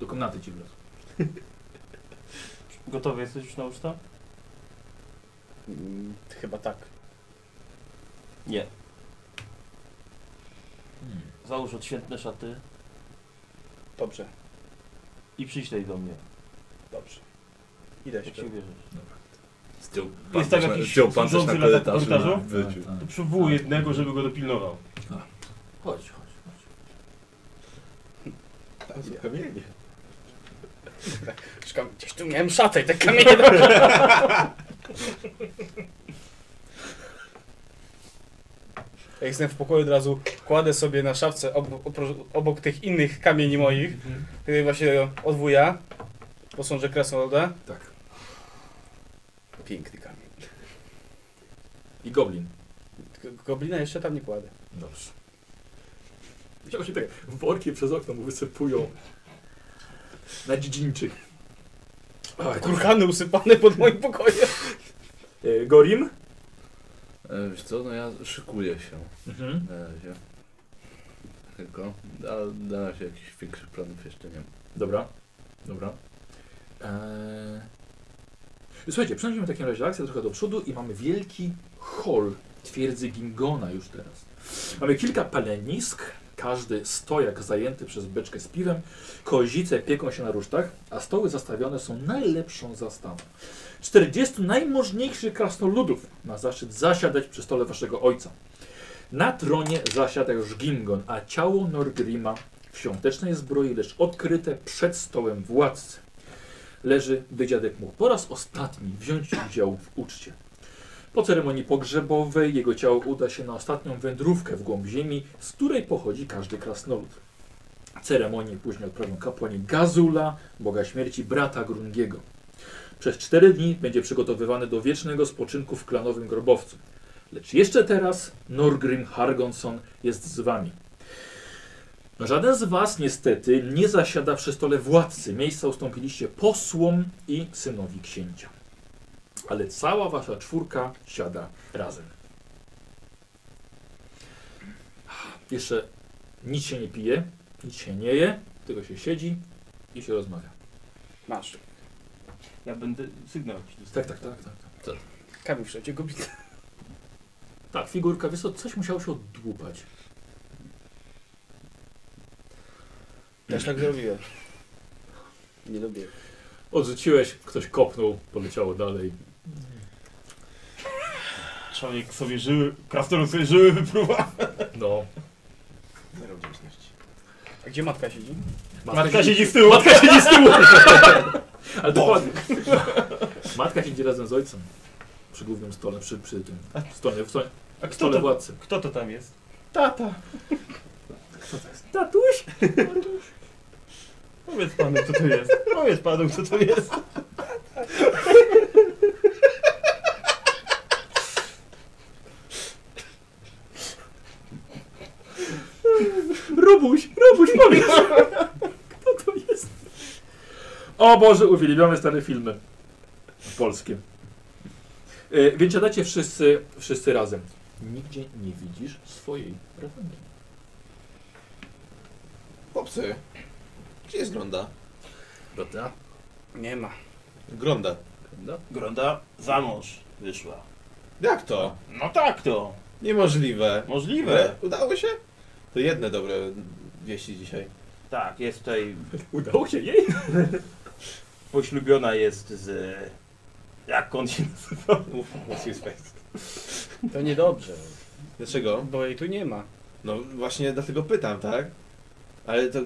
[SPEAKER 2] Do komnaty ci wlazł.
[SPEAKER 3] Gotowy jesteś już na uczta?
[SPEAKER 6] Mm, Chyba tak.
[SPEAKER 3] Nie.
[SPEAKER 2] Hmm.
[SPEAKER 3] Załóż odświętne szaty
[SPEAKER 6] Dobrze,
[SPEAKER 3] i przyślej do mnie.
[SPEAKER 6] dobrze. Idę
[SPEAKER 3] Jak
[SPEAKER 6] się.
[SPEAKER 3] się wierzysz.
[SPEAKER 7] Z tyłu
[SPEAKER 3] Jest
[SPEAKER 7] pan
[SPEAKER 3] tam
[SPEAKER 7] też na-
[SPEAKER 3] jakiś
[SPEAKER 7] zdjął pan też na
[SPEAKER 3] służący lata
[SPEAKER 7] korytarzu
[SPEAKER 3] korytarzu?
[SPEAKER 7] na wyciu.
[SPEAKER 2] Tak,
[SPEAKER 6] Hmm.
[SPEAKER 3] To
[SPEAKER 2] tak.
[SPEAKER 3] przywołuj jednego, żeby go dopilnował.
[SPEAKER 2] Chodź, chodź, chodź.
[SPEAKER 4] Tak, to kamienie.
[SPEAKER 6] Szukam, gdzieś tu miałem szatę i te kamienie do... Jak jestem w pokoju od razu kładę sobie na szafce obo- opro- obok tych innych kamieni
[SPEAKER 2] Tak,
[SPEAKER 6] moich, tutaj właśnie od wuja, posążę Krasnoluda.
[SPEAKER 2] Tak.
[SPEAKER 6] Piękny kamień.
[SPEAKER 2] I goblin.
[SPEAKER 6] Tylko Goblina jeszcze tam nie kładę.
[SPEAKER 2] Dobrze. Chciał się tak worki przez okno mu wysypują. Na dziedzińczyk. Oj,
[SPEAKER 6] Kurkany usypane pod moim pokojem.
[SPEAKER 2] E, Gorim?
[SPEAKER 7] E, Wiesz co, no ja szykuję się
[SPEAKER 2] Mhm.
[SPEAKER 7] na razie. Tylko, a na razie jakichś większych planów jeszcze nie mam.
[SPEAKER 2] Dobra, dobra. Eee... Słuchajcie, przenosimy w takim razie akcję trochę do przodu i mamy wielki hol twierdzy Gingona już teraz. Mamy kilka palenisk, każdy stojak zajęty przez beczkę z piwem, kozice pieką się na rusztach, a stoły zastawione są najlepszą zastawą. 40 najmożniejszych krasnoludów ma zaszczyt zasiadać przy stole waszego ojca. Na tronie zasiada już Gingon, a ciało Norgrima w świątecznej zbroi, lecz odkryte przed stołem władcy. Leży, by dziadek mógł po raz ostatni wziąć udział w uczcie. Po ceremonii pogrzebowej jego ciało uda się na ostatnią wędrówkę w głąb ziemi, z której pochodzi każdy krasnolud. Ceremonię później odprawią kapłani Gazula, boga śmierci brata Grungiego. Przez cztery dni będzie przygotowywany do wiecznego spoczynku w klanowym grobowcu. Lecz jeszcze teraz Norgrim Hargonson jest z wami. Żaden z was niestety nie zasiada przy stole władcy. Miejsca ustąpiliście posłom i synowi księcia. Ale cała wasza czwórka siada razem. Jeszcze nic się nie pije, nic się nie je, tylko się siedzi i się rozmawia.
[SPEAKER 6] Masz.
[SPEAKER 3] Ja będę sygnał jakiś dostał.
[SPEAKER 2] Tak, tak, tak, tak.
[SPEAKER 6] Kamień wszędzie, goblina.
[SPEAKER 2] Tak, figurka, wiesz co, coś musiało się oddłupać.
[SPEAKER 6] Też tak zrobiłem. Nie lubię.
[SPEAKER 2] Odrzuciłeś, ktoś kopnął, poleciało dalej.
[SPEAKER 3] Tak. Człowiek sobie żyły, krasnolud sobie żyły wypruwa.
[SPEAKER 2] No.
[SPEAKER 4] Zero wdzięczności.
[SPEAKER 6] A gdzie matka siedzi?
[SPEAKER 3] Matka siedzi z tyłu.
[SPEAKER 2] Matka siedzi z tyłu! Ale dokładnie. Matka siedzi razem z ojcem. Przy głównym stole, przy, przy tym stole, w stole,
[SPEAKER 3] A
[SPEAKER 2] w
[SPEAKER 3] kto
[SPEAKER 2] stole
[SPEAKER 3] to,
[SPEAKER 2] władcy.
[SPEAKER 3] kto to tam jest?
[SPEAKER 2] Tatuś!
[SPEAKER 3] Powiedz panu, kto to jest. Powiedz panu, kto to jest.
[SPEAKER 2] Robuś, Robuś, powiedz! Kto to jest? O Boże, uwielbiamy stare filmy. Polskie. E, więc siadacie wszyscy, wszyscy razem. Nigdzie nie widzisz swojej rewenki.
[SPEAKER 4] Popsy, gdzie jest Gronda?
[SPEAKER 7] Prawda?
[SPEAKER 6] Nie ma.
[SPEAKER 4] Gronda.
[SPEAKER 3] Gronda za mąż wyszła.
[SPEAKER 4] Jak to?
[SPEAKER 3] No tak to.
[SPEAKER 4] Niemożliwe.
[SPEAKER 3] Możliwe.
[SPEAKER 4] Udało się? To jedne dobre wieści dzisiaj.
[SPEAKER 3] Tak, jest tutaj
[SPEAKER 2] Udało się jej?
[SPEAKER 3] poślubiona jest z... Jak on się nazywa?
[SPEAKER 6] To niedobrze,
[SPEAKER 4] Dlaczego?
[SPEAKER 6] bo jej tu nie ma.
[SPEAKER 4] No właśnie dlatego pytam, tak? Ale to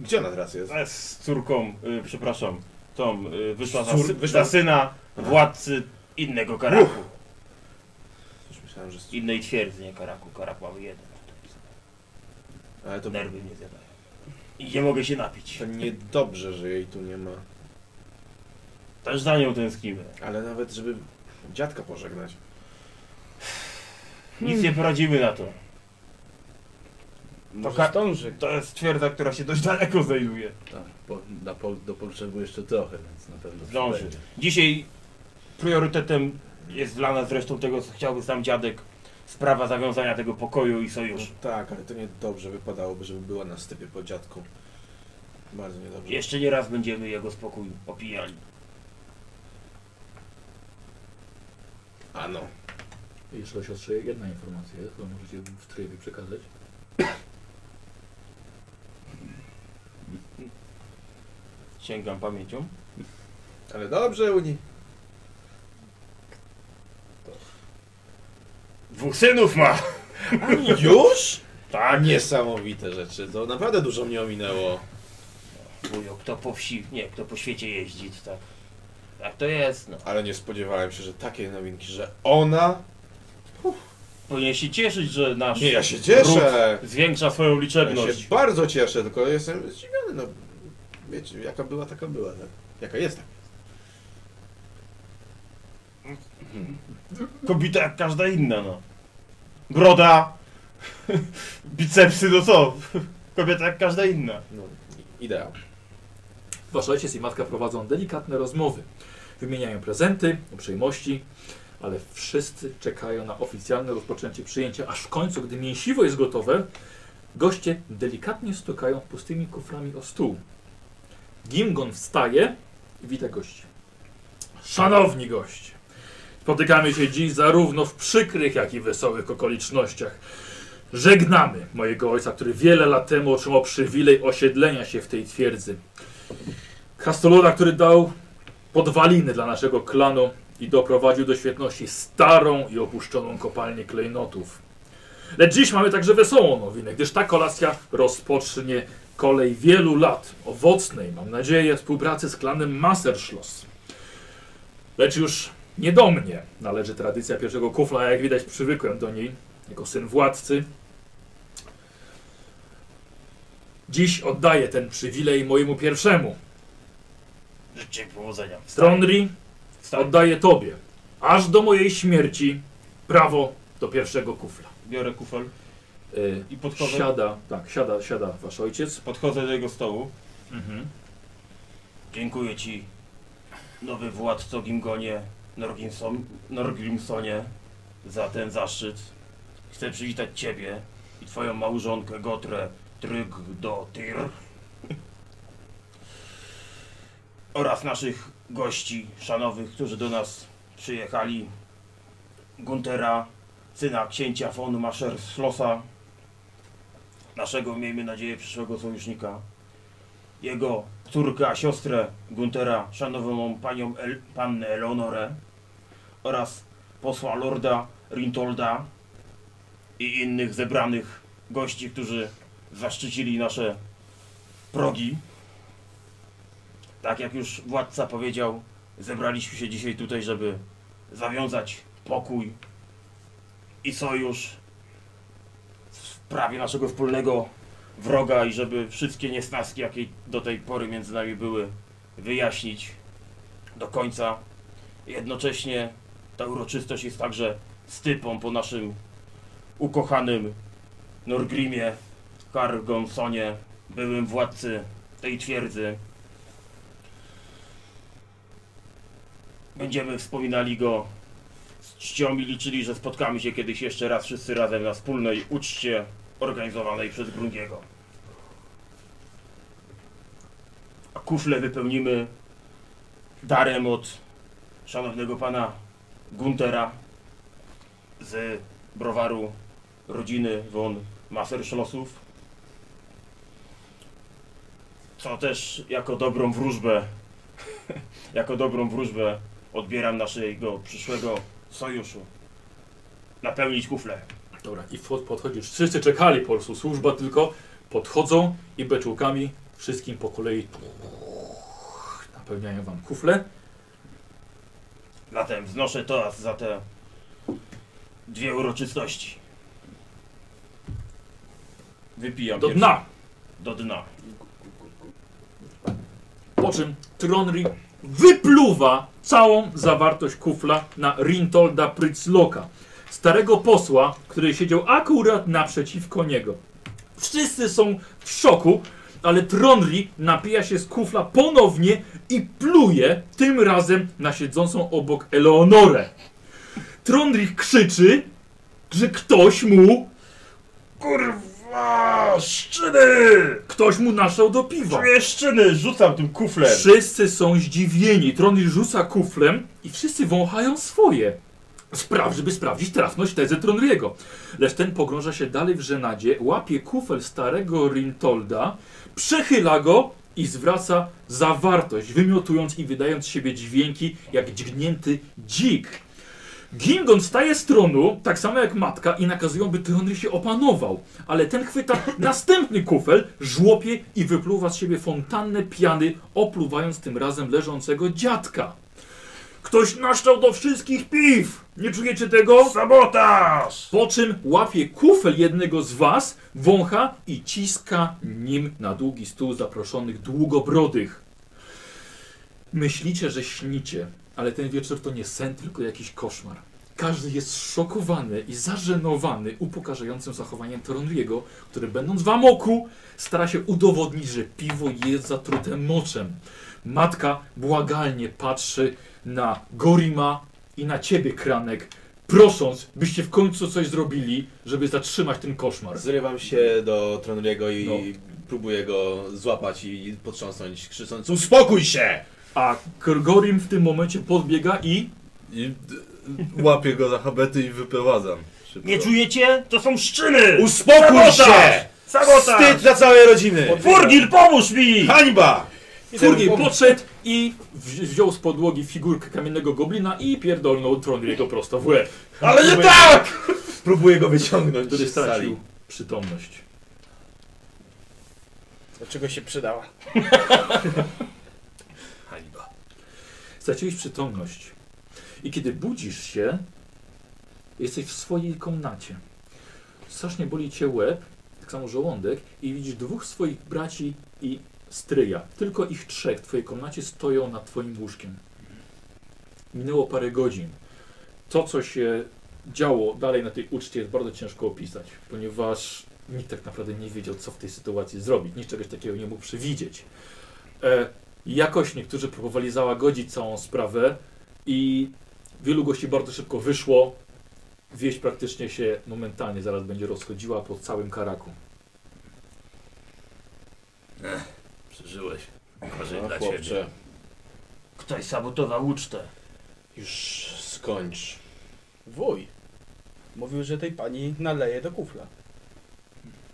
[SPEAKER 4] gdzie ona teraz jest?
[SPEAKER 3] Z- E, Z córką, y, przepraszam, tą y, wyszła, za,
[SPEAKER 4] Cór-
[SPEAKER 3] sy-
[SPEAKER 4] wyszła-
[SPEAKER 3] za syna władcy innego Karaku.
[SPEAKER 4] Już myślałem, że... z-
[SPEAKER 3] Innej twierdzy, nie Karaku. Karaku mamy jeden.
[SPEAKER 4] Ale to,
[SPEAKER 3] To nerwy mnie zjadają. I nie mogę się napić.
[SPEAKER 4] to niedobrze, że jej tu nie ma.
[SPEAKER 3] Też za nią tęsknimy.
[SPEAKER 4] Ale nawet żeby dziadka pożegnać.
[SPEAKER 3] Nic nie poradzimy na to.
[SPEAKER 6] To
[SPEAKER 3] To, ka-
[SPEAKER 6] zdąży.
[SPEAKER 3] to jest twierdza, która się dość daleko znajduje.
[SPEAKER 7] Tak, po, na po, do pogrzebu jeszcze trochę, więc na pewno
[SPEAKER 3] Zdąży.
[SPEAKER 7] przybędzie.
[SPEAKER 3] Dzisiaj priorytetem jest dla nas zresztą tego, co chciałby sam dziadek, sprawa zawiązania tego pokoju i
[SPEAKER 4] No
[SPEAKER 3] sojuszu.
[SPEAKER 4] tak, ale to niedobrze wypadałoby, żeby była na stypie po dziadku. Bardzo niedobrze.
[SPEAKER 3] Jeszcze nie raz będziemy jego spokój opijali.
[SPEAKER 4] A no.
[SPEAKER 2] Jeszcze o siostrze jedna informacja jest, którą możecie w trybie przekazać.
[SPEAKER 3] Sięgam pamięcią.
[SPEAKER 4] Ale dobrze, Uni.
[SPEAKER 3] Dwóch synów ma!
[SPEAKER 4] Już? A
[SPEAKER 3] Tak,
[SPEAKER 4] niesamowite rzeczy. To naprawdę dużo mnie ominęło.
[SPEAKER 3] wujo, kto po wsi, nie, kto po świecie jeździ, to tak. Tak to jest, no.
[SPEAKER 4] Ale nie spodziewałem się, że takie nowinki, że ona...
[SPEAKER 3] Powinien się cieszyć, że nasz
[SPEAKER 4] Nie, ja się cieszę.
[SPEAKER 3] ród zwiększa swoją
[SPEAKER 4] Ja
[SPEAKER 3] liczebność.
[SPEAKER 4] się bardzo cieszę, tylko jestem zdziwiony. No, wiecie, jaka była, taka była. Tak? Jaka jest, tak?
[SPEAKER 3] Kobieta jak każda inna, no. Broda, bicepsy, no co? Kobieta jak każda inna.
[SPEAKER 4] No, ideał.
[SPEAKER 2] Wasza ojciec i matka prowadzą delikatne rozmowy. Wymieniają prezenty, uprzejmości, ale wszyscy czekają na oficjalne rozpoczęcie przyjęcia, aż w końcu, gdy mięsiwo jest gotowe, goście delikatnie stukają pustymi kuframi o stół. Gimgon wstaje i wita gości. Szanowni goście, spotykamy się dziś zarówno w przykrych, jak i wesołych okolicznościach. Żegnamy mojego ojca, który wiele lat temu otrzymał przywilej osiedlenia się w tej twierdzy. Krasnoluda, który dał podwaliny dla naszego klanu i doprowadził do świetności starą i opuszczoną kopalnię klejnotów. Lecz dziś mamy także wesołą nowinę, gdyż ta kolacja rozpocznie kolej wielu lat owocnej, mam nadzieję, współpracy z klanem Maserschloss. Lecz już nie do mnie należy tradycja pierwszego kufla, a jak widać przywykłem do niej jako syn władcy. Dziś oddaję ten przywilej mojemu pierwszemu,
[SPEAKER 3] Życzę powodzenia.
[SPEAKER 2] Stronri,
[SPEAKER 3] Wstań.
[SPEAKER 2] oddaję tobie, aż do mojej śmierci, prawo do pierwszego kufla.
[SPEAKER 3] Biorę kufel
[SPEAKER 2] Y,
[SPEAKER 3] i podchodzę,
[SPEAKER 2] siada, tak, siada, siada wasz ojciec.
[SPEAKER 3] podchodzę do jego stołu.
[SPEAKER 2] Mhm.
[SPEAKER 3] Dziękuję ci, nowy władco Gimgonie Norgrimson, Norgrimsonie, za ten zaszczyt. Chcę przywitać ciebie i twoją małżonkę Gotrę Trygdotyr oraz naszych gości szanowych, którzy do nas przyjechali. Guntera, syna księcia von Mascherschlossa, naszego, miejmy nadzieję, przyszłego sojusznika jego córka, siostrę Guntera, szanowną panią El, pannę Eleonorę oraz posła lorda Rintolda i innych zebranych gości, którzy zaszczycili nasze progi. Tak jak już władca powiedział, zebraliśmy się dzisiaj tutaj, żeby zawiązać pokój i sojusz w sprawie naszego wspólnego wroga i żeby wszystkie niesnaski, jakie do tej pory między nami były, wyjaśnić do końca. Jednocześnie ta uroczystość jest także stypą po naszym ukochanym Norgrimie Kargonsonie, byłym władcy tej twierdzy. Będziemy wspominali go z czcią i liczyli, że spotkamy się kiedyś jeszcze raz wszyscy razem na wspólnej uczcie organizowanej przez Grungiego. A kufle wypełnimy darem od szanownego pana Guntera z browaru rodziny von Maserschlossów. Co też jako dobrą wróżbę, jako dobrą wróżbę odbieram naszego przyszłego sojuszu. Napełnić kufle.
[SPEAKER 2] Dobra, i wchod- podchodzisz. Wszyscy czekali po prostu, służba tylko. Podchodzą i beczułkami wszystkim po kolei napełniają wam kufle.
[SPEAKER 3] Zatem wznoszę toast za te dwie uroczystości. Wypijam
[SPEAKER 2] Do
[SPEAKER 3] pierwszy-
[SPEAKER 2] dna!
[SPEAKER 3] Do dna.
[SPEAKER 2] Po czym Tronri wypluwa całą zawartość kufla na Rintolda Prytzloka, starego posła, który siedział akurat naprzeciwko niego. Wszyscy są w szoku, ale Tronri napija się z kufla ponownie i pluje tym razem na siedzącą obok Eleonorę. Tronri krzyczy, że ktoś mu,
[SPEAKER 3] Kurwa! Szczyny!
[SPEAKER 2] ktoś mu naszał do piwa.
[SPEAKER 3] Czuję szczyny! Rzucam tym kuflem!
[SPEAKER 2] Wszyscy są zdziwieni. Tronli rzuca kuflem i wszyscy wąchają swoje. Spraw, żeby sprawdzić trafność tezy Tronriego. Lecz ten pogrąża się dalej w żenadzie, łapie kufel starego Rintolda, przechyla go i zwraca zawartość, wymiotując i wydając z siebie dźwięki jak dźgnięty dzik. Gingon staje z tronu, tak samo jak matka, i nakazują, by Tronry się opanował. Ale ten chwyta następny kufel, żłopie i wypluwa z siebie fontannę piany, opluwając tym razem leżącego dziadka. Ktoś naszczał do wszystkich piw! Nie czujecie tego?
[SPEAKER 3] Sabotaż!
[SPEAKER 2] Po czym łapie kufel jednego z was, wącha i ciska nim na długi stół zaproszonych długobrodych. Myślicie, że śnicie, ale ten wieczór to nie sen, tylko jakiś koszmar. Każdy jest szokowany i zażenowany upokarzającym zachowaniem Toronriego, który będąc w amoku stara się udowodnić, że piwo jest zatrute moczem. Matka błagalnie patrzy na Gorima i na ciebie, Kranek, prosząc, byście w końcu coś zrobili, żeby zatrzymać ten koszmar.
[SPEAKER 4] Zrywam się do Tronriego i
[SPEAKER 2] No.
[SPEAKER 4] próbuję go złapać i potrząsnąć, krzycząc Uspokój się!
[SPEAKER 2] A Gorgorim w tym momencie podbiega i...
[SPEAKER 7] I d- łapię go za habety i wyprowadzam. Szybko.
[SPEAKER 3] Nie czujecie? To są szczyny!
[SPEAKER 4] Uspokój
[SPEAKER 3] Sabotaż!
[SPEAKER 4] się!
[SPEAKER 3] Sabotaż!
[SPEAKER 4] Wstyd dla całej rodziny!
[SPEAKER 3] Furgil, pomóż mi!
[SPEAKER 4] Hańba!
[SPEAKER 2] Furgiel podszedł i wzi- wziął z podłogi figurkę kamiennego goblina i pierdolnął Tronriego prosto w łeb,
[SPEAKER 3] Ale nie tak!
[SPEAKER 4] Próbuję go wyciągnąć
[SPEAKER 2] który
[SPEAKER 4] z sali.
[SPEAKER 2] stracił przytomność.
[SPEAKER 6] Do czego się przydała?
[SPEAKER 7] Hańba.
[SPEAKER 2] Straciłeś przytomność. I kiedy budzisz się, jesteś w swojej komnacie. Strasznie boli cię łeb, tak samo żołądek, i widzisz dwóch swoich braci i stryja. Tylko ich trzech w twojej komnacie stoją nad twoim łóżkiem. Minęło parę godzin. To, co się działo dalej na tej uczcie, jest bardzo ciężko opisać, ponieważ nikt tak naprawdę nie wiedział, co w tej sytuacji zrobić. Nikt czegoś takiego nie mógł przewidzieć. E, jakoś niektórzy próbowali załagodzić całą sprawę i wielu gości bardzo szybko wyszło. Wieść praktycznie się momentalnie zaraz będzie rozchodziła po całym Karaku.
[SPEAKER 7] Przeżyłeś. Gorzej
[SPEAKER 4] No,
[SPEAKER 7] dla ciebie.
[SPEAKER 4] chłopcze,
[SPEAKER 3] Ktoś sabotował ucztę.
[SPEAKER 4] już skończ. Wuj,
[SPEAKER 6] Mówił, że tej pani naleje do kufla.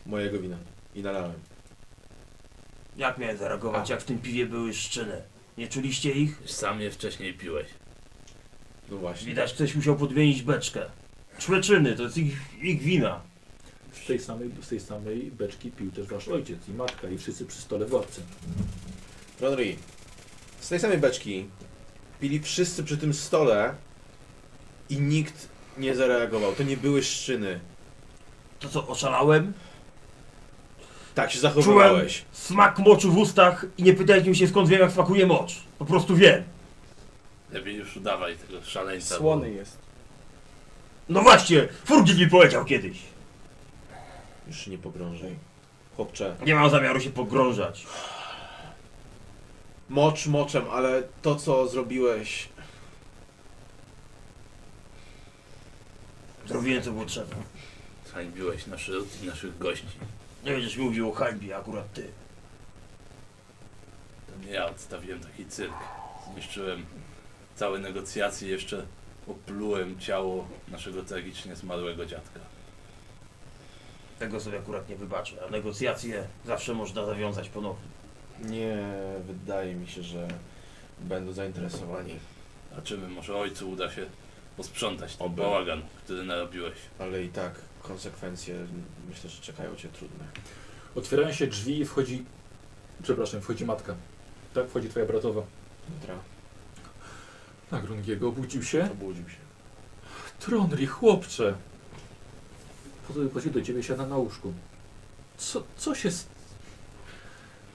[SPEAKER 4] mojego wina. I nalałem.
[SPEAKER 3] Jak miałem zareagować, jak w tym piwie były szczyny? Nie czuliście ich?
[SPEAKER 7] Sam je wcześniej piłeś.
[SPEAKER 4] No właśnie.
[SPEAKER 3] Widać, ktoś musiał podmienić beczkę. człeczyny, to jest ich, ich wina.
[SPEAKER 2] Z tej, samej, z tej samej beczki pił też wasz ojciec i matka i wszyscy przy stole władcy.
[SPEAKER 4] Rodri, z tej samej beczki pili wszyscy przy tym stole i nikt nie zareagował. To nie były szczyny.
[SPEAKER 3] To co, oszalałem?
[SPEAKER 4] Tak się zachowywałeś.
[SPEAKER 3] Smak moczu w ustach i nie pytajcie mi się skąd wiem jak smakuje mocz. Po prostu wiem.
[SPEAKER 7] Lepiej już udawaj tego szaleńca. bo-
[SPEAKER 9] Słony jest.
[SPEAKER 3] No właśnie, Furgit mi powiedział kiedyś.
[SPEAKER 4] Już się nie pogrążaj. Chłopcze,
[SPEAKER 3] Nie mam zamiaru się pogrążać.
[SPEAKER 4] mocz moczem, ale to co zrobiłeś,
[SPEAKER 3] Zrobiłem co było trzeba.
[SPEAKER 7] Zhańbiłeś naszy, naszych gości.
[SPEAKER 3] Nie będziesz mi mówił o hańbie, akurat ty.
[SPEAKER 7] To nie ja odstawiłem taki cyrk. Zniszczyłem całe negocjacje, jeszcze oplułem ciało naszego tragicznie zmarłego dziadka.
[SPEAKER 3] Tego sobie akurat nie wybaczę, a negocjacje zawsze można zawiązać ponownie.
[SPEAKER 4] nie wydaje mi się, że będą zainteresowani.
[SPEAKER 7] Zobaczymy, może ojcu uda się posprzątać ten
[SPEAKER 4] Oby.
[SPEAKER 7] bałagan, który narobiłeś.
[SPEAKER 4] Ale i tak konsekwencje myślę, że czekają cię trudne.
[SPEAKER 2] Otwierają się drzwi i wchodzi... Przepraszam, wchodzi matka. Tak, wchodzi twoja bratowa.
[SPEAKER 4] Mitra
[SPEAKER 2] Tak, Rungiego obudził się.
[SPEAKER 4] obudził się.
[SPEAKER 2] Tronri, chłopcze! Podchodzi do ciebie, siada na łóżku. Co, co się... s-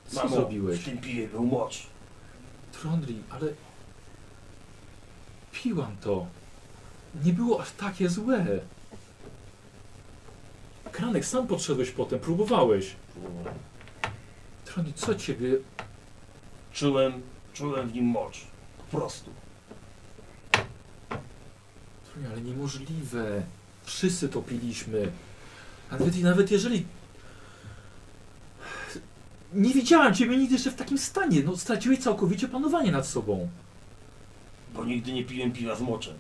[SPEAKER 2] Co
[SPEAKER 3] Mamo,
[SPEAKER 2] zrobiłeś?
[SPEAKER 3] W tym piwie był mocz.
[SPEAKER 2] Trondri, ale piłam to. Nie było aż takie złe. Kranek, sam podszedłeś potem, próbowałeś.
[SPEAKER 4] Próbowałem.
[SPEAKER 2] Trondri, co ciebie...
[SPEAKER 3] Czułem, czułem w nim mocz. Po prostu.
[SPEAKER 2] Trondri, ale niemożliwe. Wszyscy to piliśmy. A nawet, nawet jeżeli... Nie widziałem ciebie nigdy jeszcze w takim stanie. No, straciłeś całkowicie panowanie nad sobą.
[SPEAKER 3] Bo nigdy nie piłem piwa z moczem.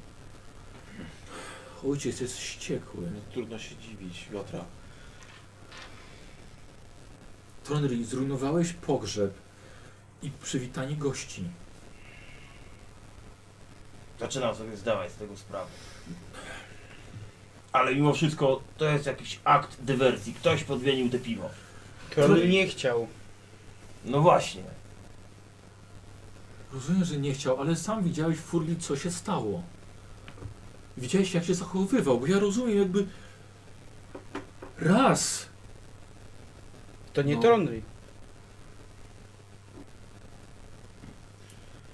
[SPEAKER 2] Ojciec jest wściekły.
[SPEAKER 4] No, trudno się dziwić, Jotra.
[SPEAKER 2] Tronry, zrujnowałeś pogrzeb i przywitanie gości.
[SPEAKER 3] Zaczynam sobie zdawać z tego sprawę. Ale mimo wszystko to jest jakiś akt dywersji. Ktoś podmienił te piwo.
[SPEAKER 2] Który-
[SPEAKER 6] Król nie chciał.
[SPEAKER 3] No właśnie.
[SPEAKER 2] Rozumiem, że nie chciał, ale sam widziałeś w Furli, co się stało. Widziałeś, jak się zachowywał, bo ja rozumiem, jakby. Raz!
[SPEAKER 6] To nie
[SPEAKER 2] No.
[SPEAKER 6] no.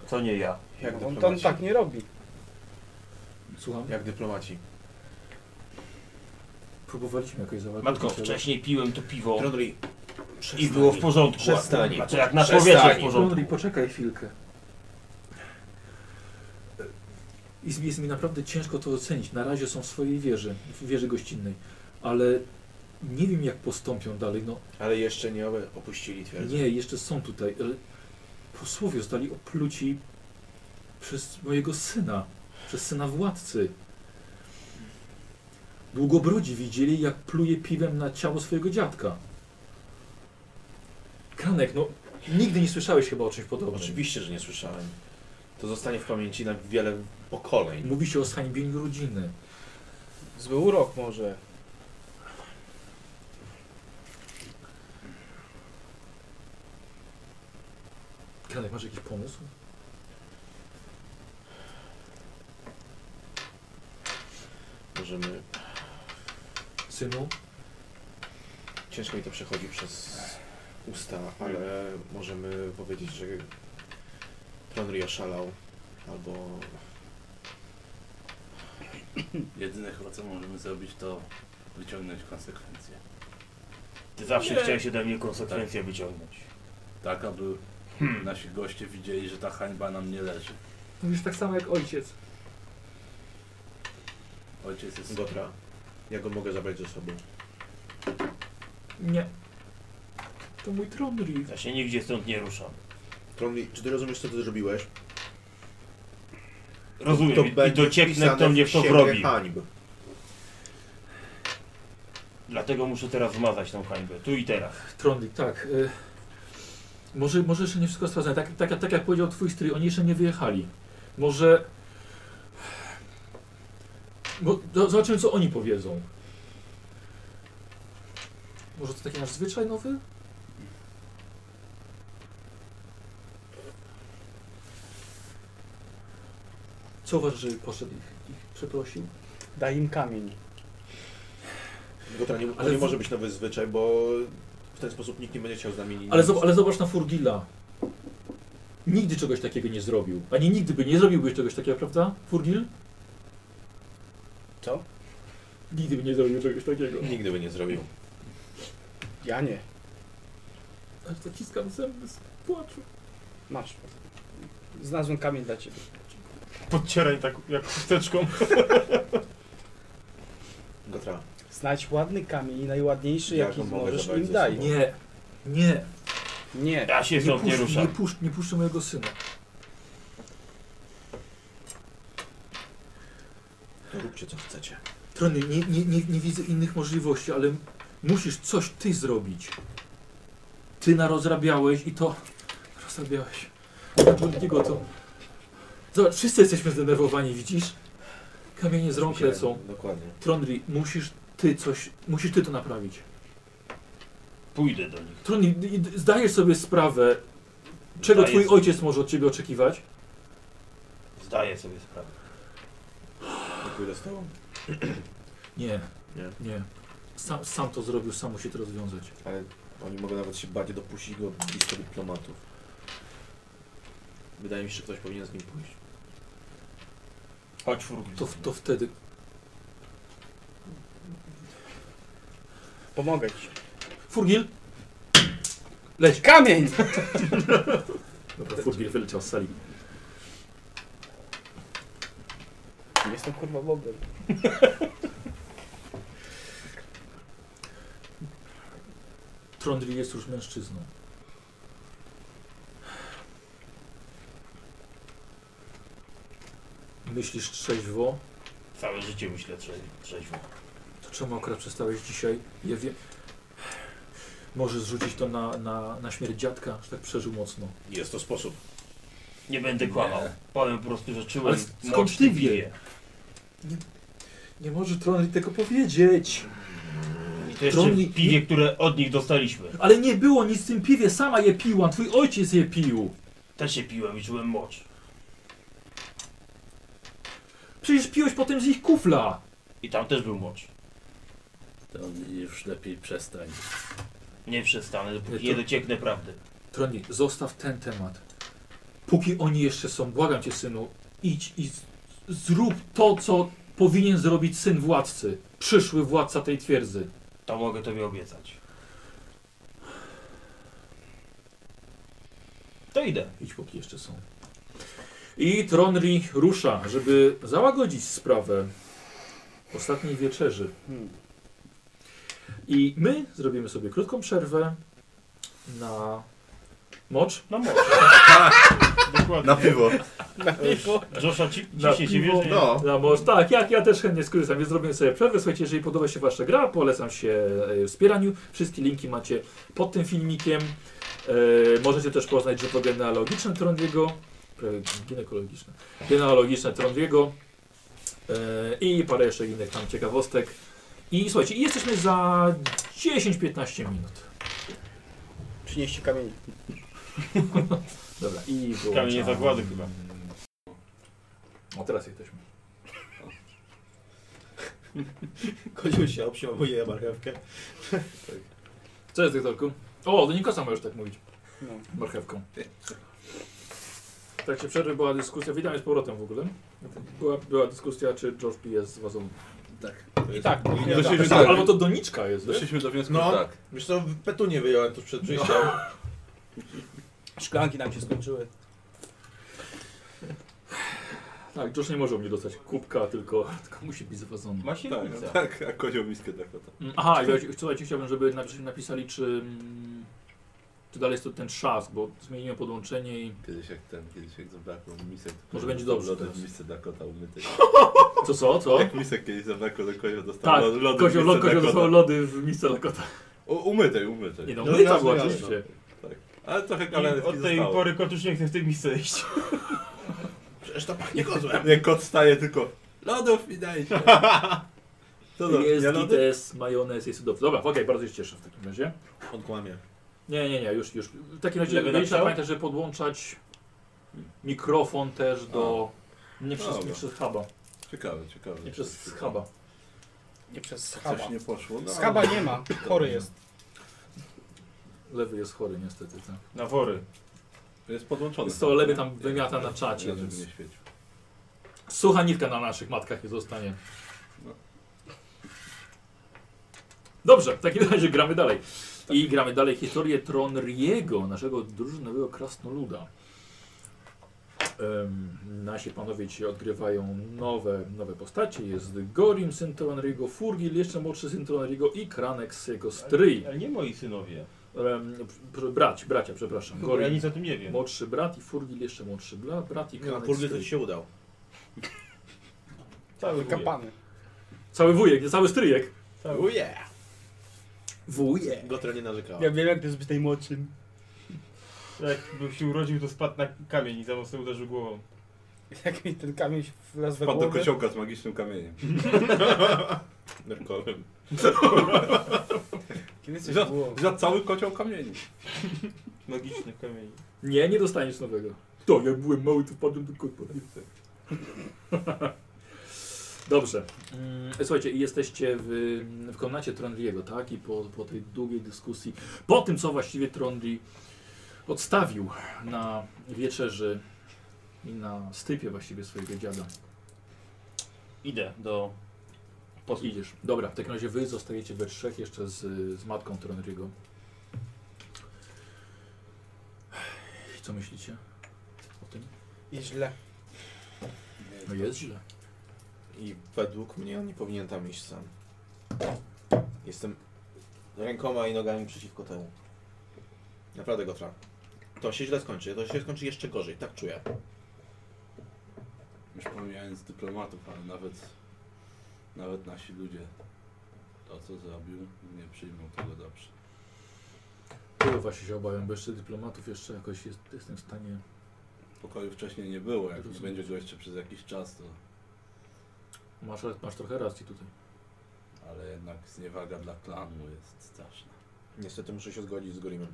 [SPEAKER 3] To nie ja.
[SPEAKER 4] Jak
[SPEAKER 6] On,
[SPEAKER 4] dyplomaci.
[SPEAKER 6] to on tak nie robi.
[SPEAKER 2] Słucham,
[SPEAKER 4] Jak dyplomaci.
[SPEAKER 2] próbowaliśmy jakoś załatwić.
[SPEAKER 3] Matko,
[SPEAKER 2] cię.
[SPEAKER 3] wcześniej piłem to piwo
[SPEAKER 4] Rodri,
[SPEAKER 3] i było w porządku.
[SPEAKER 4] Przestań.
[SPEAKER 3] Znaczy jak na
[SPEAKER 4] Przestań.
[SPEAKER 3] człowieku w
[SPEAKER 2] Tronry,
[SPEAKER 3] porządku.
[SPEAKER 2] poczekaj chwilkę. Jest, jest mi naprawdę ciężko to ocenić. Na razie są w swojej wieży, w wieży gościnnej, ale nie wiem, jak postąpią dalej. No,
[SPEAKER 4] Ale jeszcze nie obe- opuścili twierdzy.
[SPEAKER 2] Nie, jeszcze są tutaj. ale Posłowie zostali opluci przez mojego syna, przez syna władcy. Długobrodzi widzieli, jak pluje piwem na ciało swojego dziadka. Kranek, no nigdy nie słyszałeś chyba o czymś podobnym.
[SPEAKER 4] Oczywiście, że nie słyszałem. To zostanie w pamięci na wiele pokoleń.
[SPEAKER 2] Mówi się o zhańbieniu rodziny.
[SPEAKER 6] Zły urok może.
[SPEAKER 2] Kranek, masz jakiś pomysł?
[SPEAKER 4] Możemy...
[SPEAKER 2] Synu?
[SPEAKER 4] Ciężko mi to przechodzi przez usta, ale możemy powiedzieć, że Tronry oszalał. Albo...
[SPEAKER 7] Jedyne chyba co możemy zrobić to wyciągnąć konsekwencje.
[SPEAKER 3] Ty zawsze chciałeś ode mnie konsekwencje wyciągnąć.
[SPEAKER 7] Tak, aby nasi goście widzieli, że ta hańba nam nie leży.
[SPEAKER 2] Mówisz tak samo jak ojciec.
[SPEAKER 7] Ojciec jest
[SPEAKER 4] Gotra. Ja go mogę zabrać ze sobą.
[SPEAKER 2] Nie. To mój Tronry.
[SPEAKER 3] Ja się nigdzie stąd nie ruszam.
[SPEAKER 4] Tronry, czy ty rozumiesz, co ty zrobiłeś?
[SPEAKER 3] Rozumiem.
[SPEAKER 4] To
[SPEAKER 3] I
[SPEAKER 4] będzie
[SPEAKER 3] docieknę,
[SPEAKER 4] wpisane tak.
[SPEAKER 3] kto mnie w to
[SPEAKER 4] księgę
[SPEAKER 3] wrobi.
[SPEAKER 4] hańb.
[SPEAKER 3] Dlatego muszę teraz zmazać tą hańbę. Tu i teraz.
[SPEAKER 2] Trondik, tak. Y, może, może jeszcze nie wszystko sprawdzone. Tak, tak, tak jak powiedział twój stryj, oni jeszcze nie wyjechali. Może... Bo do- no, zobaczymy, co oni powiedzą. Może to taki nasz zwyczaj nowy? Co uważasz, żeby poszedł ich, ich przeprosił?
[SPEAKER 6] Daj im kamień.
[SPEAKER 4] Tylko to nie, to
[SPEAKER 2] Ale
[SPEAKER 4] nie
[SPEAKER 2] w-
[SPEAKER 4] może być nowy zwyczaj, bo w ten sposób nikt nie będzie chciał z nami nic.
[SPEAKER 2] Ale, zob- ale zobacz na Furgila. Nigdy czegoś takiego nie zrobił. Ani nigdy by nie zrobiłbyś czegoś takiego, prawda, Furgil?
[SPEAKER 6] Co?
[SPEAKER 2] Nigdy by nie zrobił czegoś takiego.
[SPEAKER 4] Nigdy by nie zrobił.
[SPEAKER 6] Ja nie.
[SPEAKER 2] Aż zaciskam zęby z płaczu.
[SPEAKER 6] Masz. Znalazłem kamień dla ciebie.
[SPEAKER 3] Podcieraj tak jak chusteczką.
[SPEAKER 4] Gotra.
[SPEAKER 6] Znajdź ładny kamień, najładniejszy
[SPEAKER 4] Ja
[SPEAKER 6] jaki
[SPEAKER 4] go mogę
[SPEAKER 6] możesz
[SPEAKER 4] zabrać
[SPEAKER 6] im
[SPEAKER 4] ze
[SPEAKER 6] daj.
[SPEAKER 4] sobą.
[SPEAKER 2] Nie, nie.
[SPEAKER 6] Nie.
[SPEAKER 3] Ja się stąd nie
[SPEAKER 2] puszcz-
[SPEAKER 3] ruszam.
[SPEAKER 2] nie, puszcz, nie puszczę mojego syna.
[SPEAKER 4] To róbcie co chcecie.
[SPEAKER 2] Trony, nie, nie, nie, nie widzę innych możliwości, ale musisz coś ty zrobić. Ty narozrabiałeś i to... Rozrabiałeś. Na Błędniego to... Zobacz, wszyscy jesteśmy zdenerwowani, widzisz? Kamienie z rąk lecą.
[SPEAKER 4] Dokładnie.
[SPEAKER 2] Trondri, musisz ty coś... Musisz ty to naprawić.
[SPEAKER 3] Pójdę do nich.
[SPEAKER 2] Trondri, d- d- zdajesz sobie sprawę, czego
[SPEAKER 3] Zdaję
[SPEAKER 2] twój
[SPEAKER 3] sobie-
[SPEAKER 2] ojciec może od ciebie oczekiwać?
[SPEAKER 3] Zdaję sobie sprawę.
[SPEAKER 4] Ja Pójdę z tobą.
[SPEAKER 2] Nie.
[SPEAKER 4] Nie?
[SPEAKER 2] Nie. Sam, sam to zrobił, sam musi to rozwiązać.
[SPEAKER 4] Ale oni mogą nawet się bardziej dopuścić go blisko dyplomatów. Wydaje mi się, że ktoś powinien z nim pójść.
[SPEAKER 3] Chodź furgi.
[SPEAKER 2] To, to wtedy
[SPEAKER 6] Pomogę ci.
[SPEAKER 2] Furgil! Leć!
[SPEAKER 6] Kamień!
[SPEAKER 2] Dobra, No Furgil wyleciał z sali.
[SPEAKER 6] Jestem kurwa Bogiem.
[SPEAKER 2] Trondri jest już mężczyzną. Myślisz trzeźwo?
[SPEAKER 3] Całe życie myślę trze- trzeźwo.
[SPEAKER 2] To czemu akurat przestałeś dzisiaj? Ja wiem. Możesz zrzucić to na, na, na śmierć dziadka, że tak przeżył mocno.
[SPEAKER 4] Jest to sposób.
[SPEAKER 3] Nie będę kłamał. Powiem po prostu, że czułem
[SPEAKER 2] Ale skąd ty wie?
[SPEAKER 3] piję.
[SPEAKER 2] Nie może Trondri tego powiedzieć!
[SPEAKER 3] I to jeszcze
[SPEAKER 2] Trądli-
[SPEAKER 3] piwie, które od nich dostaliśmy.
[SPEAKER 2] Ale nie było nic w tym piwie, sama je piła, twój ojciec je pił!
[SPEAKER 3] Też się piłem i czułem mocz.
[SPEAKER 2] Przecież piłeś potem z ich kufla!
[SPEAKER 3] I tam też był mocz.
[SPEAKER 7] To już lepiej przestań.
[SPEAKER 3] Nie przestanę, dopóki
[SPEAKER 2] Nie,
[SPEAKER 3] nie
[SPEAKER 2] to-
[SPEAKER 3] docieknę prawdy.
[SPEAKER 2] Troni, zostaw ten temat. Póki oni jeszcze są, błagam cię, synu, idź i z- zrób to, co powinien zrobić syn władcy, przyszły władca tej twierdzy.
[SPEAKER 3] To mogę tobie obiecać. To idę.
[SPEAKER 2] Idź, póki jeszcze są. I Tronri rusza, żeby załagodzić sprawę ostatniej wieczerzy.
[SPEAKER 6] Hmm.
[SPEAKER 2] I my zrobimy sobie krótką przerwę na mocz.
[SPEAKER 3] No może.
[SPEAKER 1] Na
[SPEAKER 3] Dokładnie.
[SPEAKER 1] piwo.
[SPEAKER 3] Josha, ci,
[SPEAKER 2] Na
[SPEAKER 3] ciśnie się,
[SPEAKER 2] piwo.
[SPEAKER 3] wiesz? Nie?
[SPEAKER 1] No.
[SPEAKER 2] Na mocz. Tak, ja, ja też chętnie skorzystam, więc zrobimy sobie przerwę. Słuchajcie, jeżeli podoba się Wasza gra, polecam się e, wspieraniu. Wszystkie linki macie pod tym filmikiem. E, możecie też poznać drzewo genealogiczne Trondiego. prawie Ginekologiczne. Genealogiczne Trondiego. E, I parę jeszcze innych tam ciekawostek. I słuchajcie, i jesteśmy za 10-15 minut.
[SPEAKER 6] Przynieście kamień.
[SPEAKER 2] Dobra, i wyłączam.
[SPEAKER 3] Kamienie zagłady chyba.
[SPEAKER 2] O, teraz jesteśmy.
[SPEAKER 4] Koził się obsiął moje marchewkę.
[SPEAKER 2] Co jest, doktorku? O, do Nikosa możesz tak mówić.
[SPEAKER 6] No.
[SPEAKER 2] Marchewką. Tak się przerwy była dyskusja, witam z powrotem w ogóle. Była, była dyskusja, czy George P. jest z wazą.
[SPEAKER 7] Tak.
[SPEAKER 2] I tak,
[SPEAKER 7] Doszliśmy
[SPEAKER 2] tak,
[SPEAKER 7] do-
[SPEAKER 2] albo to doniczka jest, wiesz?
[SPEAKER 7] Doszliśmy do wniosku,
[SPEAKER 4] No.
[SPEAKER 7] no. tak.
[SPEAKER 4] Wiesz co, petunię wyjąłem tuż przed przyjściem.
[SPEAKER 6] Szklanki nam się skończyły.
[SPEAKER 2] Tak, George nie może u mnie dostać kubka, tylko, tylko musi być z wazą.
[SPEAKER 3] Ma się
[SPEAKER 1] Tak, tak, a kozioł miskę tak to.
[SPEAKER 2] Mm, Aha, ja, słuchajcie, chciałbym, żeby napis- napisali, czy, mm, czy dalej jest to ten trzask, bo zmieniłem podłączenie i...
[SPEAKER 7] Kiedyś jak ten, kiedyś jak zabrakło misek. to
[SPEAKER 2] Może
[SPEAKER 7] kozioł
[SPEAKER 2] będzie dobrze
[SPEAKER 7] lodem
[SPEAKER 2] teraz.
[SPEAKER 7] w misce Dakota umyty.
[SPEAKER 2] Co, co, co?
[SPEAKER 7] Jak misek kiedyś zabrakło, to kozioł dostał
[SPEAKER 2] Tak,
[SPEAKER 7] lo- lody w
[SPEAKER 2] Kozioł, lo,
[SPEAKER 7] misce
[SPEAKER 2] kozioł
[SPEAKER 7] Dakota.
[SPEAKER 2] dostał lody w miejsce Lakota.
[SPEAKER 7] U- Umytej, umytej.
[SPEAKER 2] Nie no,
[SPEAKER 4] No,
[SPEAKER 2] myta
[SPEAKER 4] jasne,
[SPEAKER 2] była
[SPEAKER 4] jasne.
[SPEAKER 2] oczywiście.
[SPEAKER 7] Ale trochę
[SPEAKER 1] No,
[SPEAKER 3] I
[SPEAKER 7] galaretki
[SPEAKER 3] od tej
[SPEAKER 7] zostało.
[SPEAKER 3] pory kot już nie chce w tej misce iść.
[SPEAKER 4] Przecież to pachnie kozłem.
[SPEAKER 7] Jak kot staje tylko...
[SPEAKER 1] Lodów mi dajcie. To do,
[SPEAKER 2] Jest
[SPEAKER 1] No ja lody?
[SPEAKER 2] gites, majonez, jest cudowny. Dobra, okej, bardzo się cieszę w takim razie.
[SPEAKER 4] On kłamie.
[SPEAKER 2] Nie, nie, nie, już, już. W takim razie
[SPEAKER 1] Lewy
[SPEAKER 2] będziesz
[SPEAKER 1] naprzód?
[SPEAKER 2] pamiętać, żeby podłączać mikrofon też do... Nie przez, nie
[SPEAKER 1] No Dobra.
[SPEAKER 2] przez huba.
[SPEAKER 1] Ciekawe, ciekawe.
[SPEAKER 2] Nie przez huba.
[SPEAKER 6] Nie przez schaba.
[SPEAKER 1] Coś nie poszło. No.
[SPEAKER 6] Schaba nie ma, chory jest.
[SPEAKER 2] Lewy jest chory niestety, tak.
[SPEAKER 3] Na wory.
[SPEAKER 7] No,
[SPEAKER 1] Jest podłączony.
[SPEAKER 2] Jest to lewy tam wymiata na czacie,
[SPEAKER 1] Ja, żeby
[SPEAKER 2] więc...
[SPEAKER 1] nie świecił.
[SPEAKER 2] Sucha nitka na naszych matkach nie zostanie.
[SPEAKER 1] No.
[SPEAKER 2] Dobrze, w takim razie gramy dalej.
[SPEAKER 4] Tak.
[SPEAKER 2] I gramy dalej historię Tronriego, naszego drużynowego krasnoluda. Em, nasi panowie ci odgrywają nowe, nowe postacie. Jest Gorim, syn Tronriego, Furgil, jeszcze młodszy syn Tronriego i Kranex, jego stryj.
[SPEAKER 3] Ale nie moi synowie.
[SPEAKER 2] Em, pr- pr- brać, bracia, przepraszam.
[SPEAKER 3] Bo ja
[SPEAKER 2] Gorim,
[SPEAKER 3] nic o tym nie wiem.
[SPEAKER 2] młodszy brat i Furgil, jeszcze młodszy bla- brat i
[SPEAKER 4] Nie, na
[SPEAKER 2] Kranex.
[SPEAKER 4] pulgę to
[SPEAKER 2] stryj.
[SPEAKER 4] ci się udał.
[SPEAKER 3] Cały
[SPEAKER 6] Kapany.
[SPEAKER 2] Cały wujek, nie cały stryjek.
[SPEAKER 4] Oh yeah!
[SPEAKER 2] Wujek.
[SPEAKER 4] Gotra nie narzekała.
[SPEAKER 6] Ja wiem, jak to jest być najmłodszym.
[SPEAKER 3] Jakby się urodził, to spadł na kamień i za mocno uderzył głową.
[SPEAKER 6] Jak mi ten kamień wlazł we
[SPEAKER 1] Wpadł do
[SPEAKER 6] głowę.
[SPEAKER 1] kociołka z magicznym kamieniem.
[SPEAKER 4] Nerkolem.
[SPEAKER 6] Kiedy coś było?
[SPEAKER 1] Za cały kocioł kamieni.
[SPEAKER 3] Magiczny kamień.
[SPEAKER 2] Nie, nie dostaniesz nowego. To, jak byłem mały, to wpadłem do kotła. Dobrze. Mm, Słuchajcie, i jesteście w, w komnacie Trondriego, tak? I po, po tej długiej dyskusji, po tym, co właściwie Trondri odstawił na wieczerzy i na stypie właściwie swojego dziada.
[SPEAKER 8] Idę do posługi.
[SPEAKER 2] Idziesz. Dobra, w takim razie wy zostajecie we trzech jeszcze z, z matką Tronriego. Co myślicie o tym?
[SPEAKER 6] I źle.
[SPEAKER 2] No jest źle.
[SPEAKER 4] I według mnie on nie powinien tam iść sam. Jestem rękoma i nogami przeciwko temu. Naprawdę, Gotra. To się źle skończy. To się skończy jeszcze gorzej. Tak czuję.
[SPEAKER 1] Już pomijając dyplomatów, ale nawet, nawet nasi ludzie to, co zrobił, nie przyjmą tego dobrze.
[SPEAKER 2] Tego właśnie się obawiam, bo jeszcze dyplomatów jeszcze jakoś jest, jestem w stanie...
[SPEAKER 1] Pokoju wcześniej nie było, jak nie
[SPEAKER 2] Rozumiem.
[SPEAKER 1] będzie go jeszcze przez jakiś czas, to,
[SPEAKER 2] Masz, masz trochę racji tutaj.
[SPEAKER 1] ale jednak zniewaga dla klanu jest straszna.
[SPEAKER 4] Niestety muszę się zgodzić z Gorimem.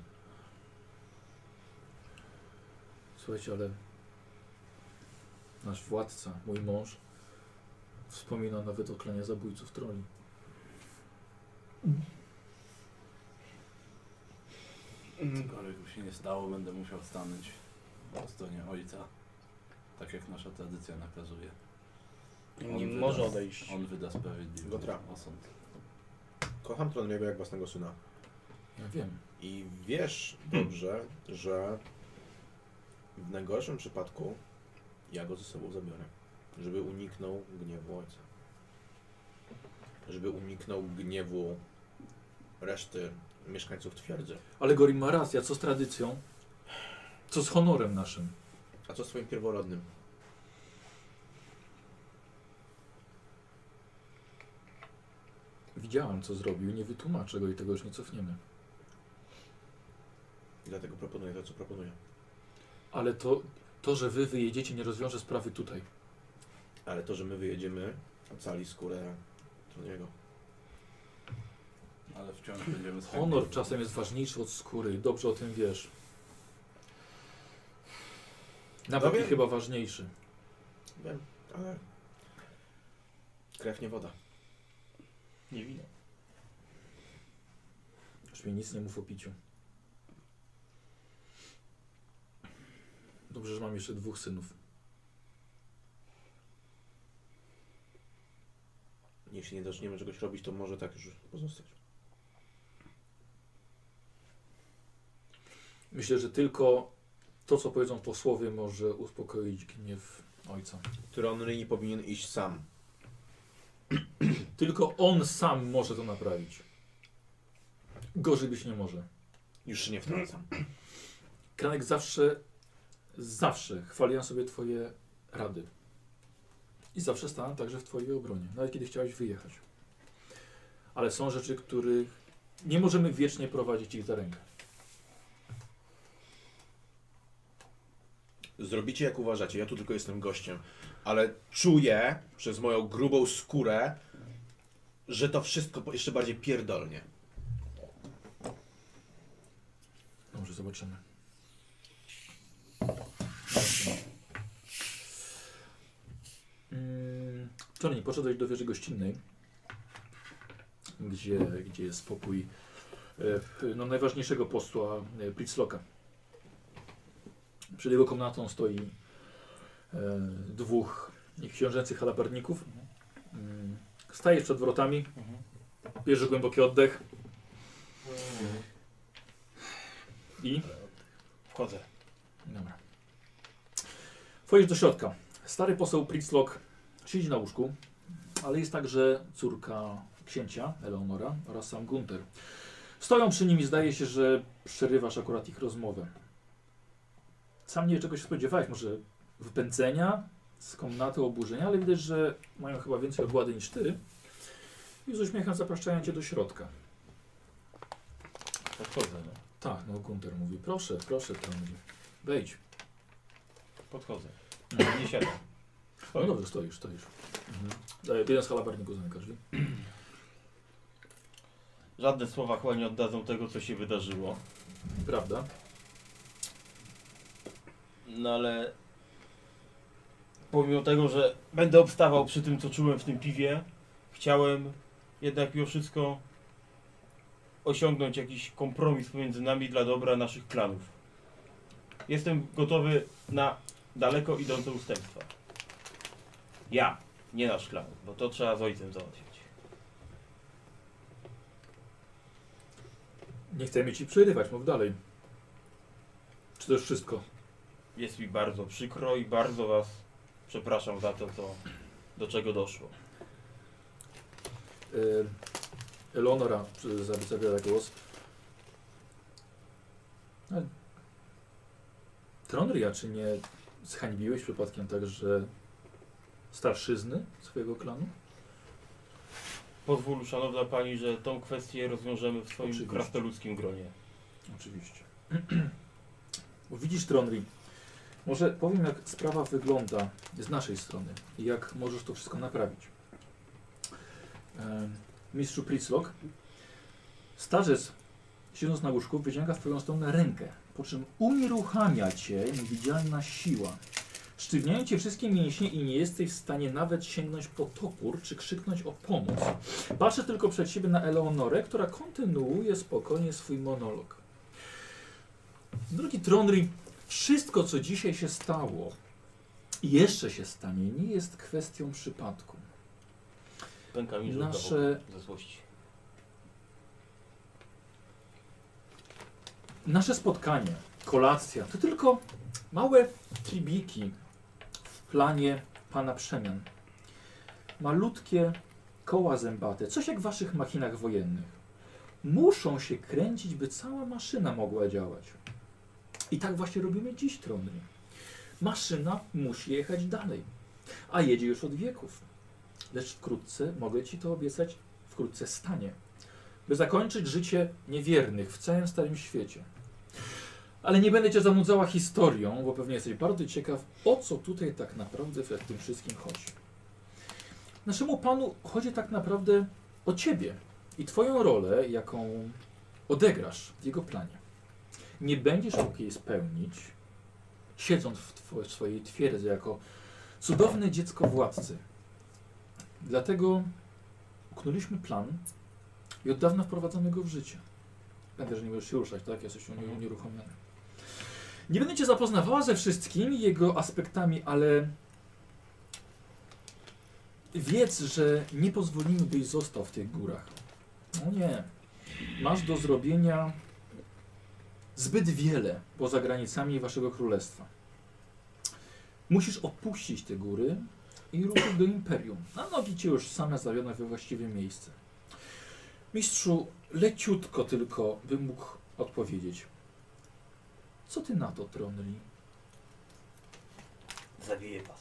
[SPEAKER 2] Słuchajcie, ale nasz władca, mój mąż, wspomina nawet o klanie zabójców troli.
[SPEAKER 6] Mm.
[SPEAKER 1] Cokolwiek by się nie stało, będę musiał stanąć po stronie ojca, tak jak nasza tradycja nakazuje. On
[SPEAKER 6] Nie
[SPEAKER 1] wyda-
[SPEAKER 6] może odejść.
[SPEAKER 1] On wyda sprawiedliwy
[SPEAKER 4] Gotra.
[SPEAKER 1] osąd.
[SPEAKER 4] Kocham Tronriego jak własnego syna.
[SPEAKER 2] Ja wiem.
[SPEAKER 4] I wiesz dobrze, że w najgorszym przypadku ja go ze sobą zabiorę. Żeby uniknął gniewu ojca. Żeby uniknął gniewu reszty mieszkańców twierdzy.
[SPEAKER 2] Ale Gorim ma rację, a co z tradycją? Co z honorem naszym?
[SPEAKER 4] A co z twoim pierworodnym?
[SPEAKER 2] Widziałam, co zrobił, nie wytłumaczę go i tego już nie cofniemy.
[SPEAKER 4] Dlatego proponuję to, co proponuję.
[SPEAKER 2] Ale to, to że wy wyjedziecie, nie rozwiąże sprawy tutaj.
[SPEAKER 4] Ale to, że my wyjedziemy, ocali skórę Tronriego.
[SPEAKER 1] Ale wciąż będziemy
[SPEAKER 2] Honor czasem jest ważniejszy od skóry i dobrze o tym wiesz. Nawet
[SPEAKER 4] No
[SPEAKER 2] i
[SPEAKER 4] wiem.
[SPEAKER 2] chyba ważniejszy.
[SPEAKER 4] Wiem, ale krew nie woda.
[SPEAKER 3] Nie widzę.
[SPEAKER 2] Już mi nic nie mów o piciu. Dobrze, że mam jeszcze dwóch synów.
[SPEAKER 4] Jeśli nie zaczniemy czegoś robić, to może tak już pozostać.
[SPEAKER 2] Myślę, że tylko to, co powiedzą posłowie, może uspokoić gniew ojca.
[SPEAKER 4] Tronry nie powinien iść sam.
[SPEAKER 2] Tylko on sam może to naprawić. Gorzej być nie może.
[SPEAKER 4] Już się nie wtrącam.
[SPEAKER 2] Kranek zawsze, zawsze chwaliłem sobie Twoje rady. I zawsze stałem także w Twojej obronie, nawet kiedy chciałeś wyjechać. Ale są rzeczy, których nie możemy wiecznie prowadzić ich za rękę.
[SPEAKER 4] Zrobicie jak uważacie, ja tu tylko jestem gościem, ale czuję przez moją grubą skórę, że to wszystko po- jeszcze bardziej pierdolnie.
[SPEAKER 2] Dobrze, zobaczymy. Mm, Czarni, poszedłeś do wieży gościnnej, gdzie, gdzie jest spokój e, p- no, najważniejszego posła e, Pritzlocka. Przed jego komnatą stoi e, dwóch książęcych halabarników. Mm, Stajesz przed wrotami, bierzesz głęboki oddech i
[SPEAKER 3] Wchodzę.
[SPEAKER 2] Dobra. Wchodzisz do środka. Stary poseł Pritzlock siedzi na łóżku, ale jest także córka księcia, Eleonora, oraz sam Gunter. Stoją przy nim i zdaje się, że przerywasz akurat ich rozmowę. Sam nie wiem, czego się spodziewałeś. Może wypędzenia z komnaty oburzenia, ale widać, że mają chyba więcej ogłady niż ty. I z uśmiechem zapraszają cię do środka.
[SPEAKER 3] Podchodzę, no.
[SPEAKER 2] Tak, no Gunter mówi, proszę, proszę, tam wejdź.
[SPEAKER 3] Podchodzę. Nie siadam.
[SPEAKER 2] No
[SPEAKER 3] Stoję.
[SPEAKER 2] dobrze, stoisz, stoisz. Mhm. Jeden z halabarników zamyka drzwi.
[SPEAKER 3] Żadne słowa chyba nie oddadzą tego, co się wydarzyło.
[SPEAKER 2] Prawda?
[SPEAKER 3] No ale... Pomimo tego, że będę obstawał przy tym, co czułem w tym piwie, chciałem jednak mimo wszystko osiągnąć jakiś kompromis pomiędzy nami dla dobra naszych klanów. Jestem gotowy na daleko idące ustępstwa. Ja, nie nasz klan, bo to trzeba z ojcem załatwić.
[SPEAKER 2] Nie chcemy ci przerywać, mów dalej. Czy to już wszystko?
[SPEAKER 3] Jest mi bardzo przykro i bardzo Was przepraszam za to, co, do czego doszło.
[SPEAKER 2] Y, Eleonora y, za- zabiera głos. Ale... Tronria, czy nie zhańbiłeś przypadkiem także starszyzny swojego klanu?
[SPEAKER 3] Pozwól, szanowna Pani, że tą kwestię rozwiążemy w swoim
[SPEAKER 2] Oczywiście.
[SPEAKER 3] krasnoludzkim gronie.
[SPEAKER 2] Oczywiście. Widzisz, Tronri, może powiem, jak sprawa wygląda z naszej strony i jak możesz to wszystko naprawić. E, mistrzu Pritzlock, starzec, siedząc na łóżku, wyciąga w twoją stronę rękę, po czym unieruchamia cię niewidzialna siła. Sztywniają cię wszystkie mięśnie i nie jesteś w stanie nawet sięgnąć po topór czy krzyknąć o pomoc. Patrzę tylko przed siebie na Eleonorę, która kontynuuje spokojnie swój monolog. Drogi Tronry, wszystko co dzisiaj się stało i jeszcze się stanie, nie jest kwestią przypadku.
[SPEAKER 3] Pęka mi żółta
[SPEAKER 2] Nasze,
[SPEAKER 3] wokół ze złości.
[SPEAKER 2] nasze spotkanie, kolacja, to tylko małe tribiki w planie pana przemian. Malutkie koła zębate, coś jak w waszych machinach wojennych. Muszą się kręcić, by cała maszyna mogła działać. I tak właśnie robimy dziś trony. Maszyna musi jechać dalej, a jedzie już od wieków. Lecz wkrótce, mogę ci to obiecać, wkrótce stanie, by zakończyć życie niewiernych w całym starym świecie. Ale nie będę cię zanudzała historią, bo pewnie jesteś bardzo ciekaw, o co tutaj tak naprawdę w tym wszystkim chodzi. Naszemu panu chodzi tak naprawdę o ciebie i twoją rolę, jaką odegrasz w jego planie. Nie będziesz mógł jej spełnić, siedząc w, two- w swojej twierdzy jako cudowne dziecko władcy. Dlatego uknuliśmy plan i od dawna wprowadzamy go w życie. Pamiętaj, że nie możesz się ruszać, tak? Jesteś uni- unieruchomiony. Nie będę Cię zapoznawała ze wszystkimi jego aspektami, ale wiedz, że nie pozwolimy, byś został w tych górach. No nie. Masz do zrobienia zbyt wiele poza granicami Waszego królestwa. Musisz opuścić te góry i ruszyć do Imperium. Na nogi Cię już same zawiodą we właściwe miejsce. Mistrzu, leciutko tylko bym mógł odpowiedzieć. Co ty na to, Tronli?
[SPEAKER 8] Zabiję was.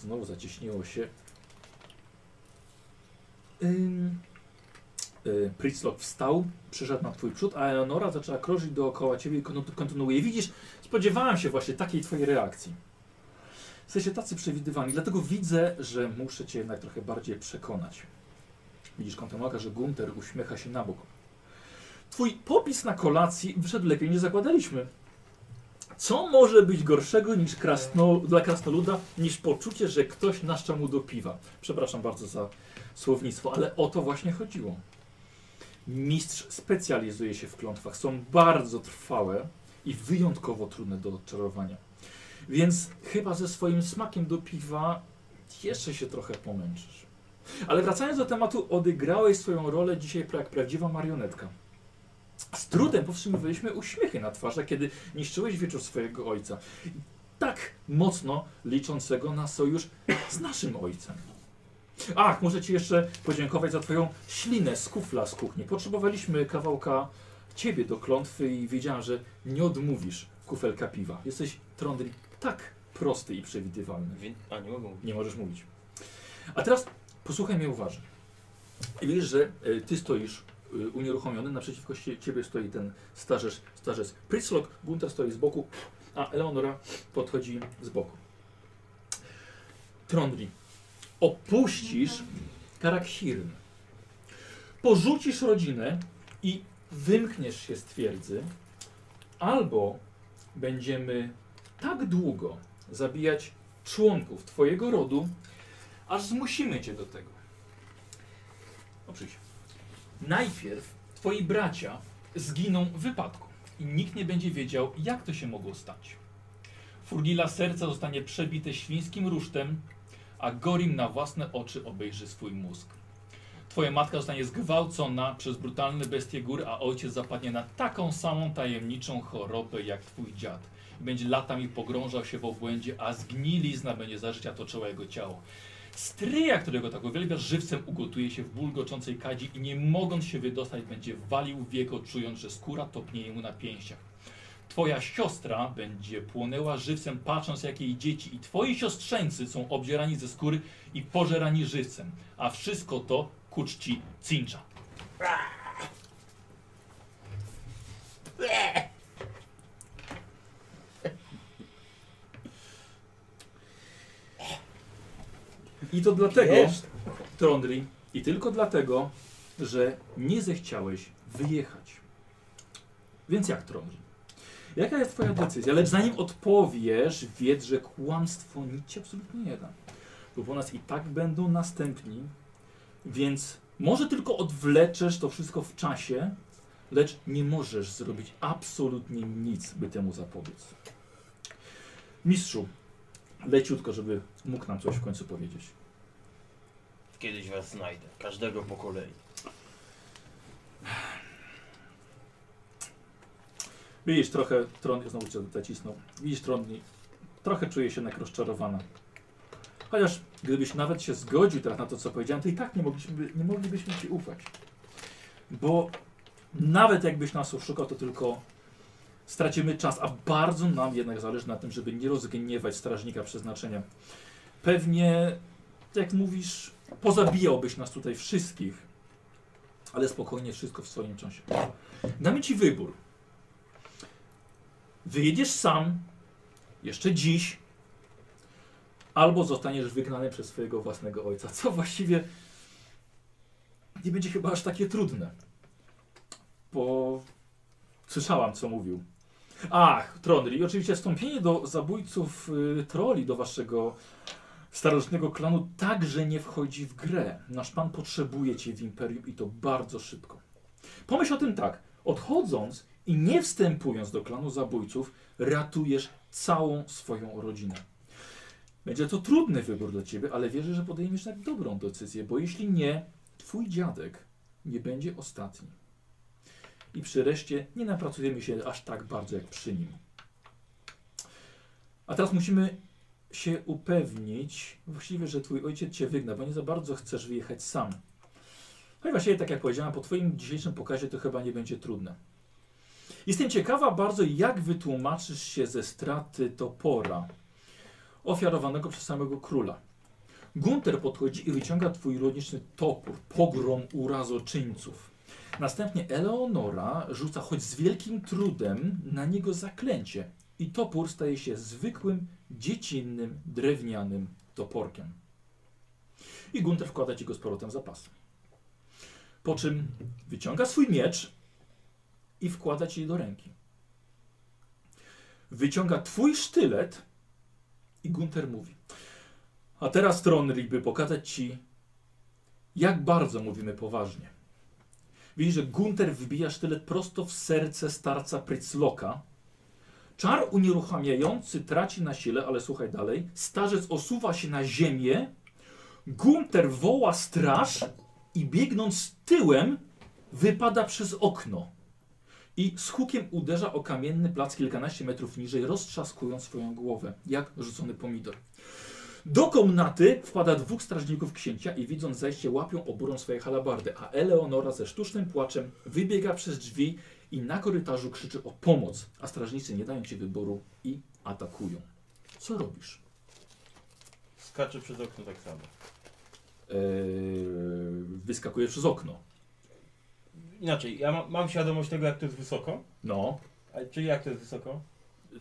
[SPEAKER 2] Znowu zacieśniło się. Ym, Y, Pritzlock wstał, przyszedł na twój przód, a Eleonora zaczęła krążyć dookoła ciebie i kontynu- kontynuuje. Widzisz, spodziewałem się właśnie takiej twojej reakcji. Jesteście tacy przewidywani, dlatego widzę, że muszę cię jednak trochę bardziej przekonać. Widzisz kątem oka, że Gunter uśmiecha się na bok. Twój popis na kolacji wyszedł lepiej niż zakładaliśmy. Co może być gorszego niż krasno, dla krasnoluda, niż poczucie, że ktoś naszcza mu do piwa? Przepraszam bardzo za słownictwo, ale o to właśnie chodziło. Mistrz specjalizuje się w klątwach. Są bardzo trwałe i wyjątkowo trudne do odczarowania. Więc chyba ze swoim smakiem do piwa jeszcze się trochę pomęczysz. Ale wracając do tematu, odegrałeś swoją rolę dzisiaj pra- jak prawdziwa marionetka. Z trudem powstrzymywaliśmy uśmiechy na twarzach, kiedy niszczyłeś wieczór swojego ojca. Tak mocno liczącego na sojusz z naszym ojcem. Ach, muszę Ci jeszcze podziękować za Twoją ślinę z kufla z kuchni. Potrzebowaliśmy kawałka Ciebie do klątwy i wiedziałem, że nie odmówisz kufelka piwa. Jesteś trądry tak prosty i przewidywalny.
[SPEAKER 8] Wie- A nie mogą.
[SPEAKER 2] Nie możesz mówić. A teraz posłuchaj mnie uważnie. I Widzisz, że e, ty stoisz e, unieruchomiony, naprzeciwko sie- ciebie stoi ten starzec, starzec Pritzlock, Gunter stoi z boku, a Eleonora podchodzi z boku. Trondri, opuścisz Karakhirn. Porzucisz rodzinę i wymkniesz się z twierdzy, albo będziemy tak długo zabijać członków Twojego rodu, aż zmusimy Cię do tego. No przyjdź. Najpierw Twoi bracia zginą w wypadku i nikt nie będzie wiedział, jak to się mogło stać. Furnila serca zostanie przebite świńskim rusztem, a Gorim na własne oczy obejrzy swój mózg. Twoja matka zostanie zgwałcona przez brutalne bestie gór, a ojciec zapadnie na taką samą tajemniczą chorobę jak twój dziad będzie latami pogrążał się w obłędzie, a zgnilizna będzie za życia toczyła jego ciało. Stryja, którego tak uwielbiasz, żywcem ugotuje się w bulgoczącej kadzi i nie mogąc się wydostać, będzie walił w jego, czując, że skóra topnieje mu na pięściach. Twoja siostra będzie płonęła żywcem, patrząc jak jej dzieci i twoi siostrzeńcy są obdzierani ze skóry i pożerani żywcem, a wszystko to ku czci Cincha. I to dlatego, Trondri, i tylko dlatego, że nie zechciałeś wyjechać. Więc jak, Trondri? Jaka jest twoja decyzja? Lecz zanim odpowiesz, wiedz, że kłamstwo nic ci absolutnie nie da. Bo po nas i tak będą następni, więc może tylko odwleczesz to wszystko w czasie, lecz nie możesz zrobić absolutnie nic, by temu zapobiec. Mistrzu, leciutko, żeby mógł nam coś w końcu powiedzieć.
[SPEAKER 8] Kiedyś was znajdę. Każdego po kolei.
[SPEAKER 2] Widzisz trochę, Tron, znowu cię zacisnął. Widzisz Tron, trochę czuje się jednak rozczarowana. Chociaż gdybyś nawet się zgodził teraz na to, co powiedziałem, to i tak nie moglibyśmy, nie moglibyśmy ci ufać. Bo nawet jakbyś nas oszukał, to tylko stracimy czas, a bardzo nam jednak zależy na tym, żeby nie rozgniewać strażnika przeznaczenia. Pewnie, jak mówisz, pozabijałbyś nas tutaj wszystkich, ale spokojnie, wszystko w swoim czasie. Damy ci wybór. Wyjedziesz sam, jeszcze dziś, albo zostaniesz wygnany przez swojego własnego ojca, co właściwie nie będzie chyba aż takie trudne. Bo słyszałam, co mówił. Ach, Trondri, oczywiście wstąpienie do zabójców y, troli, do waszego starożytnego klanu także nie wchodzi w grę. Nasz pan potrzebuje cię w Imperium i to bardzo szybko. Pomyśl o tym tak, odchodząc i nie wstępując do klanu zabójców, ratujesz całą swoją rodzinę. Będzie to trudny wybór dla ciebie, ale wierzę, że podejmiesz tak dobrą decyzję, bo jeśli nie, twój dziadek nie będzie ostatni. I przy reszcie nie napracujemy się aż tak bardzo jak przy nim. A teraz musimy się upewnić, właściwie, że twój ojciec cię wygna, bo nie za bardzo chcesz wyjechać sam. No i właściwie, tak jak powiedziałem, po twoim dzisiejszym pokazie to chyba nie będzie trudne. Jestem ciekawa bardzo, jak wytłumaczysz się ze straty topora ofiarowanego przez samego króla. Gunter podchodzi i wyciąga twój rodzinny topór, pogrom urazoczyńców. Następnie Eleonora rzuca choć z wielkim trudem na niego zaklęcie i topór staje się zwykłym, dziecinnym, drewnianym toporkiem. I Gunter wkłada ci go z powrotem za pas. Po czym wyciąga swój miecz i wkłada ci do ręki. Wyciąga twój sztylet i Gunter mówi. A teraz Tronry, by pokazać ci, jak bardzo mówimy poważnie. Widzisz, że Gunter wybija sztylet prosto w serce starca Prycloka. Czar unieruchamiający traci na sile, ale słuchaj dalej. Starzec osuwa się na ziemię. Gunter woła straż i biegnąc tyłem wypada przez okno. I z hukiem uderza o kamienny plac kilkanaście metrów niżej, roztrzaskując swoją głowę, jak rzucony pomidor. Do komnaty wpada dwóch strażników księcia i widząc zajście łapią oburą swoje halabardy, a Eleonora ze sztucznym płaczem wybiega przez drzwi i na korytarzu krzyczy o pomoc, a strażnicy nie dają ci wyboru i atakują. Co robisz?
[SPEAKER 3] Skacze przez okno tak samo.
[SPEAKER 2] Eee, wyskakujesz przez okno.
[SPEAKER 3] Inaczej, ja ma, mam świadomość tego, jak to jest wysoko.
[SPEAKER 2] No,
[SPEAKER 3] A, czyli jak to jest wysoko?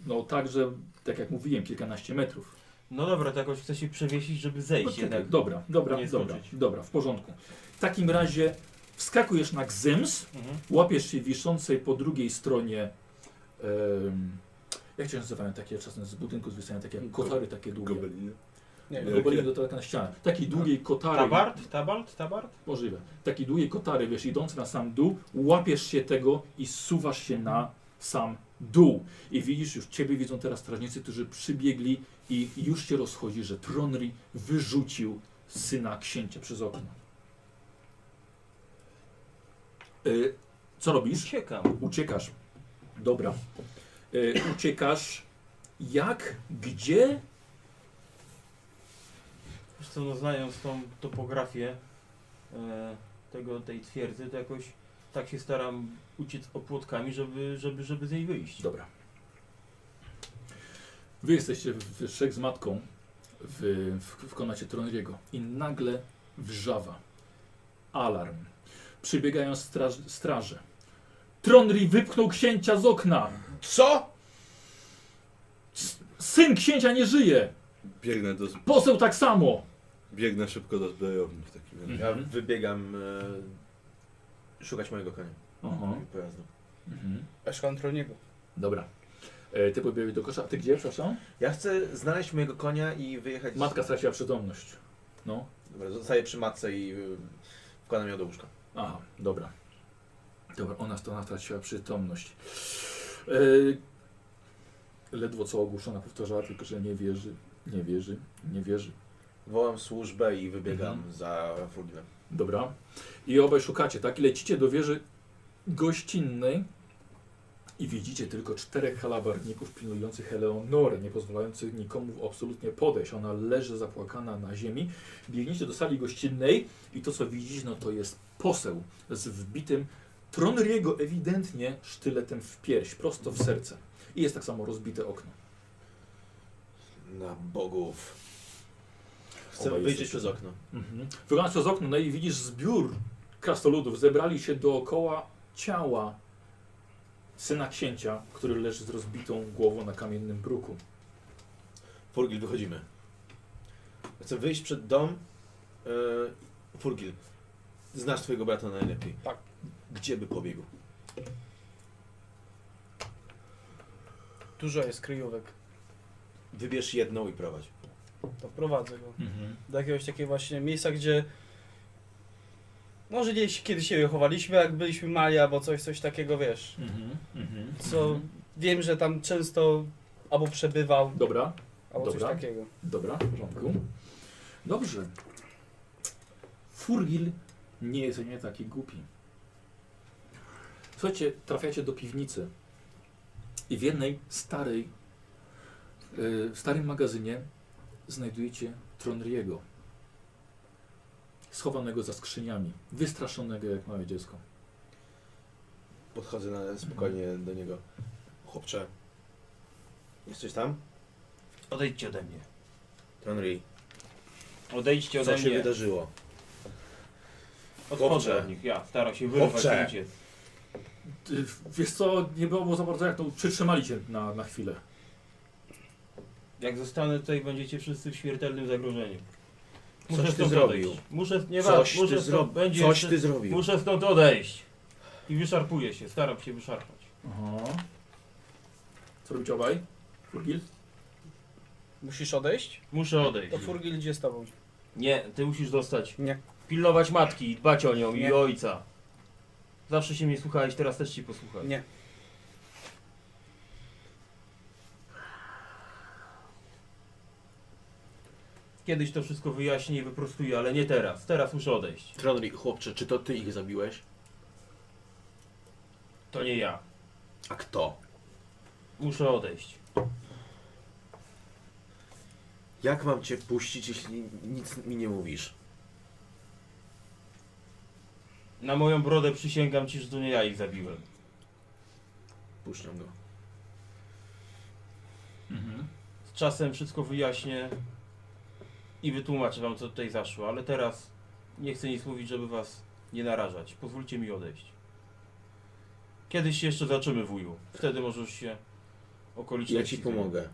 [SPEAKER 2] no także, tak jak mówiłem, kilkanaście metrów.
[SPEAKER 3] No dobra, to jakoś chce się przewiesić, żeby zejść
[SPEAKER 2] No,
[SPEAKER 3] jednak.
[SPEAKER 2] czekaj, dobra, dobra,
[SPEAKER 3] Nie
[SPEAKER 2] dobra,
[SPEAKER 3] skoczyć.
[SPEAKER 2] dobra, w porządku. W takim razie wskakujesz na gzyms,
[SPEAKER 3] Mhm.
[SPEAKER 2] łapiesz się wiszącej po drugiej stronie. em, jak się nazywają takie czasem z budynku zwisają takie
[SPEAKER 7] Go-
[SPEAKER 2] kotary takie długie.
[SPEAKER 7] Gobeliny.
[SPEAKER 6] Nie wiem.
[SPEAKER 2] Gobeliny do tak na ścianę. Takiej długiej kotary.
[SPEAKER 3] Tabard? Tabard? Tabard?
[SPEAKER 2] Możliwe. Takiej długiej kotary, wiesz, idący na sam dół, łapiesz się tego i suwasz się na sam dół. I widzisz, już ciebie widzą teraz strażnicy, którzy przybiegli i już się rozchodzi, że Tronri wyrzucił syna księcia przez okno. Y, co robisz?
[SPEAKER 3] Uciekam.
[SPEAKER 2] Uciekasz. Dobra. Y, uciekasz. Jak? Gdzie?
[SPEAKER 3] Wiesz co, no znając tą topografię e, tego, tej twierdzy, to jakoś tak się staram uciec opłotkami, żeby, żeby, żeby z niej wyjść.
[SPEAKER 2] Dobra. Wy jesteście w, w trzech z matką w, w, w konacie Tronriego i nagle wrzawa. Alarm. Przybiegają straż, straże. Tronri wypchnął księcia z okna.
[SPEAKER 4] Co?
[SPEAKER 2] S- Syn księcia nie żyje.
[SPEAKER 7] Biegnę, do, z-
[SPEAKER 2] Poseł tak samo.
[SPEAKER 7] biegnę szybko do zbrojowni w takim razie.
[SPEAKER 4] Ja
[SPEAKER 2] Mhm.
[SPEAKER 4] wybiegam e, szukać mojego konia. Tak,
[SPEAKER 2] Aha.
[SPEAKER 4] Pojazdu.
[SPEAKER 2] Mhm.
[SPEAKER 6] Ja szukam troniego.
[SPEAKER 2] Dobra. E, ty pobiegłeś do kosza. A ty gdzie, przepraszam?
[SPEAKER 4] Ja chcę znaleźć mojego konia i wyjechać. z-
[SPEAKER 2] Matka straciła przytomność. No.
[SPEAKER 4] Dobra, zostaję przy matce i y, wkładam ją do łóżka.
[SPEAKER 2] Aha, dobra. Dobra, ona, ona straciła przytomność. Yy, ledwo co ogłuszona powtarzała, tylko że nie wierzy, nie wierzy, nie wierzy.
[SPEAKER 4] Wołam służbę i wybiegam
[SPEAKER 2] Mhm.
[SPEAKER 4] za furgnem.
[SPEAKER 2] Dobra. I obaj szukacie, tak? I lecicie do wieży gościnnej i widzicie tylko czterech halabarników pilnujących Eleonorę, nie pozwalających nikomu absolutnie podejść. Ona leży zapłakana na ziemi. Biegniecie do sali gościnnej i to, co widzicie, no to jest poseł z wbitym Tronriego ewidentnie sztyletem w pierś, prosto w serce. I jest tak samo rozbite okno.
[SPEAKER 4] Na bogów. Chcę
[SPEAKER 2] Obaj
[SPEAKER 4] wyjrzeć
[SPEAKER 2] jesteście.
[SPEAKER 4] przez okno.
[SPEAKER 2] Mhm. Wyglądasz przez okno no i widzisz zbiór krasnoludów. Zebrali się dookoła ciała syna księcia, który leży z rozbitą głową na kamiennym bruku.
[SPEAKER 4] Furgil, wychodzimy. Chcę wyjść przed dom. Yy, Furgil, znasz twojego brata najlepiej.
[SPEAKER 6] Tak.
[SPEAKER 4] Gdzie by pobiegł?
[SPEAKER 6] Dużo jest kryjówek.
[SPEAKER 4] Wybierz jedną i prowadź.
[SPEAKER 6] To prowadzę go. Do jakiegoś takiego właśnie miejsca, gdzie... Może gdzieś kiedyś się chowaliśmy, jak byliśmy mali, albo coś, coś takiego, wiesz. Co wiem, że tam często albo przebywał,
[SPEAKER 2] Dobra,
[SPEAKER 6] albo
[SPEAKER 2] Dobra.
[SPEAKER 6] coś takiego.
[SPEAKER 2] dobra, w porządku. Dobrze. Furgil nie jest nie taki głupi. Słuchajcie, trafiacie do piwnicy i w jednej starej, yy, w starym magazynie znajdujecie Tronriego. Schowanego za skrzyniami, wystraszonego jak małe dziecko.
[SPEAKER 4] Podchodzę na, spokojnie do niego. Chłopcze, jesteś tam?
[SPEAKER 8] Odejdźcie ode mnie.
[SPEAKER 4] Tronry,
[SPEAKER 3] Odejdźcie
[SPEAKER 4] co
[SPEAKER 3] ode
[SPEAKER 4] się
[SPEAKER 3] mnie.
[SPEAKER 4] wydarzyło?
[SPEAKER 3] Odchodzę
[SPEAKER 4] Chłopcze.
[SPEAKER 3] od nich, ja staram się wyrwać
[SPEAKER 4] Chłopcze.
[SPEAKER 3] i uciec.
[SPEAKER 2] Ty, Wiesz co, nie było za bardzo jak to przytrzymali cię na, na chwilę.
[SPEAKER 3] Jak zostanę tutaj, będziecie wszyscy w śmiertelnym zagrożeniu. Muszę
[SPEAKER 4] Coś ty
[SPEAKER 3] stąd
[SPEAKER 4] zrobił.
[SPEAKER 3] odejść. Muszę, nie
[SPEAKER 4] Coś
[SPEAKER 3] muszę
[SPEAKER 4] ty,
[SPEAKER 3] stąd-
[SPEAKER 4] zro...
[SPEAKER 3] będzie
[SPEAKER 4] Coś
[SPEAKER 3] jeszcze-
[SPEAKER 4] ty zrobił.
[SPEAKER 3] Muszę stąd odejść. I wyszarpuję się, staram się wyszarpać.
[SPEAKER 2] Aha. Co robicie obaj? Furgil?
[SPEAKER 6] Musisz odejść?
[SPEAKER 3] Muszę odejść.
[SPEAKER 6] To Furgil idzie z tobą.
[SPEAKER 3] Nie, ty musisz zostać.
[SPEAKER 6] Nie.
[SPEAKER 3] Pilnować matki, i dbać o nią i
[SPEAKER 6] Nie.
[SPEAKER 3] ojca. Zawsze się mnie słuchałeś, teraz też ci posłuchaj.
[SPEAKER 6] Nie.
[SPEAKER 3] Kiedyś to wszystko wyjaśnię i wyprostuję, ale nie teraz. Teraz muszę odejść.
[SPEAKER 4] Tronry, chłopcze, czy to ty ich zabiłeś?
[SPEAKER 3] To nie ja.
[SPEAKER 4] A kto?
[SPEAKER 3] Muszę odejść.
[SPEAKER 4] Jak mam cię puścić, jeśli nic mi nie mówisz?
[SPEAKER 3] Na moją brodę przysięgam ci, że to nie ja ich zabiłem.
[SPEAKER 4] Puszczam go.
[SPEAKER 2] Mhm.
[SPEAKER 3] Z czasem wszystko wyjaśnię i wytłumaczę wam, co tutaj zaszło, ale teraz nie chcę nic mówić, żeby was nie narażać. Pozwólcie mi odejść. Kiedyś się jeszcze zaczymy, wuju. Wtedy możesz się
[SPEAKER 4] Ja
[SPEAKER 3] okoliczności...
[SPEAKER 4] ci pomogę.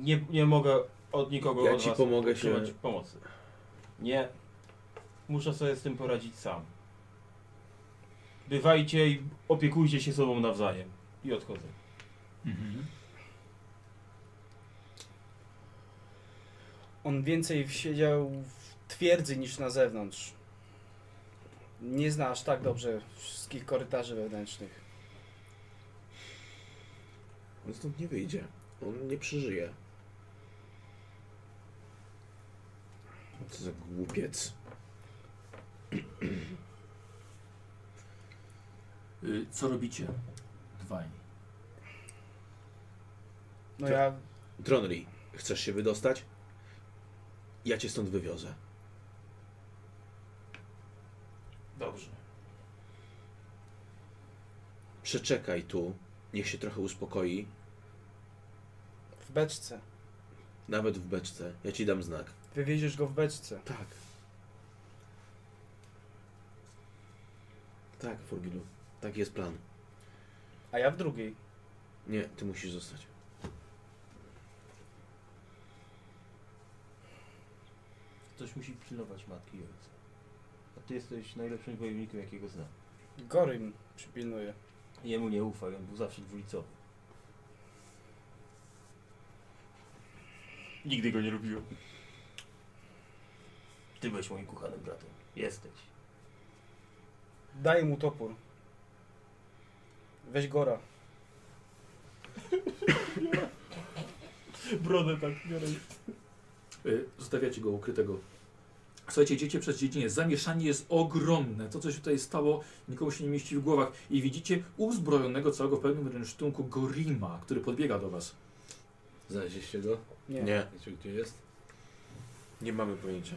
[SPEAKER 3] Nie, nie mogę od nikogo
[SPEAKER 4] Ja
[SPEAKER 3] od
[SPEAKER 4] ci
[SPEAKER 3] was
[SPEAKER 4] pomogę się-
[SPEAKER 3] otrzymać pomocy. Nie. Muszę sobie z tym poradzić sam. Bywajcie i opiekujcie się sobą nawzajem. I odchodzę.
[SPEAKER 2] Mhm.
[SPEAKER 6] On więcej siedział w twierdzy niż na zewnątrz. Nie zna aż tak dobrze wszystkich korytarzy wewnętrznych.
[SPEAKER 4] On stąd nie wyjdzie. On nie przeżyje. Co za głupiec.
[SPEAKER 2] Y, Co robicie? Dwaj.
[SPEAKER 6] No
[SPEAKER 4] To-
[SPEAKER 6] ja
[SPEAKER 4] Tronry, chcesz się wydostać? Ja cię stąd wywiozę.
[SPEAKER 3] Dobrze.
[SPEAKER 4] Przeczekaj tu. Niech się trochę uspokoi.
[SPEAKER 6] w beczce.
[SPEAKER 4] Nawet w beczce. Ja ci dam znak.
[SPEAKER 6] Wywieziesz go w beczce.
[SPEAKER 4] Tak. Tak, Furgilu. Tak jest plan.
[SPEAKER 6] A ja w drugiej.
[SPEAKER 4] Nie, ty musisz zostać.
[SPEAKER 3] Ktoś musi pilnować matki i ojca. A ty jesteś najlepszym wojownikiem, jakiego znam.
[SPEAKER 6] Gorym przypilnuje.
[SPEAKER 3] Jemu nie ufaj, on był zawsze dwulicowy. Nigdy go nie lubiłem. Ty byłeś moim kochanym bratem. Jesteś.
[SPEAKER 6] Daj mu topór. Weź Gora.
[SPEAKER 3] Brodę tak biorę.
[SPEAKER 2] Y, Zostawiacie go ukrytego. Słuchajcie, idziecie przez dziedzinę. Zamieszanie jest ogromne. To, co się tutaj stało, nikomu się nie mieści w głowach. I widzicie uzbrojonego całego w pełnym rynsztunku Gorima, który podbiega do was.
[SPEAKER 7] Znaleźliście go?
[SPEAKER 6] Nie.
[SPEAKER 4] nie,
[SPEAKER 7] Wiecie gdzie jest?
[SPEAKER 4] nie mamy pojęcia.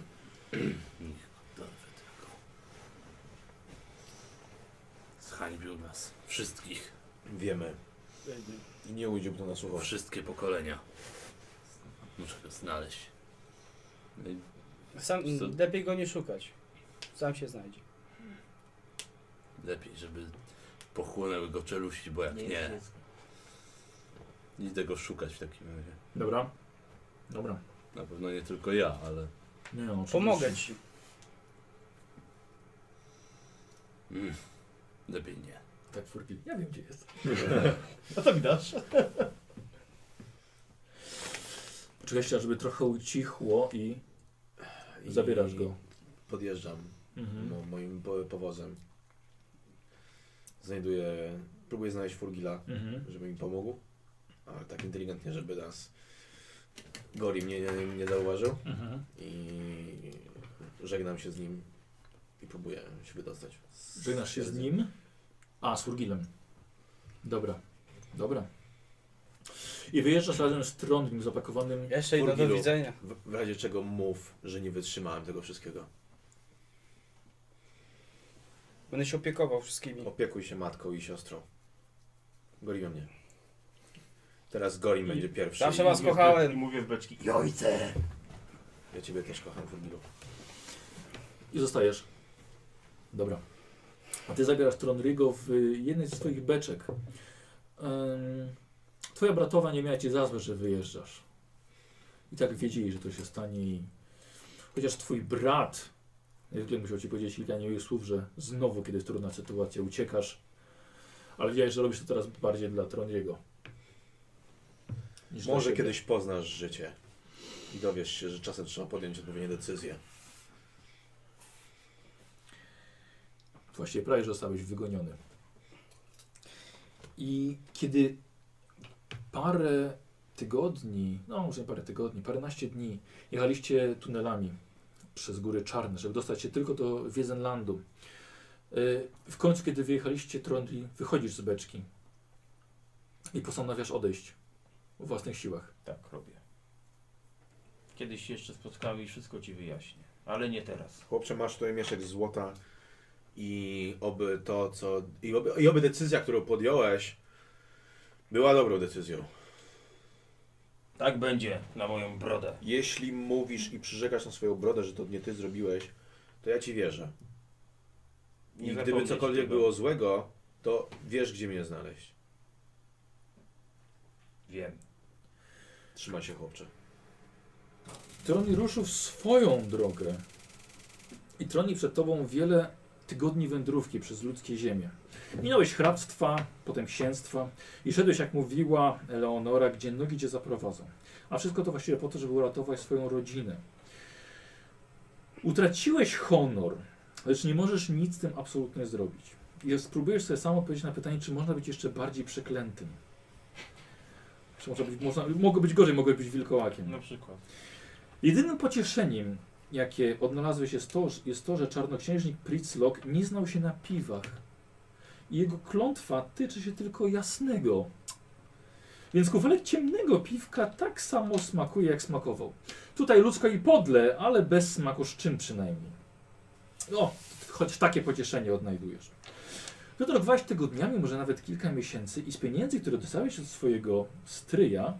[SPEAKER 7] Zhańbił nas. Wszystkich.
[SPEAKER 4] Wiemy. I nie ujdzie do nas uwagi.
[SPEAKER 7] Wszystkie pokolenia. Muszę go znaleźć. No i
[SPEAKER 6] Sam,
[SPEAKER 7] Co?
[SPEAKER 6] lepiej go nie szukać. Sam się znajdzie.
[SPEAKER 7] lepiej, żeby pochłonęły go czeluści, bo jak nie, idę go szukać w takim razie.
[SPEAKER 2] Dobra. Dobra.
[SPEAKER 7] Na pewno nie tylko ja, ale...
[SPEAKER 2] Nie, no, oczywiście.
[SPEAKER 6] Pomogę ci.
[SPEAKER 7] Mm, lepiej nie.
[SPEAKER 2] Tak, Furgil. Ja wiem, gdzie jest.
[SPEAKER 3] A to mi dasz?
[SPEAKER 2] Poczekajcie, żeby trochę ucichło i
[SPEAKER 4] I
[SPEAKER 2] zabierasz go.
[SPEAKER 4] Podjeżdżam
[SPEAKER 2] No.
[SPEAKER 4] mo- moim po- powozem. Znajduję. Próbuję znaleźć Furgila,
[SPEAKER 2] Mhm.
[SPEAKER 4] żeby mi pomógł. Ale tak inteligentnie, żeby nas. Gori mnie nie, nie zauważył.
[SPEAKER 2] Mhm.
[SPEAKER 4] I żegnam się z nim. I próbuję się wydostać. z-
[SPEAKER 2] Żegnasz się z nim? A, z Furgilem. Dobra, dobra. I wyjeżdżasz razem z Trondrim zapakowanym.
[SPEAKER 6] Jeszcze jedno do
[SPEAKER 4] Furgilu.
[SPEAKER 6] widzenia.
[SPEAKER 4] W, w razie czego mów, że nie wytrzymałem tego wszystkiego.
[SPEAKER 6] Będę się opiekował wszystkimi.
[SPEAKER 4] Opiekuj się matką i siostrą. Goli mnie. Teraz Gorim będzie pierwszy.
[SPEAKER 6] Zawsze
[SPEAKER 4] i-
[SPEAKER 6] was kochałem.
[SPEAKER 3] I mówię w beczki.
[SPEAKER 4] Ja ciebie też kocham, Furgilu.
[SPEAKER 2] I zostajesz. Dobra. A ty zabierasz Tronrygo w y, jednej ze swoich beczek. Ym, twoja bratowa nie miała ci za złe, że wyjeżdżasz. I tak wiedzieli, że to się stanie. i- Chociaż twój brat, niezwykle musiał ci powiedzieć kilka niemiłych słów, że znowu, kiedy jest trudna sytuacja, uciekasz. Ale wiedziałeś, że robisz to teraz bardziej dla Tronrygo. niż dla
[SPEAKER 4] Może
[SPEAKER 2] siebie.
[SPEAKER 4] kiedyś poznasz życie i dowiesz się, że czasem trzeba podjąć odpowiednie decyzje.
[SPEAKER 2] Właściwie prawie że zostałeś wygoniony. I kiedy parę tygodni, no może nie parę tygodni, paręnaście dni jechaliście tunelami przez góry Czarne, żeby dostać się tylko do Wiesenlandu. y, W końcu, kiedy wyjechaliście Trondli, wychodzisz z beczki i postanawiasz odejść w własnych siłach.
[SPEAKER 3] Tak robię.
[SPEAKER 8] Kiedyś się jeszcze spotkamy i wszystko ci wyjaśnię. Ale nie teraz.
[SPEAKER 4] Chłopcze, masz tutaj mieszek złota i oby to, co... I oby, i oby decyzja, którą podjąłeś, była dobrą decyzją.
[SPEAKER 8] Tak będzie na moją brodę.
[SPEAKER 4] Jeśli mówisz i przyrzekasz na swoją brodę, że to nie ty zrobiłeś, to ja ci wierzę.
[SPEAKER 8] Nie
[SPEAKER 4] I gdyby
[SPEAKER 8] zapomnieć
[SPEAKER 4] cokolwiek
[SPEAKER 8] tego.
[SPEAKER 4] było złego, to wiesz, gdzie mnie znaleźć.
[SPEAKER 8] Wiem.
[SPEAKER 4] Trzymaj się, chłopcze.
[SPEAKER 2] Troni ruszył w swoją drogę. I troni przed tobą wiele tygodni wędrówki przez ludzkie ziemie. Minąłeś hrabstwa, potem księstwa i szedłeś, jak mówiła Eleonora, gdzie nogi cię zaprowadzą. A wszystko to właściwie po to, żeby uratować swoją rodzinę. Utraciłeś honor, lecz nie możesz nic z tym absolutnie zrobić. I spróbujesz sobie sam odpowiedzieć na pytanie, czy można być jeszcze bardziej przeklętym. Czy może być, można, mogło być gorzej, mogło być wilkołakiem.
[SPEAKER 3] Na przykład.
[SPEAKER 2] Jedynym pocieszeniem, jakie odnalazłeś jest to, jest to że czarnoksiężnik Pritzlock nie znał się na piwach. I jego klątwa tyczy się tylko jasnego. Więc kufelek ciemnego piwka tak samo smakuje, jak smakował. Tutaj ludzko i podle, ale bez smaku z czym przynajmniej. No, choć takie pocieszenie odnajdujesz. Wydrogowałeś tygodniami, może nawet kilka miesięcy i z pieniędzy, które dostałeś od swojego stryja,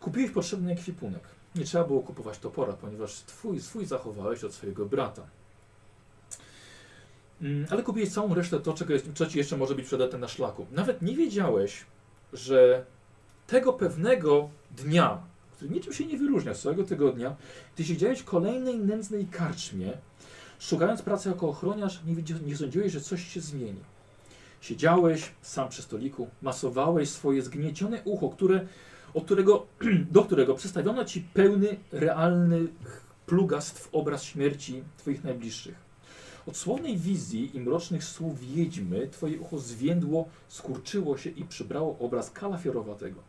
[SPEAKER 2] Kupiłeś potrzebny ekwipunek. Nie trzeba było kupować topora, ponieważ twój, swój zachowałeś od swojego brata. Mm, Ale kupiłeś całą resztę to, czego jest, co ci jeszcze może być przydatne na szlaku. Nawet nie wiedziałeś, że tego pewnego dnia, który niczym się nie wyróżnia z całego tygodnia, ty siedziałeś w kolejnej nędznej karczmie, szukając pracy jako ochroniarz, nie, widzi- nie sądziłeś, że coś się zmieni. Siedziałeś sam przy stoliku, masowałeś swoje zgniecione ucho, które od którego, do którego przedstawiono ci pełny, realny plugastw obraz śmierci twoich najbliższych. Od słownej wizji i mrocznych słów wiedźmy twoje ucho zwiędło, skurczyło się i przybrało obraz kalafiorowatego.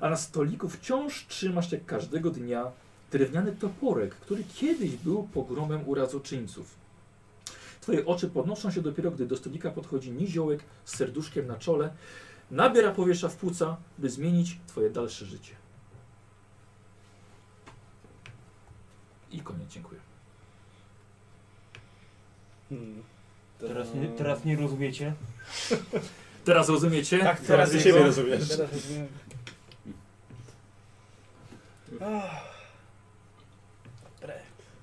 [SPEAKER 2] A na stoliku wciąż trzymasz jak każdego dnia drewniany toporek, który kiedyś był pogromem urazoczyńców. Twoje oczy podnoszą się dopiero, gdy do stolika podchodzi niziołek z serduszkiem na czole, nabiera powietrza w płuca, by zmienić Twoje dalsze życie. I koniec, dziękuję.
[SPEAKER 6] Hmm.
[SPEAKER 8] Teraz nie, teraz nie rozumiecie?
[SPEAKER 2] Teraz rozumiecie?
[SPEAKER 6] Tak,
[SPEAKER 4] Teraz ty siebie rozumiesz.
[SPEAKER 6] Teraz rozumiem.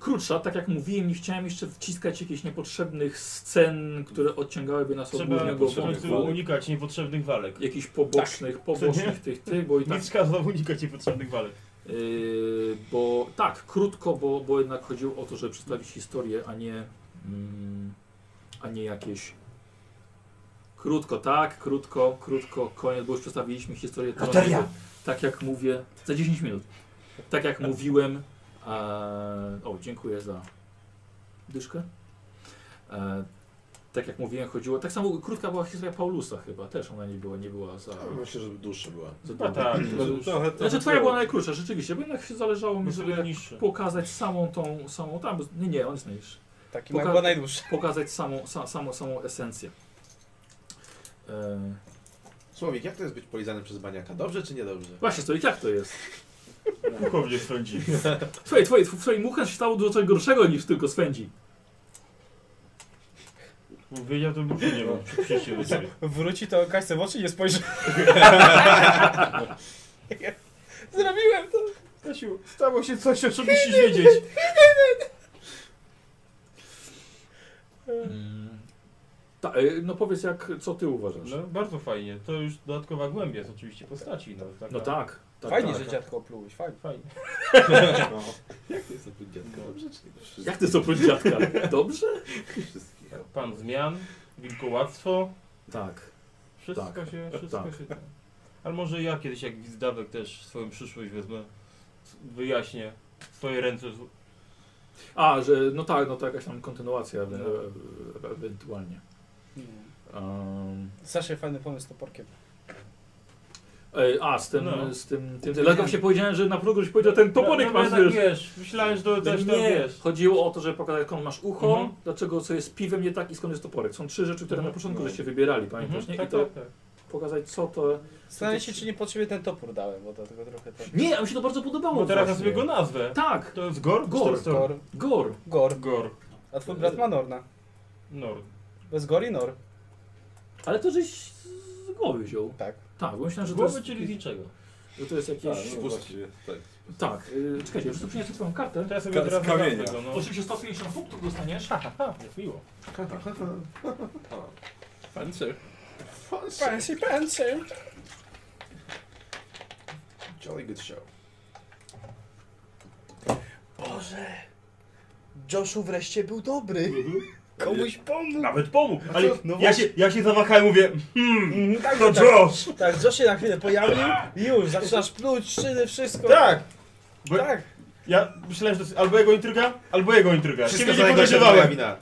[SPEAKER 2] Krótsza, tak jak mówiłem, nie chciałem jeszcze wciskać jakichś niepotrzebnych scen, które odciągałyby nas od
[SPEAKER 3] Trzeba
[SPEAKER 2] głównego
[SPEAKER 3] w końcu
[SPEAKER 2] wątku.
[SPEAKER 3] unikać niepotrzebnych walek.
[SPEAKER 2] Jakichś pobocznych,
[SPEAKER 3] Tak. Co nie?
[SPEAKER 2] pobocznych tych, tych, bo i tak
[SPEAKER 3] Nic kazał unikać niepotrzebnych walek.
[SPEAKER 2] Yy, bo tak, krótko, bo, bo jednak chodziło o to, żeby przedstawić historię, a nie, mm, a nie jakieś. Krótko, tak, krótko, krótko, koniec, bo już przedstawiliśmy historię
[SPEAKER 8] Loteria!
[SPEAKER 2] Toronto. Tak jak mówię, za 10 minut. Tak jak mówiłem. E, o, dziękuję za dyszkę. E, tak jak mówiłem, chodziło. Tak samo krótka była historia Paulusa chyba, też ona nie była, nie była za.
[SPEAKER 4] No, Myślę, że dłuższa była.
[SPEAKER 2] za
[SPEAKER 3] No
[SPEAKER 2] długa.
[SPEAKER 3] tak,
[SPEAKER 2] Za
[SPEAKER 3] to
[SPEAKER 1] Trochę to
[SPEAKER 2] Znaczy twoja była najkrótsza, rzeczywiście, bo jednak się zależało mi, żeby
[SPEAKER 3] jest
[SPEAKER 2] jak
[SPEAKER 3] niższe.
[SPEAKER 2] pokazać samą tą, samą tam, nie, nie, on jest najniższy.
[SPEAKER 6] Taki
[SPEAKER 2] Poka-
[SPEAKER 6] Poka- była najdłuższa.
[SPEAKER 2] Pokazać samą, sa, samą, samą esencję. E,
[SPEAKER 4] Słowik, jak to jest być polizanym przez baniaka? Dobrze czy niedobrze?
[SPEAKER 2] właśnie, Stolik, jak to jest?
[SPEAKER 3] Puchownie sądzi.
[SPEAKER 2] Twoje, twoje, twoje mucha się stało dużo coś gorszego niż tylko swędzi.
[SPEAKER 3] Wiedział to by nie był przy przyjściu do ciebie.
[SPEAKER 6] Wróci to Kaśce w oczy i nie spojrzy. Zrobiłem to.
[SPEAKER 3] Kasiu, stało się coś, o czym musisz wiedzieć.
[SPEAKER 2] Mm, Ta, e, no powiedz jak, co ty uważasz?
[SPEAKER 3] No, bardzo fajnie. To już dodatkowa głębia jest oczywiście postaci. No, taka...
[SPEAKER 2] No tak. tak
[SPEAKER 6] Fajnie,
[SPEAKER 2] tak.
[SPEAKER 6] że dziadko oplułeś, fajnie.
[SPEAKER 3] Fajnie.
[SPEAKER 1] tak,
[SPEAKER 2] Jak ty to oprócz dziadka? Dobrze?
[SPEAKER 3] Pan zmian, wilkołactwo,
[SPEAKER 2] Tak.
[SPEAKER 3] wszystko
[SPEAKER 2] Tak.
[SPEAKER 3] się... Wszystko
[SPEAKER 2] Tak.
[SPEAKER 3] się Ale może ja kiedyś, jak Wizdawek też swoją przyszłość wezmę, wyjaśnię swoje ręce. z-
[SPEAKER 2] A, że no tak, no to jakaś tam kontynuacja e, e, ewentualnie. Um,
[SPEAKER 6] Sasza, fajny pomysł z toporkiem.
[SPEAKER 2] e, a, z tym,
[SPEAKER 3] No.
[SPEAKER 2] z tym, tym, tym dlatego się powiedziałem, że na progu się powiedział, ten toporek
[SPEAKER 3] no,
[SPEAKER 2] masz,
[SPEAKER 3] jednak
[SPEAKER 2] wiesz.
[SPEAKER 3] wiesz. Myślałem, że to też tam
[SPEAKER 2] Nie,
[SPEAKER 3] wiesz.
[SPEAKER 2] chodziło o to, żeby pokazać skąd masz ucho,
[SPEAKER 3] Mhm.
[SPEAKER 2] dlaczego co jest piwem nie tak i skąd jest toporek. Są trzy rzeczy, które na
[SPEAKER 3] Mhm.
[SPEAKER 2] początku
[SPEAKER 3] No.
[SPEAKER 2] żeście wybierali, pamiętasz,
[SPEAKER 3] Mhm,
[SPEAKER 2] nie?
[SPEAKER 3] tak,
[SPEAKER 2] I to
[SPEAKER 3] tak, tak.
[SPEAKER 2] pokazać co to...
[SPEAKER 6] Zastanawiam się, czy nie pod siebie ten topór dałem, bo do tego trochę tak.
[SPEAKER 2] Nie, a mi się to bardzo podobało
[SPEAKER 3] Bo teraz ja
[SPEAKER 2] właśnie.
[SPEAKER 3] sobie go nazwę.
[SPEAKER 2] Tak,
[SPEAKER 3] To jest Gor?
[SPEAKER 2] Gor,
[SPEAKER 3] Czy to jest
[SPEAKER 6] Gor.
[SPEAKER 2] gor.
[SPEAKER 6] Gor.
[SPEAKER 3] Gor.
[SPEAKER 6] A twój brat ma Norna.
[SPEAKER 3] Nord.
[SPEAKER 6] Bez Gor i Nor.
[SPEAKER 2] Ale to żeś z głowy wziął.
[SPEAKER 6] Tak.
[SPEAKER 2] Tak, bo myślałem, że to
[SPEAKER 3] Głowy,
[SPEAKER 2] jest,
[SPEAKER 3] czyli z niczego.
[SPEAKER 2] że to jest
[SPEAKER 1] A,
[SPEAKER 2] jakieś...
[SPEAKER 1] no właściwie, tak.
[SPEAKER 2] Tak, yy, czekajcie, już tu przyniosę twoją kartę.
[SPEAKER 3] To ja sobie Tak,
[SPEAKER 1] Ka- z
[SPEAKER 3] teraz
[SPEAKER 1] kamienia.
[SPEAKER 3] nazwę go, no.
[SPEAKER 2] 850 punktów dostaniesz.
[SPEAKER 3] Aha, jak miło.
[SPEAKER 1] Pancer.
[SPEAKER 6] Fancy, fancy.
[SPEAKER 4] Jolly good show. Boże! Joshu wreszcie był dobry.
[SPEAKER 6] Komuś pomógł.
[SPEAKER 3] Nawet pomógł, ale
[SPEAKER 6] No
[SPEAKER 3] ja, się,
[SPEAKER 6] właśnie.
[SPEAKER 3] ja się zawahałem, mówię,
[SPEAKER 6] Mhm, tak,
[SPEAKER 3] no
[SPEAKER 6] tak,
[SPEAKER 3] Josh!
[SPEAKER 6] tak, Josh się na chwilę pojawił i już zaczynasz pluć, szyny, wszystko.
[SPEAKER 3] Tak! Bo
[SPEAKER 6] Tak.
[SPEAKER 3] ja myślałem, że to jest albo jego intryga, albo jego intryga.
[SPEAKER 4] Wszystko
[SPEAKER 3] Ciebie
[SPEAKER 4] za
[SPEAKER 3] nie
[SPEAKER 4] niego się moja
[SPEAKER 3] podejrzewałem.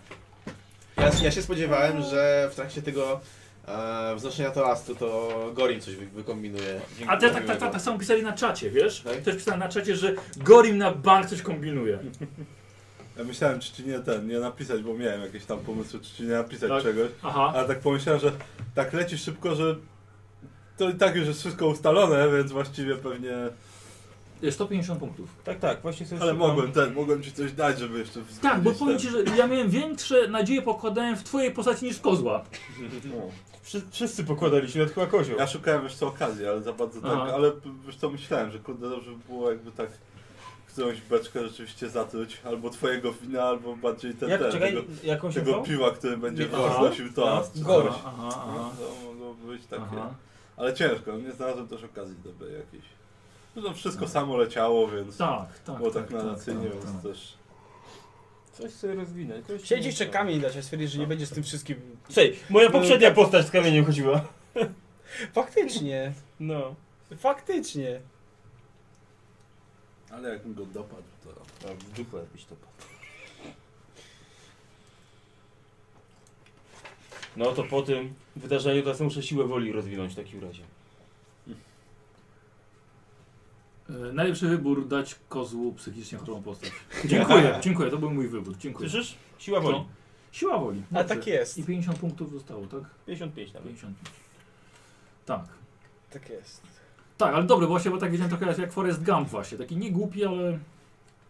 [SPEAKER 4] wina. Ja, ja się spodziewałem, że w trakcie tego e, wznoszenia toastu to Gorin coś wy, wykombinuje.
[SPEAKER 2] A te tak, tak, tak, tak samo pisali na czacie, wiesz?
[SPEAKER 4] Tak?
[SPEAKER 2] Też pisali na czacie, że Gorim na bank coś kombinuje.
[SPEAKER 1] Ja myślałem, czy ci nie ten, nie napisać, bo miałem jakieś tam pomysły, czy ci nie napisać
[SPEAKER 2] Tak.
[SPEAKER 1] czegoś.
[SPEAKER 2] Aha.
[SPEAKER 1] Ale tak pomyślałem, że tak leci szybko, że to i tak już jest wszystko ustalone, więc właściwie pewnie...
[SPEAKER 2] 150 punktów.
[SPEAKER 3] Tak, tak, właśnie sobie
[SPEAKER 1] Ale
[SPEAKER 3] szukam.
[SPEAKER 1] mogłem ten, mogłem ci coś dać, żeby jeszcze
[SPEAKER 2] Tak, bo
[SPEAKER 1] wzbudzić
[SPEAKER 2] powiem
[SPEAKER 1] ten-
[SPEAKER 2] ci, że ja miałem większe nadzieje pokładałem w twojej postaci niż w kozła.
[SPEAKER 1] No.
[SPEAKER 3] Wszy- Wszyscy pokładaliśmy na tylko kozioł.
[SPEAKER 1] Ja szukałem wiesz co okazji, ale za bardzo tak,
[SPEAKER 2] Aha.
[SPEAKER 1] ale p- wiesz co myślałem, że kurde dobrze by było jakby tak którąś beczkę rzeczywiście zatruć, albo twojego wina, albo bardziej ten,
[SPEAKER 3] Jak,
[SPEAKER 1] ten
[SPEAKER 3] czekaj,
[SPEAKER 1] tego,
[SPEAKER 3] jakąś
[SPEAKER 1] tego piwa, który będzie
[SPEAKER 2] Aha.
[SPEAKER 1] roznosił toast. czy
[SPEAKER 6] Gorzej.
[SPEAKER 1] coś.
[SPEAKER 2] Aha,
[SPEAKER 1] No,
[SPEAKER 2] aha,
[SPEAKER 1] to mogło być takie.
[SPEAKER 2] aha.
[SPEAKER 1] Ale ciężko, no nie znalazłem też okazji dobrej jakiejś. Zresztą wszystko samo leciało, więc
[SPEAKER 2] Tak, tak.
[SPEAKER 1] było tak, narracyjnie,
[SPEAKER 2] tak,
[SPEAKER 1] więc
[SPEAKER 2] tak.
[SPEAKER 1] też...
[SPEAKER 3] Coś sobie rozwinę. coś
[SPEAKER 6] Siedzi
[SPEAKER 3] sobie-
[SPEAKER 6] jeszcze kamień dać, a stwierdzisz, że nie będzie z tym wszystkim.
[SPEAKER 3] Cześć, moja poprzednia postać z kamieniem chodziła.
[SPEAKER 6] Faktycznie.
[SPEAKER 3] No.
[SPEAKER 6] Faktycznie.
[SPEAKER 1] Ale jakbym go dopadł, to...
[SPEAKER 3] A w dupę jakbyś to No to po tym wydarzeniu teraz muszę siłę woli rozwinąć w takim razie.
[SPEAKER 2] E, Najlepszy wybór dać kozłu psychicznie chorą postać. Dziękuję, dziękuję, to był mój wybór. Dziękuję.
[SPEAKER 3] Słyszysz? Siła woli.
[SPEAKER 2] No. Siła woli.
[SPEAKER 6] A
[SPEAKER 2] Dobrze.
[SPEAKER 6] tak jest.
[SPEAKER 2] I 50 punktów zostało, tak?
[SPEAKER 3] 55 nawet.
[SPEAKER 2] 55. Tak.
[SPEAKER 6] Tak jest.
[SPEAKER 2] Tak, ale dobry, właśnie, bo tak wiedziałem trochę jak Forrest Gump właśnie. Taki nie głupi, ale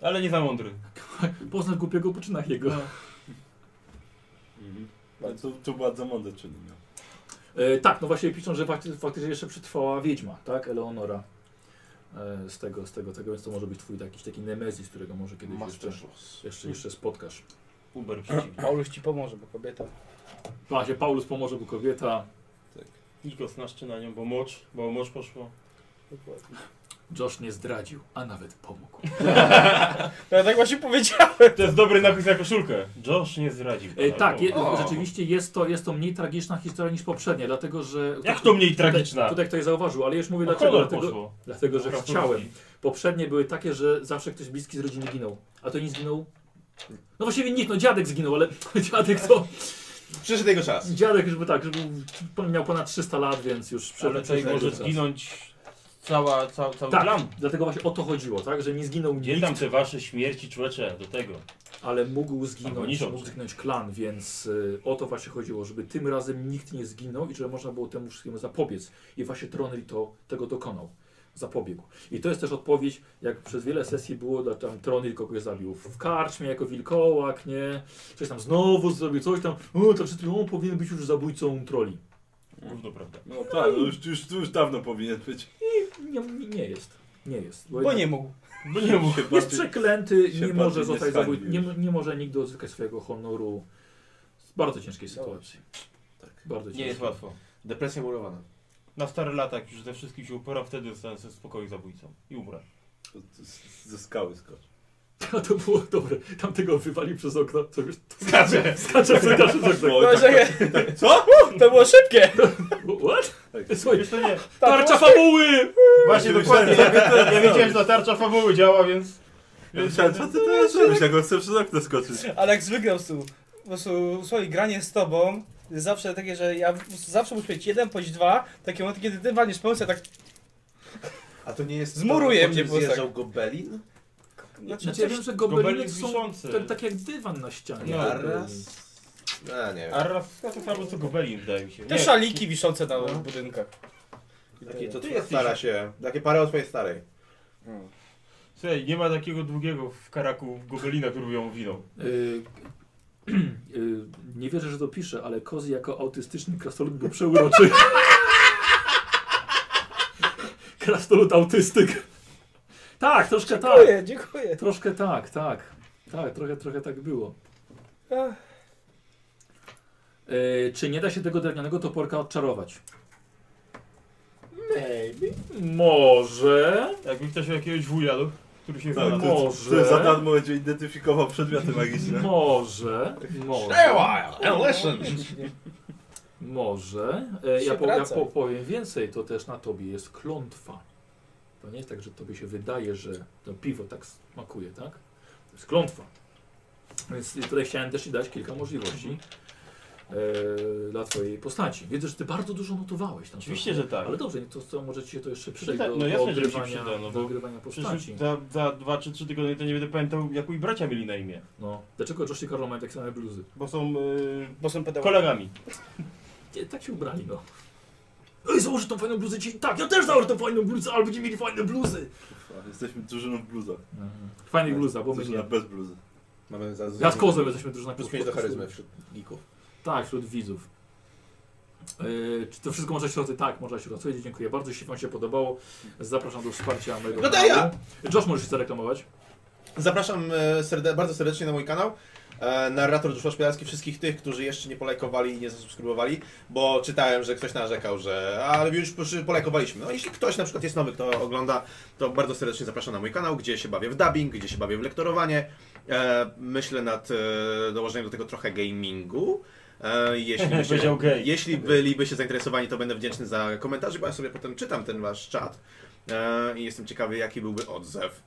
[SPEAKER 3] Ale nie za mądry.
[SPEAKER 2] poznasz głupiego po czynach jego.
[SPEAKER 3] Tak.
[SPEAKER 1] Mhm. Tu, tu bardzo mądre czyni miał.
[SPEAKER 2] E, tak, no właśnie piszą, że fakty, faktycznie jeszcze przetrwała wiedźma, tak? Eleonora. E, z tego, z tego, tego, więc to może być twój jakiś taki nemezis, którego może kiedyś jeszcze,
[SPEAKER 4] Master Schloss.
[SPEAKER 2] jeszcze, jeszcze spotkasz.
[SPEAKER 3] Uber przeciwnie.
[SPEAKER 6] Paulus ci pomoże, bo kobieta.
[SPEAKER 2] Właśnie, Paulus pomoże, bo kobieta.
[SPEAKER 3] Tylko snaszczy na nią, bo mocz, bo mocz poszło.
[SPEAKER 6] Dokładnie.
[SPEAKER 2] Josh nie zdradził, a nawet pomógł. E,
[SPEAKER 6] No ja tak właśnie powiedziałem.
[SPEAKER 3] To jest dobry napis na koszulkę. Josh nie zdradził.
[SPEAKER 2] E, tak, je,
[SPEAKER 4] O.
[SPEAKER 2] rzeczywiście jest to, jest to mniej tragiczna historia niż poprzednia, dlatego że...
[SPEAKER 3] Jak to mniej tragiczna?
[SPEAKER 2] Tutaj, tutaj ktoś zauważył, ale już mówię
[SPEAKER 3] O
[SPEAKER 2] dlaczego.
[SPEAKER 3] kolor
[SPEAKER 2] Dlatego,
[SPEAKER 3] poszło.
[SPEAKER 2] dlatego, że
[SPEAKER 3] Krasnoludki.
[SPEAKER 2] chciałem. Poprzednie były takie, że zawsze ktoś bliski z rodziny ginął. A to nie zginął? No właściwie nikt, no dziadek zginął, ale dziadek to...
[SPEAKER 4] Przyszedł jego czas.
[SPEAKER 2] Dziadek już był tak, że był, miał ponad 300 lat, więc już
[SPEAKER 3] Ale tutaj
[SPEAKER 2] przez-
[SPEAKER 3] może
[SPEAKER 2] czas.
[SPEAKER 3] zginąć cała, cała, cały
[SPEAKER 2] Tak.
[SPEAKER 3] plan.
[SPEAKER 2] Dlatego właśnie o to chodziło, tak? Że nie zginął
[SPEAKER 3] Gdzie
[SPEAKER 2] nikt,
[SPEAKER 3] tam te wasze śmierci człecze do tego?
[SPEAKER 2] ale mógł
[SPEAKER 3] Albo
[SPEAKER 2] zginąć,
[SPEAKER 3] niszą
[SPEAKER 2] mógł
[SPEAKER 3] się.
[SPEAKER 2] zginąć klan, więc y, o to właśnie chodziło, żeby tym razem nikt nie zginął i żeby można było temu wszystkiemu zapobiec. I właśnie Tronyl to, tego dokonał. Zapobiegł. I to jest też odpowiedź, jak przez wiele sesji było, dla tam Tronyl kogoś zabił w karczmie jako wilkołak, nie? Coś tam znowu zrobił, coś tam, o, to przed on powinien być już zabójcą troli.
[SPEAKER 3] Równo prawda.
[SPEAKER 1] No tak, no już, już, już dawno powinien być.
[SPEAKER 2] Nie, nie, nie jest. Nie jest.
[SPEAKER 6] Bo nie mógł.
[SPEAKER 3] Bo nie mów.
[SPEAKER 1] Się
[SPEAKER 2] Jest
[SPEAKER 1] bardziej-
[SPEAKER 2] przeklęty,
[SPEAKER 1] się
[SPEAKER 2] nie
[SPEAKER 1] bardziej
[SPEAKER 2] może
[SPEAKER 1] nie
[SPEAKER 2] zostać
[SPEAKER 1] stawi
[SPEAKER 2] zabój, nie,
[SPEAKER 1] już.
[SPEAKER 2] nie może nigdy odzyskać swojego honoru. bardzo ciężkiej sytuacji.
[SPEAKER 7] Tak.
[SPEAKER 2] Bardzo
[SPEAKER 3] Nie jest
[SPEAKER 2] ciężkiej.
[SPEAKER 3] łatwo.
[SPEAKER 4] Depresja murowana.
[SPEAKER 3] Na stare lata, jak już ze wszystkim się upora, wtedy zostanę sobie w spokoju zabójcą. I umrę.
[SPEAKER 7] Z- Ze skały skocz.
[SPEAKER 2] A to było dobre. Tamtego wywalił przez okno. To już
[SPEAKER 3] Skaczę!
[SPEAKER 2] skacze skacze przez okno.
[SPEAKER 1] tak,
[SPEAKER 6] No, czekaj. Co? To było szybkie!
[SPEAKER 2] What?
[SPEAKER 7] Tak.
[SPEAKER 2] Słuchaj,
[SPEAKER 3] Wiesz to nie.
[SPEAKER 2] tarcza fabuły!
[SPEAKER 3] Właśnie dokładnie. Ja, wiedziałem- ja wiedziałem, że ta tarcza fabuły działa, więc...
[SPEAKER 7] Ja myślałem, co ty teraz robisz, jak on chce przez okno skoczyć.
[SPEAKER 6] Alex wygrał z tu. Po prostu, słuchaj, granie z tobą jest zawsze takie, że ja po prostu zawsze muszę mieć jeden bądź dwa, takie momenty, kiedy ty walniesz pomysł, ja tak...
[SPEAKER 4] A to nie jest...
[SPEAKER 6] Zmuruje
[SPEAKER 4] to, po
[SPEAKER 6] mnie
[SPEAKER 4] czym
[SPEAKER 6] po prostu
[SPEAKER 3] tak-
[SPEAKER 4] Zjeżdżał gobelin?
[SPEAKER 6] Znaczy,
[SPEAKER 2] Znaczy, ja wiem, że gobeliny są tak, tak jak dywan na ścianie.
[SPEAKER 3] No,
[SPEAKER 4] Arras? A, nie wiem.
[SPEAKER 3] A raz to samo co gobelin, wydaje mi się.
[SPEAKER 6] Te
[SPEAKER 3] Nie,
[SPEAKER 6] szaliki wiszące na budynkach.
[SPEAKER 4] Takie to
[SPEAKER 3] Ty
[SPEAKER 4] twoja
[SPEAKER 3] jesteś-
[SPEAKER 4] stara się. Takie parę od twojej starej.
[SPEAKER 3] Słuchaj, nie ma takiego długiego w karaku gobelina, który by ją winą.
[SPEAKER 2] Y, y, nie wierzę, że to piszę, ale Kozy jako autystyczny krasnolud był przeuroczy. krasnolud autystyk. Tak, troszkę tak.
[SPEAKER 6] Dziękuję, dziękuję.
[SPEAKER 2] Troszkę tak, tak. Tak, trochę, trochę tak było.
[SPEAKER 6] Ach.
[SPEAKER 2] Y, czy nie da się tego drewnianego toporka odczarować? Maybe. Może.
[SPEAKER 3] Jakby ktoś miał jakiegoś wuja, no, który się
[SPEAKER 7] Tak,
[SPEAKER 3] tak,
[SPEAKER 7] to-
[SPEAKER 2] Może. No.
[SPEAKER 7] Który za darmo będzie identyfikował przedmioty magiczne.
[SPEAKER 2] Może.
[SPEAKER 4] Stay
[SPEAKER 2] Może.
[SPEAKER 4] a while and listen!
[SPEAKER 2] Może. E, ja,
[SPEAKER 6] Się
[SPEAKER 2] po, ja
[SPEAKER 6] wracaj.
[SPEAKER 2] po, powiem więcej, to też na tobie jest klątwa. To nie jest tak, że tobie się wydaje, że to piwo tak smakuje, tak? To jest klątwa. Więc tutaj chciałem też ci dać kilka
[SPEAKER 6] Mhm.
[SPEAKER 2] możliwości e, dla twojej postaci. Widzę, że ty bardzo dużo notowałeś tam.
[SPEAKER 3] Oczywiście, że tak.
[SPEAKER 2] Ale dobrze, to, to może ci się to jeszcze przydać
[SPEAKER 3] tak,
[SPEAKER 2] do,
[SPEAKER 3] no
[SPEAKER 2] do,
[SPEAKER 3] jasne, że mi się
[SPEAKER 2] ogrywania,
[SPEAKER 3] przyda,
[SPEAKER 2] do
[SPEAKER 3] no bo
[SPEAKER 2] ogrywania
[SPEAKER 3] Przecież tak.
[SPEAKER 2] postaci.
[SPEAKER 3] za, za dwa czy trzy tygodnie to nie będę pamiętał, jak mój bracia mieli na imię.
[SPEAKER 2] No. Dlaczego Josh i Karlo mają takie same bluzy?
[SPEAKER 3] Bo są yy,
[SPEAKER 6] Bo są pedagogi.
[SPEAKER 3] kolegami.
[SPEAKER 2] Nie, tak się ubrali, no. Ej, założę tą fajną bluzę ci. Tak, ja też założę tą fajną bluzę, ale będziemy mieli fajne bluzy.
[SPEAKER 7] A, Jesteśmy drużyną w bluzach.
[SPEAKER 2] Fajnych bluza, bo my
[SPEAKER 7] Drużyna
[SPEAKER 2] nie.
[SPEAKER 7] bez bluzy.
[SPEAKER 4] Mamy zaraz...
[SPEAKER 2] Ja z kozłem jesteśmy dużo na
[SPEAKER 4] Plus 5 do charyzmy wśród geeków.
[SPEAKER 2] Tak, wśród widzów. Yy, czy to wszystko może środki? Tak, może środki. Słuchajcie, dziękuję bardzo. Jeśli Wam się podobało, zapraszam do wsparcia mojego
[SPEAKER 4] No daj ja!
[SPEAKER 2] kanału. Josh, możesz się zareklamować.
[SPEAKER 4] Zapraszam e, serde bardzo serdecznie na mój kanał. E, narrator Duszła Szpielarski, wszystkich tych, którzy jeszcze nie polajkowali i nie zasubskrybowali, bo czytałem, że ktoś narzekał, że ale już przy- polajkowaliśmy. No jeśli ktoś na przykład jest nowy, kto ogląda, to bardzo serdecznie zapraszam na mój kanał, gdzie się bawię w dubbing, gdzie się bawię w lektorowanie. E, myślę nad e, dołożeniem do tego trochę gamingu. E, jeśli, by się,
[SPEAKER 3] Powiedział gej.
[SPEAKER 4] jeśli byliby się zainteresowani, to będę wdzięczny za komentarze, bo ja sobie potem czytam ten wasz czat e, i jestem ciekawy, jaki byłby odzew.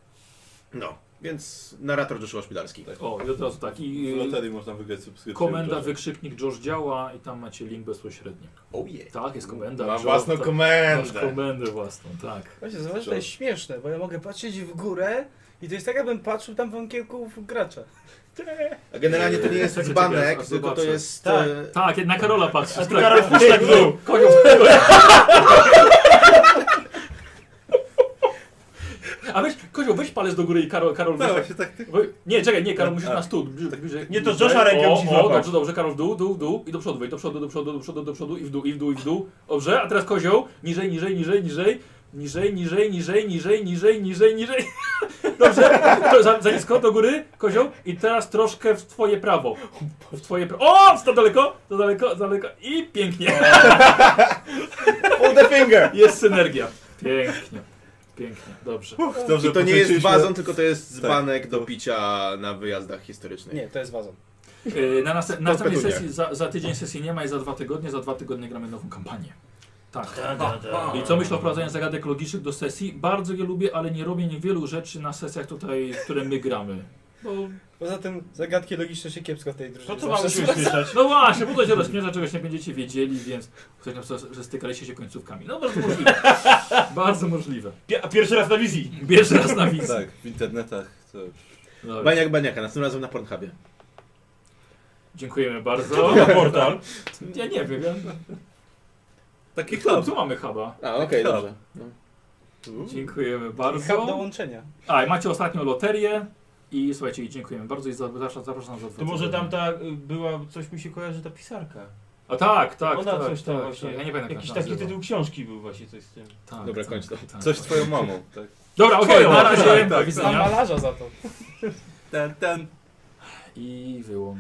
[SPEAKER 4] No, więc narrator Joshua Szpilarski.
[SPEAKER 2] O, i od razu tak. I
[SPEAKER 7] W
[SPEAKER 2] yy,
[SPEAKER 7] loterii można wygrać subskrypcję.
[SPEAKER 2] komenda,
[SPEAKER 7] Joshua.
[SPEAKER 2] wykrzyknik Josh działa i tam macie link bezpośrednio.
[SPEAKER 4] Ojej.
[SPEAKER 2] Tak, jest komenda.
[SPEAKER 4] Mam
[SPEAKER 2] Josh,
[SPEAKER 4] własną
[SPEAKER 2] tak. Masz
[SPEAKER 4] komendę.
[SPEAKER 2] komendę własną, tak.
[SPEAKER 6] Właśnie, zobacz, to jest śmieszne, bo ja mogę patrzeć w górę i to jest tak, jakbym patrzył tam w okienku w gracza.
[SPEAKER 4] A Generalnie to nie jest
[SPEAKER 2] Czekaj,
[SPEAKER 4] dzbanek,
[SPEAKER 2] aż
[SPEAKER 4] tylko to
[SPEAKER 2] zobaczę.
[SPEAKER 4] jest...
[SPEAKER 3] Tak.
[SPEAKER 4] e,
[SPEAKER 2] Tak, na Karola patrzysz.
[SPEAKER 3] ty, Karol, wpuść tak w dół.
[SPEAKER 2] Koniu, A weź, Kozio, weź palec do góry i Karol, Karol, weź
[SPEAKER 7] No
[SPEAKER 2] tak.
[SPEAKER 7] właśnie tak, tak.
[SPEAKER 2] Wy- Nie, czekaj, nie, Karol, musisz
[SPEAKER 7] A.
[SPEAKER 2] na stół. bliżej- bliżej-
[SPEAKER 3] Nie, to
[SPEAKER 2] bliżej.
[SPEAKER 3] Josha rękę
[SPEAKER 2] O,
[SPEAKER 3] musi
[SPEAKER 2] o,
[SPEAKER 3] złapać.
[SPEAKER 2] Dobrze, dobrze, Karol, w dół, dół, dół i do przodu, wejdź, do przodu, do przodu, do przodu, do przodu i w dół, i w dół, i w dół. Dobrze, a teraz kozioł, niżej, niżej, niżej, niżej, niżej, niżej, niżej, niżej, niżej, niżej, niżej. Dobrze, to za, za nisko, do góry, kozioł i teraz troszkę w twoje prawo. W twoje prawo. O, za daleko, za daleko, za daleko i pięknie.
[SPEAKER 4] Pull the finger!
[SPEAKER 2] Jest synergia. Pięknie, pięknie, dobrze.
[SPEAKER 1] Tak.
[SPEAKER 7] Dobrze,
[SPEAKER 4] I to nie jest
[SPEAKER 7] pokręciliśmy-
[SPEAKER 4] wazon, tylko to jest dzbanek do picia na wyjazdach historycznych.
[SPEAKER 6] Nie, to jest wazon.
[SPEAKER 2] Yy, Na następ- następnej
[SPEAKER 4] petunia.
[SPEAKER 2] sesji, za, za tydzień sesji nie ma i za dwa tygodnie, za dwa tygodnie gramy nową kampanię. Tak.
[SPEAKER 8] Da, da, da.
[SPEAKER 2] I co myślę o wprowadzaniu zagadek logicznych do sesji? Bardzo je lubię, ale nie robię niewielu rzeczy na sesjach tutaj, które my gramy. Bo,
[SPEAKER 6] Poza tym zagadki logiczne się kiepsko w tej drużynie.
[SPEAKER 3] To co
[SPEAKER 6] zawsze
[SPEAKER 3] mamy się
[SPEAKER 6] są-
[SPEAKER 3] uśmieszać?
[SPEAKER 2] no właśnie, bo to się rozśmiesza, czegoś nie będziecie wiedzieli, więc ktoś napisał, że stykaliście się końcówkami. No bardzo możliwe. bardzo możliwe.
[SPEAKER 3] Pi- a Pierwszy raz na wizji.
[SPEAKER 2] Bierz raz na wizję.
[SPEAKER 7] Tak, w internetach. To już.
[SPEAKER 2] Dobra.
[SPEAKER 4] Baniak Baniaka, następnym razem na Pornhubie.
[SPEAKER 2] Dziękujemy bardzo.
[SPEAKER 3] To na portal.
[SPEAKER 2] Ja nie wiem. ja-
[SPEAKER 7] Taki
[SPEAKER 2] Tu,
[SPEAKER 7] klub.
[SPEAKER 2] tu mamy huba.
[SPEAKER 4] A, okej,
[SPEAKER 7] Tak.
[SPEAKER 4] dobrze. No.
[SPEAKER 2] Dziękujemy
[SPEAKER 6] I hub do
[SPEAKER 2] bardzo.
[SPEAKER 6] łączenia.
[SPEAKER 2] A, i macie ostatnią loterię. I słuchajcie, i dziękujemy bardzo i zapraszam, zapraszam za dwa
[SPEAKER 3] To może
[SPEAKER 2] tygodnie.
[SPEAKER 3] tam ta y, była, coś mi się kojarzy, ta pisarka.
[SPEAKER 2] A tak, tak,
[SPEAKER 3] Ona
[SPEAKER 2] tak,
[SPEAKER 3] coś tam
[SPEAKER 2] tak,
[SPEAKER 3] właśnie.
[SPEAKER 2] tak. Ja nie pamiętam
[SPEAKER 3] Jakiś
[SPEAKER 2] jak się
[SPEAKER 3] taki
[SPEAKER 2] nazywa.
[SPEAKER 3] tytuł książki był właśnie coś z tym.
[SPEAKER 2] Tak,
[SPEAKER 4] Dobra,
[SPEAKER 2] tak,
[SPEAKER 4] kończ to.
[SPEAKER 2] tak,
[SPEAKER 7] Coś z
[SPEAKER 2] tak.
[SPEAKER 7] twoją mamą. Tak.
[SPEAKER 2] Dobra, okej,
[SPEAKER 7] Twoją,
[SPEAKER 2] na razie,
[SPEAKER 7] tak, tak.
[SPEAKER 2] do
[SPEAKER 6] Znam
[SPEAKER 2] widzenia.
[SPEAKER 6] malarza za to.
[SPEAKER 7] Ten, ten.
[SPEAKER 2] I wyłącz.